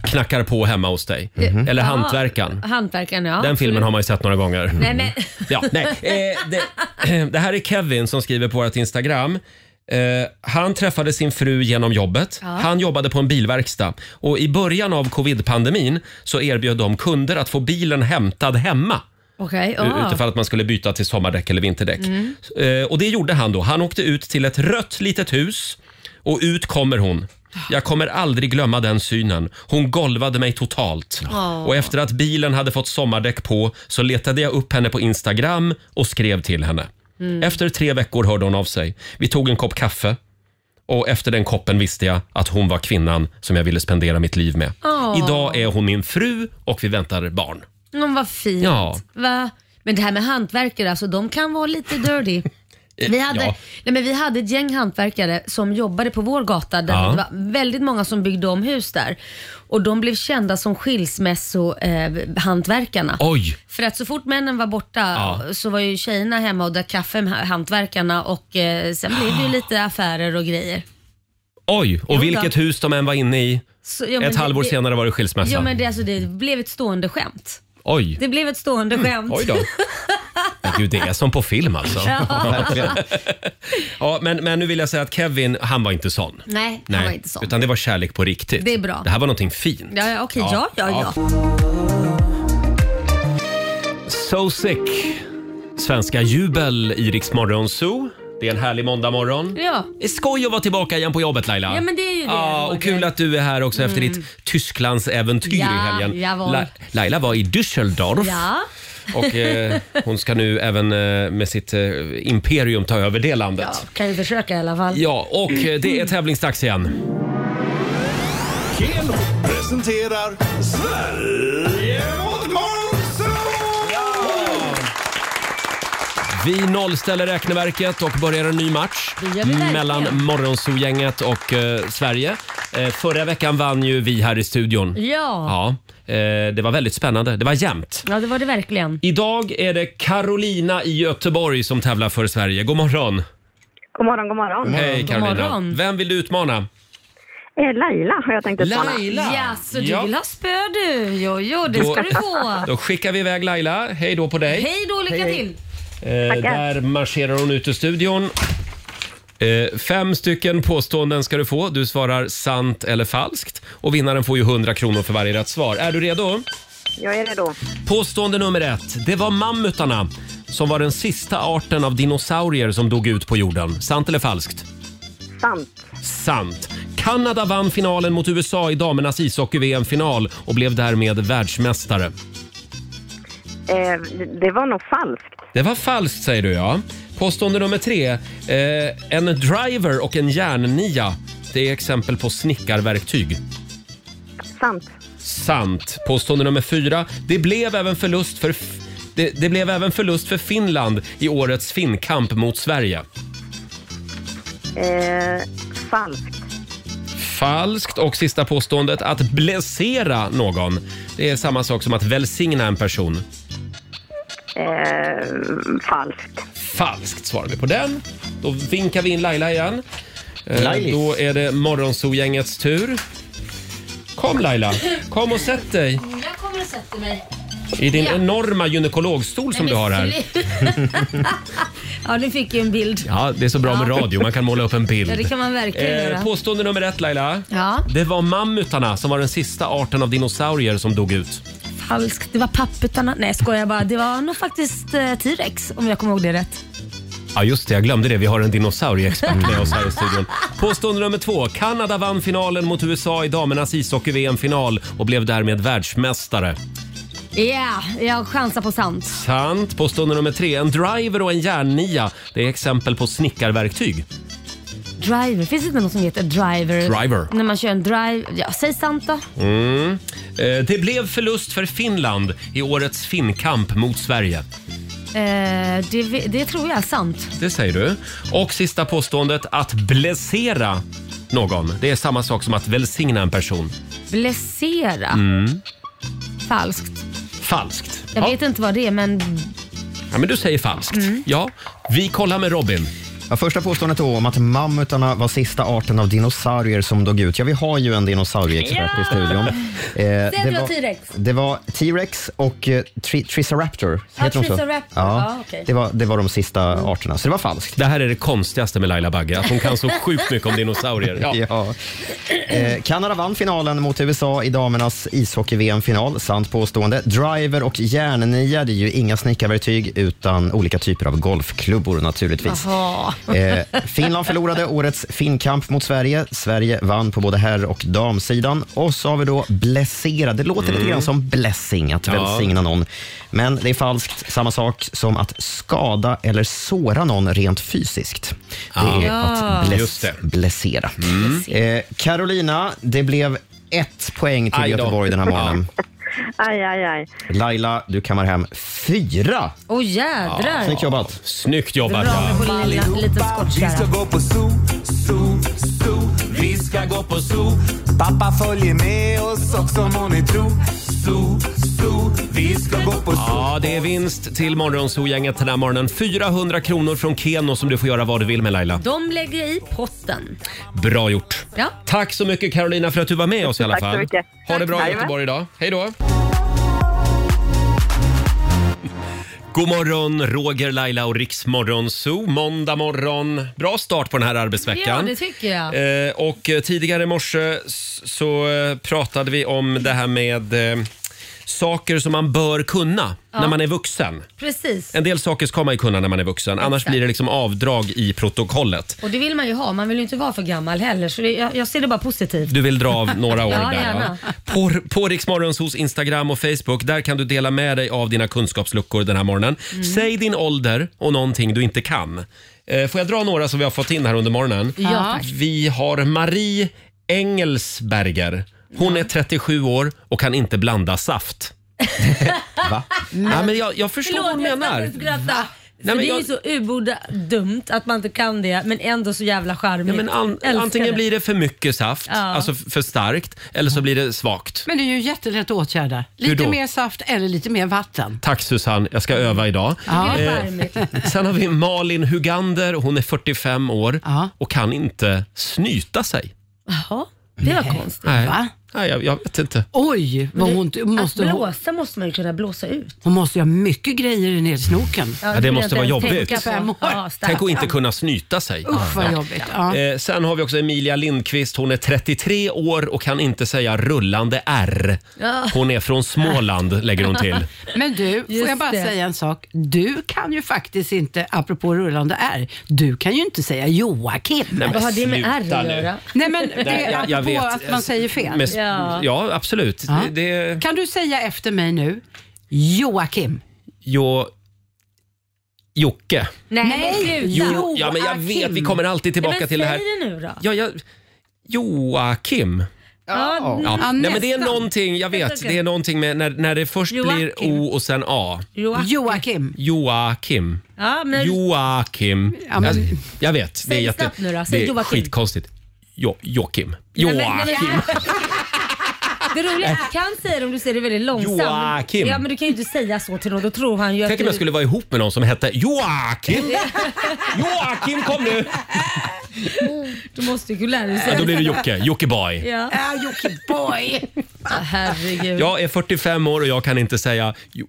[SPEAKER 1] knackar på hemma hos dig. Mm-hmm. Eller
[SPEAKER 3] Jaha,
[SPEAKER 1] hantverkaren.
[SPEAKER 3] Hantverkaren, Mm. ja.
[SPEAKER 1] Den filmen har man ju sett några gånger. Mm.
[SPEAKER 3] Nej, men...
[SPEAKER 1] Ja, nej. Eh, det, det här är Kevin som skriver på vårt Instagram. Eh, han träffade sin fru genom jobbet.
[SPEAKER 14] Ja.
[SPEAKER 1] Han jobbade på en bilverkstad. Och I början av covid-pandemin så erbjöd de kunder att få bilen hämtad hemma.
[SPEAKER 3] Okej,
[SPEAKER 1] Ah.
[SPEAKER 3] ja.
[SPEAKER 1] Utifall att man skulle byta till sommardäck eller vinterdäck.
[SPEAKER 3] Mm.
[SPEAKER 1] Eh, och det gjorde han då. Han åkte ut till ett rött litet hus och ut kommer hon. Jag kommer aldrig glömma den synen. Hon golvade mig totalt.
[SPEAKER 14] Åh.
[SPEAKER 1] Och efter att bilen hade fått sommardäck på så letade jag upp henne på Instagram och skrev till henne.
[SPEAKER 14] Mm.
[SPEAKER 1] Efter tre veckor hörde hon av sig. Vi tog en kopp kaffe och efter den koppen visste jag att hon var kvinnan som jag ville spendera mitt liv med.
[SPEAKER 3] Åh.
[SPEAKER 1] Idag är hon min fru och vi väntar barn.
[SPEAKER 3] Mm, vad fint.
[SPEAKER 1] Ja.
[SPEAKER 3] Va? Men det här med hantverkare, alltså, de kan vara lite dirty. Vi hade,
[SPEAKER 1] ja.
[SPEAKER 3] nej men vi hade ett gäng hantverkare som jobbade på vår gata. Där
[SPEAKER 1] Ja.
[SPEAKER 3] Det var väldigt många som byggde om hus där. Och de blev kända som skilsmässohantverkarna. Eh, hantverkarna.
[SPEAKER 1] Oj!
[SPEAKER 3] För att så fort männen var borta
[SPEAKER 1] Ja.
[SPEAKER 3] så var ju tjejerna hemma och drack kaffe med ha- hantverkarna och eh, sen blev det ju lite affärer och grejer.
[SPEAKER 1] Oj,
[SPEAKER 3] Jo
[SPEAKER 1] och
[SPEAKER 3] då.
[SPEAKER 1] vilket hus de än var inne i.
[SPEAKER 3] Så, ja, men
[SPEAKER 1] ett
[SPEAKER 3] det-
[SPEAKER 1] halvår
[SPEAKER 3] det-
[SPEAKER 1] senare var det skilsmässa.
[SPEAKER 3] Ja, men det, alltså, det blev ett stående skämt.
[SPEAKER 1] Oj.
[SPEAKER 3] Det blev ett stående skämt.
[SPEAKER 1] Oj då. Men Gud, det är som på film alltså.
[SPEAKER 3] Ja. Verkligen.
[SPEAKER 1] ja, men, men nu vill jag säga att Kevin, han var inte sån.
[SPEAKER 3] Nej, han var inte sån.
[SPEAKER 1] Utan det var kärlek på riktigt.
[SPEAKER 3] Det är bra.
[SPEAKER 1] Det här var någonting fint.
[SPEAKER 3] Ja, ja, okej. Ja, ja, ja.
[SPEAKER 1] So sick. Svenska jubel i Rix Morgon Zoo. Det är en härlig måndagmorgon.
[SPEAKER 3] Ja.
[SPEAKER 1] Det är skoj att vara tillbaka igen på jobbet Laila.
[SPEAKER 3] Ja, men det är ju det,
[SPEAKER 1] Ja, och kul att du är här också efter
[SPEAKER 3] Mm.
[SPEAKER 1] ditt Tysklandsäventyr
[SPEAKER 3] Ja,
[SPEAKER 1] i helgen.
[SPEAKER 3] jawohl.
[SPEAKER 1] La- Laila var i Düsseldorf.
[SPEAKER 3] Ja.
[SPEAKER 1] Och eh, hon ska nu även eh, med sitt eh, imperium ta över det landet. Ja.
[SPEAKER 3] Kan ju försöka i alla fall.
[SPEAKER 1] och eh, det är tävlingsdags igen.
[SPEAKER 12] Keno presenterar Sverige mot Monster!
[SPEAKER 1] Vi nollställer räkneverket och börjar en ny match
[SPEAKER 3] Det gör vi verkligen.
[SPEAKER 1] mellan Morgonzoo-gänget och eh, Sverige. Eh, förra veckan vann ju vi här i studion.
[SPEAKER 3] Ja.
[SPEAKER 1] Ja, eh, det var väldigt spännande. Det var jämnt.
[SPEAKER 3] ja, det var det verkligen.
[SPEAKER 1] Idag är det Carolina i Göteborg som tävlar för Sverige. God morgon!
[SPEAKER 14] God morgon, god morgon.
[SPEAKER 1] Hej Carolina! Vem vill du utmana?
[SPEAKER 14] Eh, Laila har jag tänkt att stanna.
[SPEAKER 3] Ja, så du
[SPEAKER 1] Ja.
[SPEAKER 3] vill ha spö du? Jo, jo, det
[SPEAKER 1] Då-
[SPEAKER 3] ska du få.
[SPEAKER 1] Då skickar vi iväg Laila. Hej då på dig!
[SPEAKER 3] Hej då, lycka till.
[SPEAKER 1] Eh,
[SPEAKER 3] Tackar.
[SPEAKER 1] där marscherar hon ut ur studion. Eh, fem stycken påståenden ska du få. Du svarar sant eller falskt. Och vinnaren får ju 100 kronor för varje rätt svar. Är du redo?
[SPEAKER 14] Jag är redo.
[SPEAKER 1] Påstående nummer ett. Det var mammutarna som var den sista arten av dinosaurier som dog ut på jorden. Sant eller falskt?
[SPEAKER 14] Sant.
[SPEAKER 1] Sant. Kanada vann finalen mot USA i damernas ishockey-VM-final och blev därmed världsmästare.
[SPEAKER 14] Eh, det- det var nog falskt.
[SPEAKER 1] Det var falskt säger du ja. Påstående nummer tre. Eh, en driver och en järnnia. Det är exempel på snickarverktyg.
[SPEAKER 14] Sant.
[SPEAKER 1] Sant. Påstående nummer fyra. Det blev även förlust för, det, det blev även förlust för Finland i årets finnkamp mot Sverige.
[SPEAKER 14] Eh, falskt.
[SPEAKER 1] Falskt. Och sista påståendet. Att blessera någon. Det är samma sak som att välsigna en person.
[SPEAKER 14] Eh, falskt.
[SPEAKER 1] Falskt svarar vi på den. Då vinkar vi in Laila igen. Eh,
[SPEAKER 14] Lailis.
[SPEAKER 1] Då är det Morgonzoo-gängets tur. Kom Laila, kom och sätt dig
[SPEAKER 3] Mm, Jag kommer och sätter mig.
[SPEAKER 1] i din
[SPEAKER 3] Ja.
[SPEAKER 1] enorma gynekologstol som
[SPEAKER 3] Nej,
[SPEAKER 1] du har
[SPEAKER 3] men
[SPEAKER 1] här.
[SPEAKER 3] slut. ja, nu fick jag en bild.
[SPEAKER 1] Ja, det är så bra med radio, man kan måla upp en bild. Eh,
[SPEAKER 3] Ja, det kan man verkligen göra.
[SPEAKER 1] påstående nummer ett Laila.
[SPEAKER 3] Ja.
[SPEAKER 1] Det var mammutarna som var den sista arten av dinosaurier som dog ut.
[SPEAKER 3] Falskt. Det var papputarna. Nej, skojar jag bara. Det var nog faktiskt eh, T-rex om jag kommer ihåg det rätt.
[SPEAKER 1] Ja just det, jag glömde det. Vi har en dinosaurieexpert med oss här i studion. Påstående nummer två. Kanada vann finalen mot USA i damernas ishockey-VM-final och blev därmed världsmästare.
[SPEAKER 3] Ja, jag chansar på sant.
[SPEAKER 1] Sant. Påstående nummer tre. En driver och en järnnia. Det är exempel på snickarverktyg.
[SPEAKER 3] Driver. Finns det inte någon som heter driver?
[SPEAKER 1] Driver.
[SPEAKER 3] När man kör en drive. Ja, säg sant då.
[SPEAKER 1] Mm. Eh, Det blev förlust för Finland i årets finnkamp mot Sverige.
[SPEAKER 3] Eh, det, vi- det tror jag är sant.
[SPEAKER 1] Det säger du. Och sista påståendet. Att blessera någon. Det är samma sak som att välsigna en person.
[SPEAKER 3] Blessera.
[SPEAKER 1] Mm.
[SPEAKER 3] Falskt.
[SPEAKER 1] Falskt.
[SPEAKER 3] Jag vet inte vad det är men
[SPEAKER 1] Ja, men du säger falskt.
[SPEAKER 3] Mm.
[SPEAKER 1] Ja, vi kollar med Robin.
[SPEAKER 9] Ja, första påståendet då om att mammutarna var sista arten av dinosaurier som dog ut. Ja, vi har ju en dinosaurieexpert
[SPEAKER 3] Ja!
[SPEAKER 9] i studion. Eh,
[SPEAKER 3] att det var
[SPEAKER 9] var-
[SPEAKER 3] T-rex.
[SPEAKER 9] Det var T-rex och eh, tri- Triceraptor.
[SPEAKER 3] Ja,
[SPEAKER 9] heter de så?
[SPEAKER 3] Triceraptor.
[SPEAKER 9] Ja,
[SPEAKER 3] Ja, okej.
[SPEAKER 9] det, var, det var de sista arterna, så det var falskt.
[SPEAKER 1] Det här är det konstigaste med Laila Bagge, att hon kan så sjukt mycket om dinosaurier. Ja.
[SPEAKER 9] Eh, Kanada vann finalen mot USA i damernas ishockey-VM-final. Sant påstående. Driver och järnnia, det är ju inga snickarverktyg utan olika typer av golfklubbor naturligtvis.
[SPEAKER 3] Jaha.
[SPEAKER 9] Eh, Finland förlorade årets finnkamp mot Sverige. Sverige vann på både herr och damsidan. Och så har vi då blessera. Det låter lite
[SPEAKER 15] Mm.
[SPEAKER 9] grann som blessing, att
[SPEAKER 15] Ja.
[SPEAKER 9] välsigna någon. Men det är falskt. Samma sak som att skada eller såra någon rent fysiskt. Det är
[SPEAKER 1] Ah.
[SPEAKER 15] Ja.
[SPEAKER 9] att bless,
[SPEAKER 15] Just det.
[SPEAKER 9] blessera.
[SPEAKER 1] Mm.
[SPEAKER 9] Eh, Carolina, det blev ett poäng till
[SPEAKER 15] Aj då.
[SPEAKER 9] Göteborg den här morgonen.
[SPEAKER 14] Aj, aj, aj.
[SPEAKER 9] Laila, du kammar hem fyra.
[SPEAKER 3] Åh oh, jädrar.
[SPEAKER 9] Snyggt jobbat.
[SPEAKER 1] Snyggt jobbat.
[SPEAKER 3] På lilla, liten skottkärra.
[SPEAKER 15] gå på zoo, zoo, zoo. Vi ska gå på zoo. Pappa följer med oss också må ni tro. Zoo, zoo. Vi ska gå på zoo.
[SPEAKER 1] Ja, det är vinst till Morgonzoo-gänget den här morgonen. 400 kronor från Keno som du får göra vad du vill med Laila.
[SPEAKER 3] De lägger i potten.
[SPEAKER 1] Bra gjort!
[SPEAKER 3] Ja.
[SPEAKER 1] Tack så mycket Carolina för att du var med oss i alla
[SPEAKER 3] Tack så
[SPEAKER 1] fall.
[SPEAKER 3] mycket.
[SPEAKER 1] Ha det
[SPEAKER 3] Tack.
[SPEAKER 1] bra i
[SPEAKER 3] Jajamän.
[SPEAKER 1] Göteborg idag. Hej då! God morgon, Roger, Laila och Riksmorgon Zoo. Måndag morgon. Bra start på den här arbetsveckan.
[SPEAKER 3] Ja, det tycker jag.
[SPEAKER 1] Eh, och eh, tidigare i morse s- så eh, pratade vi om det här med eh, saker som man bör kunna
[SPEAKER 3] Ja.
[SPEAKER 1] när man är vuxen.
[SPEAKER 3] Precis.
[SPEAKER 1] En del saker ska man ju kunna när man är vuxen, annars
[SPEAKER 3] Exakt.
[SPEAKER 1] blir det liksom avdrag i protokollet.
[SPEAKER 3] Och det vill man ju ha. Man vill ju inte vara för gammal heller. Så det, jag, jag ser det bara positivt.
[SPEAKER 1] Du vill dra av några år
[SPEAKER 3] ja,
[SPEAKER 1] där.
[SPEAKER 3] Gärna.
[SPEAKER 1] Ja. På, på Riksmorgons hos Instagram och Facebook, där kan du dela med dig av dina kunskapsluckor den här morgonen.
[SPEAKER 3] Mm.
[SPEAKER 1] Säg din ålder och någonting du inte kan. Eh, Får jag dra några som vi har fått in här under morgonen?
[SPEAKER 16] Ja, tack.
[SPEAKER 1] Vi har Marie Engelsberger. Hon är 37 år och kan inte blanda saft. Va? Ja, men jag, jag förstår vad hon menar.
[SPEAKER 3] Skratta. För
[SPEAKER 1] men
[SPEAKER 3] det är
[SPEAKER 1] jag-
[SPEAKER 3] ju så uboda dumt att man inte kan det, men ändå så jävla charmigt.
[SPEAKER 1] Ja, men an,
[SPEAKER 3] Älskar
[SPEAKER 1] antingen blir det för mycket saft,
[SPEAKER 3] Ja.
[SPEAKER 1] alltså f- för starkt, eller så blir det svagt.
[SPEAKER 4] Men det är ju jättelätt att åtgärda.
[SPEAKER 1] Hur
[SPEAKER 4] Lite
[SPEAKER 1] då?
[SPEAKER 4] mer saft eller lite mer vatten.
[SPEAKER 1] Tack Susanne, jag ska öva idag.
[SPEAKER 4] Ja. Det blir
[SPEAKER 1] Eh, Sen har vi Malin Hugander, hon är 45 år och kan inte snyta sig.
[SPEAKER 3] Jaha, det var konstigt.
[SPEAKER 1] Nej, Nej jag, jag vet inte.
[SPEAKER 4] Oj, vad
[SPEAKER 3] Men det-
[SPEAKER 4] hon måste
[SPEAKER 3] att
[SPEAKER 4] ha.
[SPEAKER 3] blåsa måste man ju kunna blåsa ut.
[SPEAKER 4] Hon måste ju ha mycket grejer ner i snoken.
[SPEAKER 1] Ja, det måste vara jobbigt.
[SPEAKER 3] Ja,
[SPEAKER 1] Tänk att inte kunna snyta sig.
[SPEAKER 4] Usch vad jobbigt. Ja.
[SPEAKER 1] Eh, sen har vi också Emilia Lindqvist, hon är 33 år och kan inte säga rullande R.
[SPEAKER 4] Ja.
[SPEAKER 1] Hon är från Småland, lägger hon till.
[SPEAKER 4] Men du, får
[SPEAKER 11] Just
[SPEAKER 4] jag bara
[SPEAKER 11] det.
[SPEAKER 4] säga en sak? Du kan ju faktiskt inte, apropå rullande R, du kan ju inte säga Joakim.
[SPEAKER 1] Nej, men Vad har det med sluta R att nu. göra?
[SPEAKER 4] Nej men det
[SPEAKER 1] Nej,
[SPEAKER 4] är
[SPEAKER 1] jag- jag
[SPEAKER 4] apropå
[SPEAKER 1] vet.
[SPEAKER 4] att man säger fel.
[SPEAKER 1] Med, ja. absolut.
[SPEAKER 4] Ja.
[SPEAKER 1] Det,
[SPEAKER 4] Kan du säga efter mig nu, Joakim?
[SPEAKER 1] jo, Jocke.
[SPEAKER 3] Nej,
[SPEAKER 4] Nej,
[SPEAKER 1] Jo, ja, men jag vet, vi kommer alltid tillbaka till det här.
[SPEAKER 3] Säg det nu då.
[SPEAKER 1] Ja, jag... Joakim.
[SPEAKER 3] Ja,
[SPEAKER 1] Ja.
[SPEAKER 3] nästan.
[SPEAKER 1] Nej, men det är någonting, jag vet, det är någonting med när, när det först blir
[SPEAKER 3] Joakim.
[SPEAKER 1] O och sen A.
[SPEAKER 3] Joakim.
[SPEAKER 4] Joakim.
[SPEAKER 1] Joakim.
[SPEAKER 3] Ja, men
[SPEAKER 1] Joakim.
[SPEAKER 3] Ja, men-
[SPEAKER 1] Jag, jag vet, det är,
[SPEAKER 3] Säg
[SPEAKER 1] jätte,
[SPEAKER 3] snabbt nu då, säg
[SPEAKER 1] det är
[SPEAKER 3] Joakim.
[SPEAKER 1] skitkonstigt. Jo, Joakim.
[SPEAKER 3] Nej, men- men-
[SPEAKER 1] Joakim.
[SPEAKER 3] Det roliga är att du kan säga det om du säger det väldigt långsamt.
[SPEAKER 1] Joakim.
[SPEAKER 3] Ja, men du kan ju inte säga så till någon. Då tror han ju att
[SPEAKER 1] Tänk om
[SPEAKER 3] du...
[SPEAKER 1] jag skulle vara ihop med någon som hette Joakim. Joakim ah, kom nu!
[SPEAKER 3] Du måste ju lära dig säga
[SPEAKER 1] Ja, då blir det Jocke. Jocke boy.
[SPEAKER 3] Ja,
[SPEAKER 4] Jockiboi.
[SPEAKER 3] Ah, herregud.
[SPEAKER 1] Jag är 45 år och jag kan inte säga jo,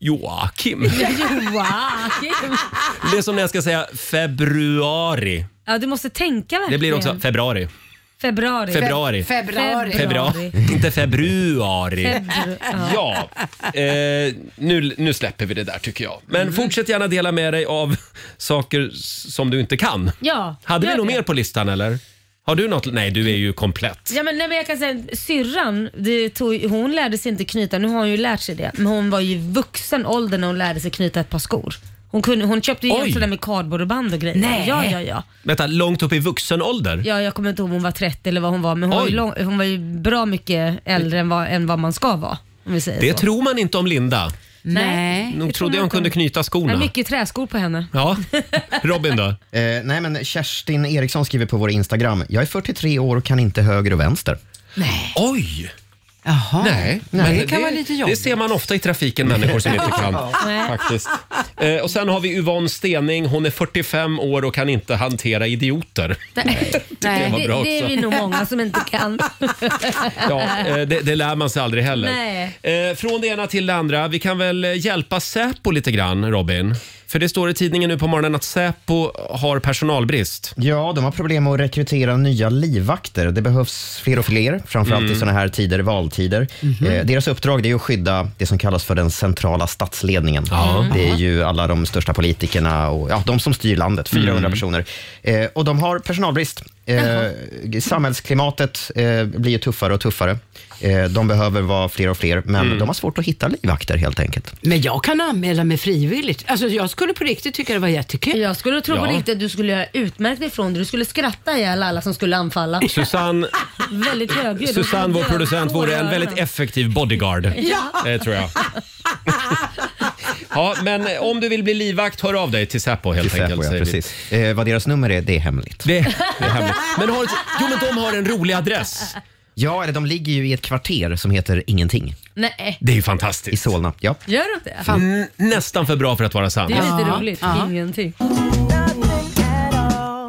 [SPEAKER 1] Joakim.
[SPEAKER 3] Joakim.
[SPEAKER 1] Det är som när jag ska säga februari.
[SPEAKER 3] Ja, du måste tänka verkligen.
[SPEAKER 1] Det blir också februari.
[SPEAKER 3] Februari.
[SPEAKER 1] Februari.
[SPEAKER 3] Februari.
[SPEAKER 1] Februari. Inte februari.
[SPEAKER 3] Febru-
[SPEAKER 1] Ja, eh, nu, nu släpper vi det där tycker jag. Men
[SPEAKER 3] Mm.
[SPEAKER 1] fortsätt gärna dela med dig av saker s- som du inte kan.
[SPEAKER 3] Ja.
[SPEAKER 1] Hade vi
[SPEAKER 3] gör
[SPEAKER 1] något
[SPEAKER 3] det.
[SPEAKER 1] mer på listan eller? Har du något? Nej, du är ju komplett.
[SPEAKER 3] Ja, men, nej, men jag kan säga syrran, det tog, hon lärde sig inte knyta. Nu har hon ju lärt sig det. Men hon var ju vuxen ålder när hon lärde sig knyta ett par skor. Hon, kunde, hon köpte ju
[SPEAKER 1] Oj.
[SPEAKER 3] hem sådär med kardborre och band och grejer.
[SPEAKER 1] Nej.
[SPEAKER 3] Ja, ja, ja.
[SPEAKER 1] Vänta, långt upp i vuxen ålder?
[SPEAKER 3] Ja, jag kommer inte ihåg om hon var 30 eller vad hon var, men hon, var ju,
[SPEAKER 1] Oj.
[SPEAKER 3] lång, hon var ju bra mycket äldre än vad, än vad man ska vara. Om vi säger
[SPEAKER 1] Det
[SPEAKER 3] så.
[SPEAKER 1] tror man inte om Linda.
[SPEAKER 3] Nej.
[SPEAKER 1] Nog trodde jag hon kunde
[SPEAKER 3] Det
[SPEAKER 1] knyta
[SPEAKER 3] är
[SPEAKER 1] skorna.
[SPEAKER 3] mycket träskor på henne.
[SPEAKER 1] Ja. Robin då?
[SPEAKER 9] Eh, nej, men Kerstin Eriksson skriver på vår Instagram. Jag är 43 år och kan inte höger och vänster.
[SPEAKER 4] Nej.
[SPEAKER 1] Oj!
[SPEAKER 4] Jaha.
[SPEAKER 1] Nej,
[SPEAKER 4] Men
[SPEAKER 1] men
[SPEAKER 4] det kan vara lite
[SPEAKER 1] Det
[SPEAKER 4] jobbigt.
[SPEAKER 1] ser man ofta i trafiken, människor som inte kan.
[SPEAKER 4] Nej.
[SPEAKER 1] faktiskt. Eh, och sen har vi Yvonne Stening. Hon är 45 år och kan inte hantera idioter.
[SPEAKER 3] Nej.
[SPEAKER 1] var bra
[SPEAKER 3] Det, det är
[SPEAKER 1] också.
[SPEAKER 3] vi nog många som inte kan.
[SPEAKER 1] Ja, eh, det, det lär man sig aldrig heller.
[SPEAKER 3] Nej.
[SPEAKER 1] Eh, från det ena till det andra. Vi kan väl eh, hjälpa Säpo lite grann, Robin? För det står i tidningen nu på morgonen att Säpo har personalbrist.
[SPEAKER 9] Ja, de har problem med att rekrytera nya livvakter. Det behövs fler och fler, framförallt
[SPEAKER 1] Mm.
[SPEAKER 9] i såna här tider, valtider.
[SPEAKER 1] Mhm.
[SPEAKER 9] Eh, deras uppdrag det är att skydda det som kallas för den centrala statsledningen.
[SPEAKER 1] Ja. Mm.
[SPEAKER 9] Det är ju alla de största politikerna och ja, de som styr landet, 400
[SPEAKER 1] Mm.
[SPEAKER 9] personer. Eh, och de har personalbrist. Eh, samhällsklimatet eh, blir ju tuffare och tuffare. Eh, de behöver vara fler och fler, men
[SPEAKER 1] Mm.
[SPEAKER 9] de har svårt att hitta livvakter helt enkelt.
[SPEAKER 4] Men jag kan anmäla mig frivilligt. Alltså jag skulle på riktigt tycka det var jättekul.
[SPEAKER 3] Jag skulle tro på
[SPEAKER 1] Ja.
[SPEAKER 3] riktigt att du skulle göra utmärkt ifrån dig. Du skulle skratta ihjäl alla som skulle anfalla.
[SPEAKER 1] Susanne,
[SPEAKER 3] väldigt högljudd.
[SPEAKER 1] Susanne, vår producent, vore en väldigt effektiv bodyguard.
[SPEAKER 3] Ja.
[SPEAKER 1] Det tror jag. Ja, men om du vill bli livvakt, hör av dig till Säpo helt
[SPEAKER 9] Till Säpo,
[SPEAKER 1] enkelt.
[SPEAKER 9] ja,
[SPEAKER 1] säger vi.
[SPEAKER 9] precis. Eh, vad deras nummer är, det är hemligt.
[SPEAKER 1] Det, är hemligt. Men har, jo, men de har en rolig adress.
[SPEAKER 9] Ja, eller de ligger ju i ett kvarter som heter Ingenting.
[SPEAKER 3] Nej.
[SPEAKER 1] Det är ju fantastiskt. I
[SPEAKER 9] Solna, ja.
[SPEAKER 3] Gör du det?
[SPEAKER 1] N- nästan för bra för att vara sant.
[SPEAKER 3] Det är lite roligt. Ingenting.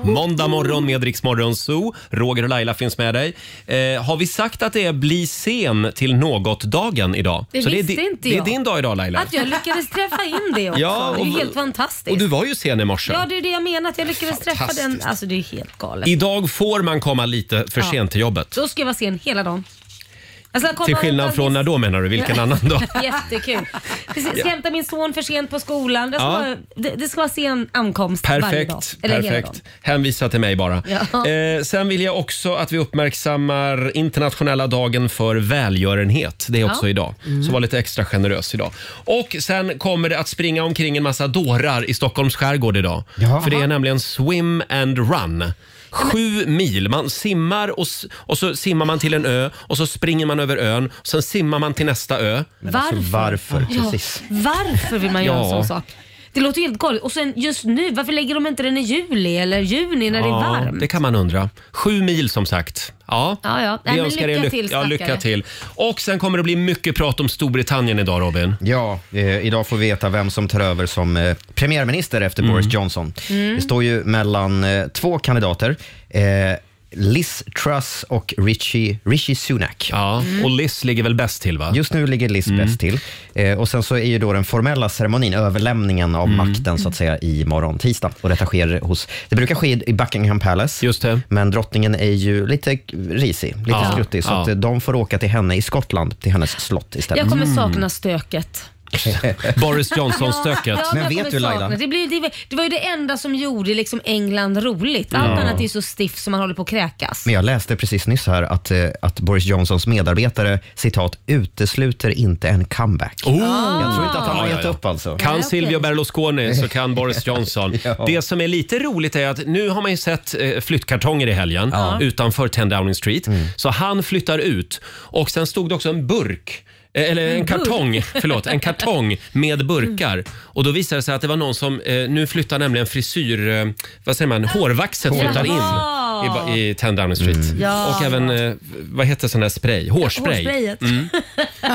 [SPEAKER 1] Måndag morgon med Rix Morgon Zoo. Roger och Laila finns med dig. Eh, har vi sagt att det är bli sen till något-dagen idag?
[SPEAKER 3] Det
[SPEAKER 1] det är
[SPEAKER 3] visste
[SPEAKER 1] di-
[SPEAKER 3] inte
[SPEAKER 1] Det är
[SPEAKER 3] jag.
[SPEAKER 1] din dag idag Laila.
[SPEAKER 3] Att jag lyckades träffa in det också.
[SPEAKER 1] Ja,
[SPEAKER 3] det är
[SPEAKER 1] och-
[SPEAKER 3] helt fantastiskt.
[SPEAKER 1] Och du var ju sen i morse.
[SPEAKER 3] Ja, det är det jag menar. Att jag lyckades träffa den. Alltså det är helt galet.
[SPEAKER 1] Idag får man komma lite för
[SPEAKER 3] Ja.
[SPEAKER 1] sent till jobbet.
[SPEAKER 3] Då ska jag vara sen hela dagen. Alltså, komma
[SPEAKER 1] Till skillnad
[SPEAKER 3] åt-
[SPEAKER 1] från när då menar du? Vilken annan dag?
[SPEAKER 3] Jättekul. Precis, ska
[SPEAKER 1] Ja.
[SPEAKER 3] hämta min son för sent på skolan. Det ska,
[SPEAKER 1] Ja.
[SPEAKER 3] vara, det, det ska vara sen ankomst varje dag.
[SPEAKER 1] Perfekt.
[SPEAKER 3] Eller hela dagen.
[SPEAKER 1] perfekt. Hänvisa till mig bara.
[SPEAKER 3] Ja.
[SPEAKER 1] Eh, sen vill jag också att vi uppmärksammar internationella dagen för välgörenhet. Det är också
[SPEAKER 16] Ja.
[SPEAKER 1] idag. Så var lite extra generös idag. Och sen kommer det att springa omkring en massa dårar i Stockholms skärgård idag. För det är nämligen swim and run. Sju mil. Man simmar och, s- och så simmar man till en ö och så springer man över ön. Och sen simmar man till nästa ö.
[SPEAKER 3] alltså, Ja, varför vill man göra en
[SPEAKER 1] Ja.
[SPEAKER 3] sån sak? Det låter ju helt galet. Och sen just nu, varför lägger de inte den i juli eller juni när det är varmt?
[SPEAKER 1] det kan man undra. Sju mil som sagt. Ja,
[SPEAKER 3] Ja, ja.
[SPEAKER 1] vi
[SPEAKER 3] Nej, men
[SPEAKER 1] önskar er
[SPEAKER 3] lycka
[SPEAKER 1] lyck-
[SPEAKER 3] till,
[SPEAKER 1] ja,
[SPEAKER 3] stackare.
[SPEAKER 1] lycka till. Och sen kommer det bli mycket prat om Storbritannien idag Robin.
[SPEAKER 9] Ja, eh, idag får vi veta vem som tar över som eh, premiärminister efter Boris Johnson.
[SPEAKER 16] Mm.
[SPEAKER 9] Det står ju mellan eh, två kandidater. Eh, Liz Truss och Richie, Richie Sunak.
[SPEAKER 1] Ja, och Liz ligger väl bäst till? va? Mm.
[SPEAKER 9] Just nu ligger Liz bäst till. Eh, och Sen så är ju då den formella ceremonin, överlämningen av
[SPEAKER 1] Mm.
[SPEAKER 9] makten, så att säga, i morgon tisdag. Och detta sker hos, det brukar ske i Buckingham Palace,
[SPEAKER 1] Just det.
[SPEAKER 9] men drottningen är ju lite risig, lite
[SPEAKER 1] Ja,
[SPEAKER 9] skruttig, så
[SPEAKER 1] ja.
[SPEAKER 9] att eh, de får åka till henne i Skottland, till hennes slott istället.
[SPEAKER 3] Jag kommer sakna stöket.
[SPEAKER 1] Mm. Boris Johnson-stöket.
[SPEAKER 3] Ja,
[SPEAKER 9] men
[SPEAKER 3] jag
[SPEAKER 9] vet
[SPEAKER 3] kommer
[SPEAKER 9] du
[SPEAKER 3] sakna
[SPEAKER 9] Laila,
[SPEAKER 3] Det, Det blir, det, var- det var ju det enda som gjorde liksom England roligt. Allt
[SPEAKER 9] Ja.
[SPEAKER 3] annat är ju så stiff som man håller på att kräkas.
[SPEAKER 9] men jag läste precis nyss här att, eh, att Boris Johnsons medarbetare, citat, utesluter inte en comeback. Jag tror inte att han har
[SPEAKER 1] Oh! Ja, ja,
[SPEAKER 9] gett
[SPEAKER 1] ja.
[SPEAKER 9] upp alltså.
[SPEAKER 1] Kan Silvio Berlusconi så kan Boris Johnson. Det som är lite roligt är att nu har man ju sett eh, flyttkartonger i helgen utanför 10 Downing Street.
[SPEAKER 9] Mm.
[SPEAKER 1] Så han flyttar ut och sen stod det också en burk eh, eller en,
[SPEAKER 16] En burk.
[SPEAKER 1] kartong, förlåt, en kartong med burkar. Och då visade det sig att det var någon som, eh, nu flyttar nämligen frisyr, eh, vad säger man, hårvaxet flyttar in i,
[SPEAKER 3] Jaha.
[SPEAKER 1] ba- i 10 Downing Street.
[SPEAKER 9] Mm.
[SPEAKER 3] Ja.
[SPEAKER 1] Och även, eh, vad heter sån där spray? Hårspray.
[SPEAKER 3] Hårsprayet.
[SPEAKER 1] Mm.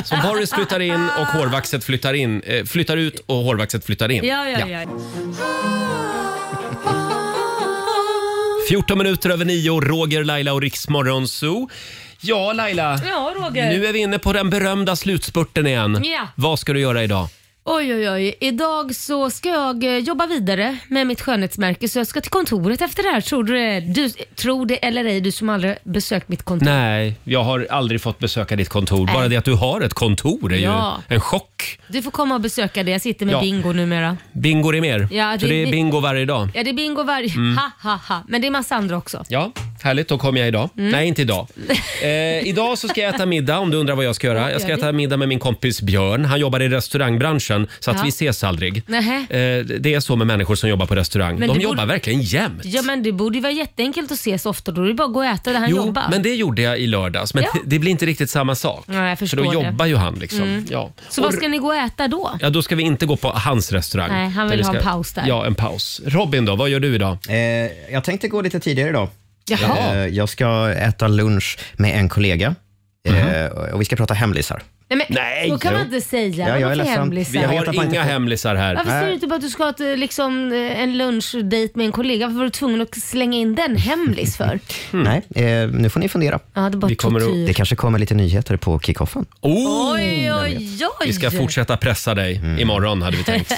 [SPEAKER 1] Så Boris flyttar in och hårvaxet flyttar in. Eh, flyttar ut och hårvaxet flyttar in.
[SPEAKER 3] Ja, ja, ja.
[SPEAKER 1] 14 minuter över nio, Roger, Laila och Riksmorgon Zoo. Ja, Laila.
[SPEAKER 3] Ja, Roger.
[SPEAKER 1] Nu är vi inne på den berömda slutspurten igen.
[SPEAKER 3] Ja.
[SPEAKER 1] Vad ska du göra idag?
[SPEAKER 3] Oj, oj, oj. Idag så ska jag eh, jobba vidare med mitt skönhetsmärke så jag ska till kontoret efter det här. Tror du det, du, tror det eller ej, du som aldrig besökt mitt kontor.
[SPEAKER 1] Nej, jag har aldrig fått besöka ditt kontor.
[SPEAKER 3] Nej.
[SPEAKER 1] Bara det att du har ett kontor är
[SPEAKER 3] Ja.
[SPEAKER 1] ju en chock.
[SPEAKER 3] Du får komma och besöka det. Jag sitter med
[SPEAKER 1] Ja.
[SPEAKER 3] bingo numera.
[SPEAKER 1] Bingo är mer.
[SPEAKER 3] Ja,
[SPEAKER 1] Så
[SPEAKER 3] det-
[SPEAKER 1] det är bingo varje dag.
[SPEAKER 3] Ja, det är bingo varje...
[SPEAKER 1] Mm.
[SPEAKER 3] Ha, ha, ha. Men det är massa andra också.
[SPEAKER 1] Ja, härligt. Då kommer jag idag.
[SPEAKER 3] Mm.
[SPEAKER 1] Nej, inte idag. Eh, idag så ska jag äta middag om du undrar vad jag ska göra. Jag ska
[SPEAKER 3] gör
[SPEAKER 1] äta middag med min kompis Björn. Han jobbar i restaurangbranschen så att
[SPEAKER 3] Ja.
[SPEAKER 1] vi ses aldrig.
[SPEAKER 3] Nähä.
[SPEAKER 1] Eh, det är så med människor som jobbar på restaurang.
[SPEAKER 3] Men
[SPEAKER 1] De
[SPEAKER 3] det
[SPEAKER 1] jobbar
[SPEAKER 3] borde-
[SPEAKER 1] verkligen jämt.
[SPEAKER 3] Ja, men det borde ju vara jätteenkelt att ses ofta. Då är det bara att gå och äta där han
[SPEAKER 1] Jo,
[SPEAKER 3] jobbar.
[SPEAKER 1] men det gjorde jag i lördags. Men
[SPEAKER 3] Ja.
[SPEAKER 1] det, det blir inte riktigt samma sak.
[SPEAKER 3] Ja, jag
[SPEAKER 1] För
[SPEAKER 3] förstår
[SPEAKER 1] då
[SPEAKER 3] det.
[SPEAKER 1] jobbar ju han liksom.
[SPEAKER 3] Mm.
[SPEAKER 1] Ja.
[SPEAKER 3] Så vad ska ni gå och äta då?
[SPEAKER 1] Ja, då ska vi inte gå på hans restaurang.
[SPEAKER 3] Nej, han
[SPEAKER 1] Där
[SPEAKER 3] vill
[SPEAKER 1] vi
[SPEAKER 3] ha en paus där.
[SPEAKER 1] Ja, en paus. Robin då, vad gör du idag?
[SPEAKER 9] Eh, jag tänkte gå lite tidigare idag.
[SPEAKER 3] Jaha.
[SPEAKER 9] Eh, Jag ska äta lunch med en kollega eh,
[SPEAKER 1] Mhm.
[SPEAKER 9] och vi ska prata hemlisar.
[SPEAKER 3] Nej, men,
[SPEAKER 9] Nej.
[SPEAKER 3] då kan man
[SPEAKER 9] Jo.
[SPEAKER 3] inte säga.
[SPEAKER 9] Ja, jag är
[SPEAKER 3] Varför
[SPEAKER 9] ledsen.
[SPEAKER 3] hemlisar?
[SPEAKER 9] Vi har Jag vet att man inte inga får-
[SPEAKER 1] hemlisar här.
[SPEAKER 3] Varför säger du inte bara att du ska ha ett, eh, liksom, eh, en lunchdate med en kollega? Varför var du tvungen att slänga in den hemlis för?
[SPEAKER 9] Nej, eh, nu får ni fundera.
[SPEAKER 3] Ja, det, är bara tortyr.
[SPEAKER 9] det kanske kommer lite nyheter på kickoffen.
[SPEAKER 1] Oh!
[SPEAKER 3] Oj, oj, oj.
[SPEAKER 1] Vi ska fortsätta pressa dig imorgon hade vi tänkt.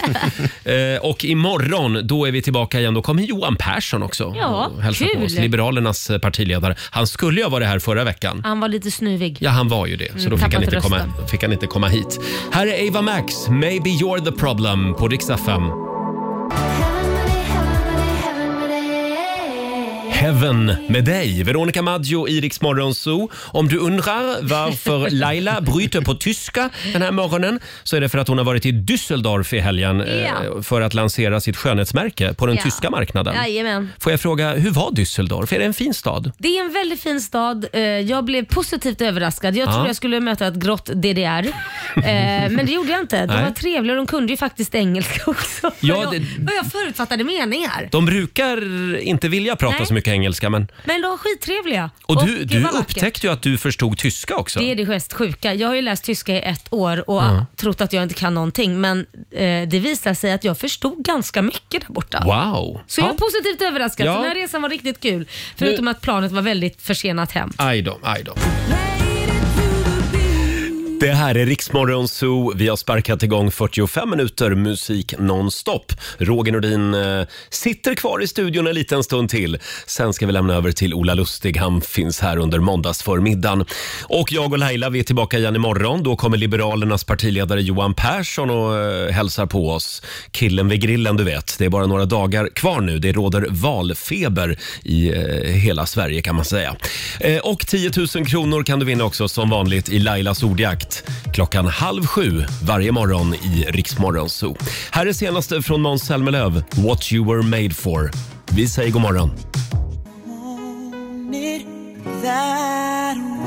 [SPEAKER 1] eh, och imorgon då är vi tillbaka igen. Då kommer Johan Persson också
[SPEAKER 3] Ja,
[SPEAKER 1] och hälsa på
[SPEAKER 3] kul.
[SPEAKER 1] oss. Liberalernas partiledare. Han skulle ju ha varit här förra veckan.
[SPEAKER 3] Han var lite snuvig.
[SPEAKER 1] Ja, han var ju det. Så
[SPEAKER 3] Mm,
[SPEAKER 1] då fick han,
[SPEAKER 3] tappat
[SPEAKER 1] inte komma,
[SPEAKER 3] rösten.
[SPEAKER 1] fick han inte komma hit. Här är Ava Max, Maybe You're the Problem på Rix FM. Heaven med dig, Veronica Maggio i Rix Morgon Zoo. Om du undrar varför Laila bryter på tyska den här morgonen så är det för att hon har varit i Düsseldorf i helgen eh,
[SPEAKER 3] Ja.
[SPEAKER 1] för att lansera sitt skönhetsmärke på den
[SPEAKER 3] Ja.
[SPEAKER 1] tyska marknaden.
[SPEAKER 3] Jajamän.
[SPEAKER 1] Får jag fråga, hur var Düsseldorf? Är det en fin stad?
[SPEAKER 3] Det är en väldigt fin stad. Eh, Jag blev positivt överraskad. Jag
[SPEAKER 1] Ja.
[SPEAKER 3] trodde jag skulle möta ett grått DDR, Eh, men det gjorde jag inte. De
[SPEAKER 1] Nej.
[SPEAKER 3] var trevliga och de kunde ju faktiskt engelska också.
[SPEAKER 1] Ja,
[SPEAKER 3] Vad jag,
[SPEAKER 1] det-
[SPEAKER 3] vad jag förutfattade meningar.
[SPEAKER 1] De brukar inte vilja prata
[SPEAKER 3] Nej.
[SPEAKER 1] så mycket engelska, men...
[SPEAKER 3] Men de var skittrevliga.
[SPEAKER 1] Och du,
[SPEAKER 3] det
[SPEAKER 1] du
[SPEAKER 3] var vackert.
[SPEAKER 1] upptäckte ju att du förstod tyska också.
[SPEAKER 3] Det är det mest sjuka. Jag har ju läst tyska i ett år och
[SPEAKER 1] Ja.
[SPEAKER 3] trott att jag inte kan någonting men eh, det visar sig att jag förstod ganska mycket där borta.
[SPEAKER 1] Wow!
[SPEAKER 3] Så jag
[SPEAKER 1] Ja.
[SPEAKER 3] är positivt överraskad.
[SPEAKER 1] Ja.
[SPEAKER 3] Så den här resan var riktigt kul. Förutom att planet var väldigt försenat hem.
[SPEAKER 1] Aj då, aj då. Det här är Riksmorgon Zoo. Vi har sparkat igång 45 minuter musik nonstop. Roger Nordin eh, sitter kvar i studion en liten stund till. Sen ska vi lämna över till Ola Lustig. Han finns här under måndagsförmiddagen. Och jag och Laila, vi är tillbaka igen imorgon. Då kommer Liberalernas partiledare Johan Persson och eh, hälsar på oss. Killen vid grillen, du vet. Det är bara några dagar kvar nu. Det råder valfeber i eh, hela Sverige kan man säga. Eh, och 10 000 kronor kan du vinna också som vanligt i Lailas ordjakt. Klockan halv sju varje morgon i Riksmorgon Zoo. Här är senaste från Måns Zelmerlöw, What you were made for. Vi säger god morgon.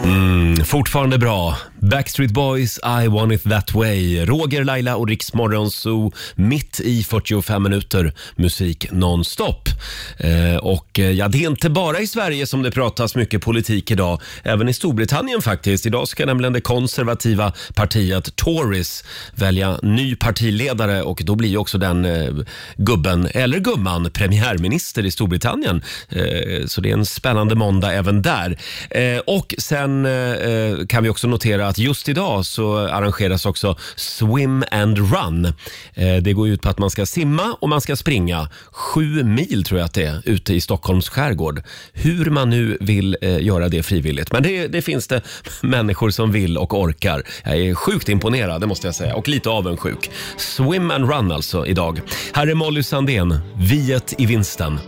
[SPEAKER 1] Mm, fortfarande bra. Backstreet Boys, I want it that way. Roger, Laila och Riksmorgon Zoo mitt i 45 minuter musik nonstop. Eh, och eh, ja, det är inte bara i Sverige som det pratas mycket politik idag. Även i Storbritannien faktiskt. Idag ska nämligen det konservativa partiet Tories välja ny partiledare och då blir ju också den eh, gubben, eller gumman, premiärminister i Storbritannien. Eh, så det är en spännande måndag även där. Eh, och sen eh, kan vi också notera att just idag så arrangeras också Swim and Run. Eh, det går ut på att man ska simma och man ska springa. Sju mil tror jag att det är ute i Stockholms skärgård. Hur man nu vill eh, göra det frivilligt. Men det, det finns det människor som vill och orkar. Jag är sjukt imponerad, det måste jag säga. Och lite avundsjuk. Swim and Run alltså idag. Här är Molly Sandén, Viet i vinsten.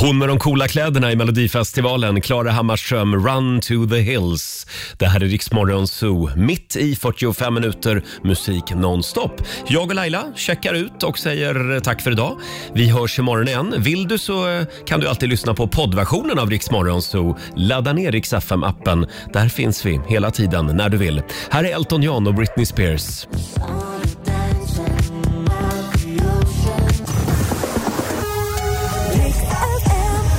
[SPEAKER 1] Hon med de coola kläderna i Melodifestivalen, Klara Hammarström, Run to the Hills. Det här är Riksmorgon Zoo, mitt i 45 minuter musik nonstop. Jag och Laila checkar ut och säger eh, tack för idag. Vi hörs imorgon igen. Vill du så eh, kan du alltid lyssna på poddversionen av Riksmorgon Zoo. Ladda ner Rix FM-appen. Där finns vi hela tiden när du vill. Här är Elton John och Britney Spears.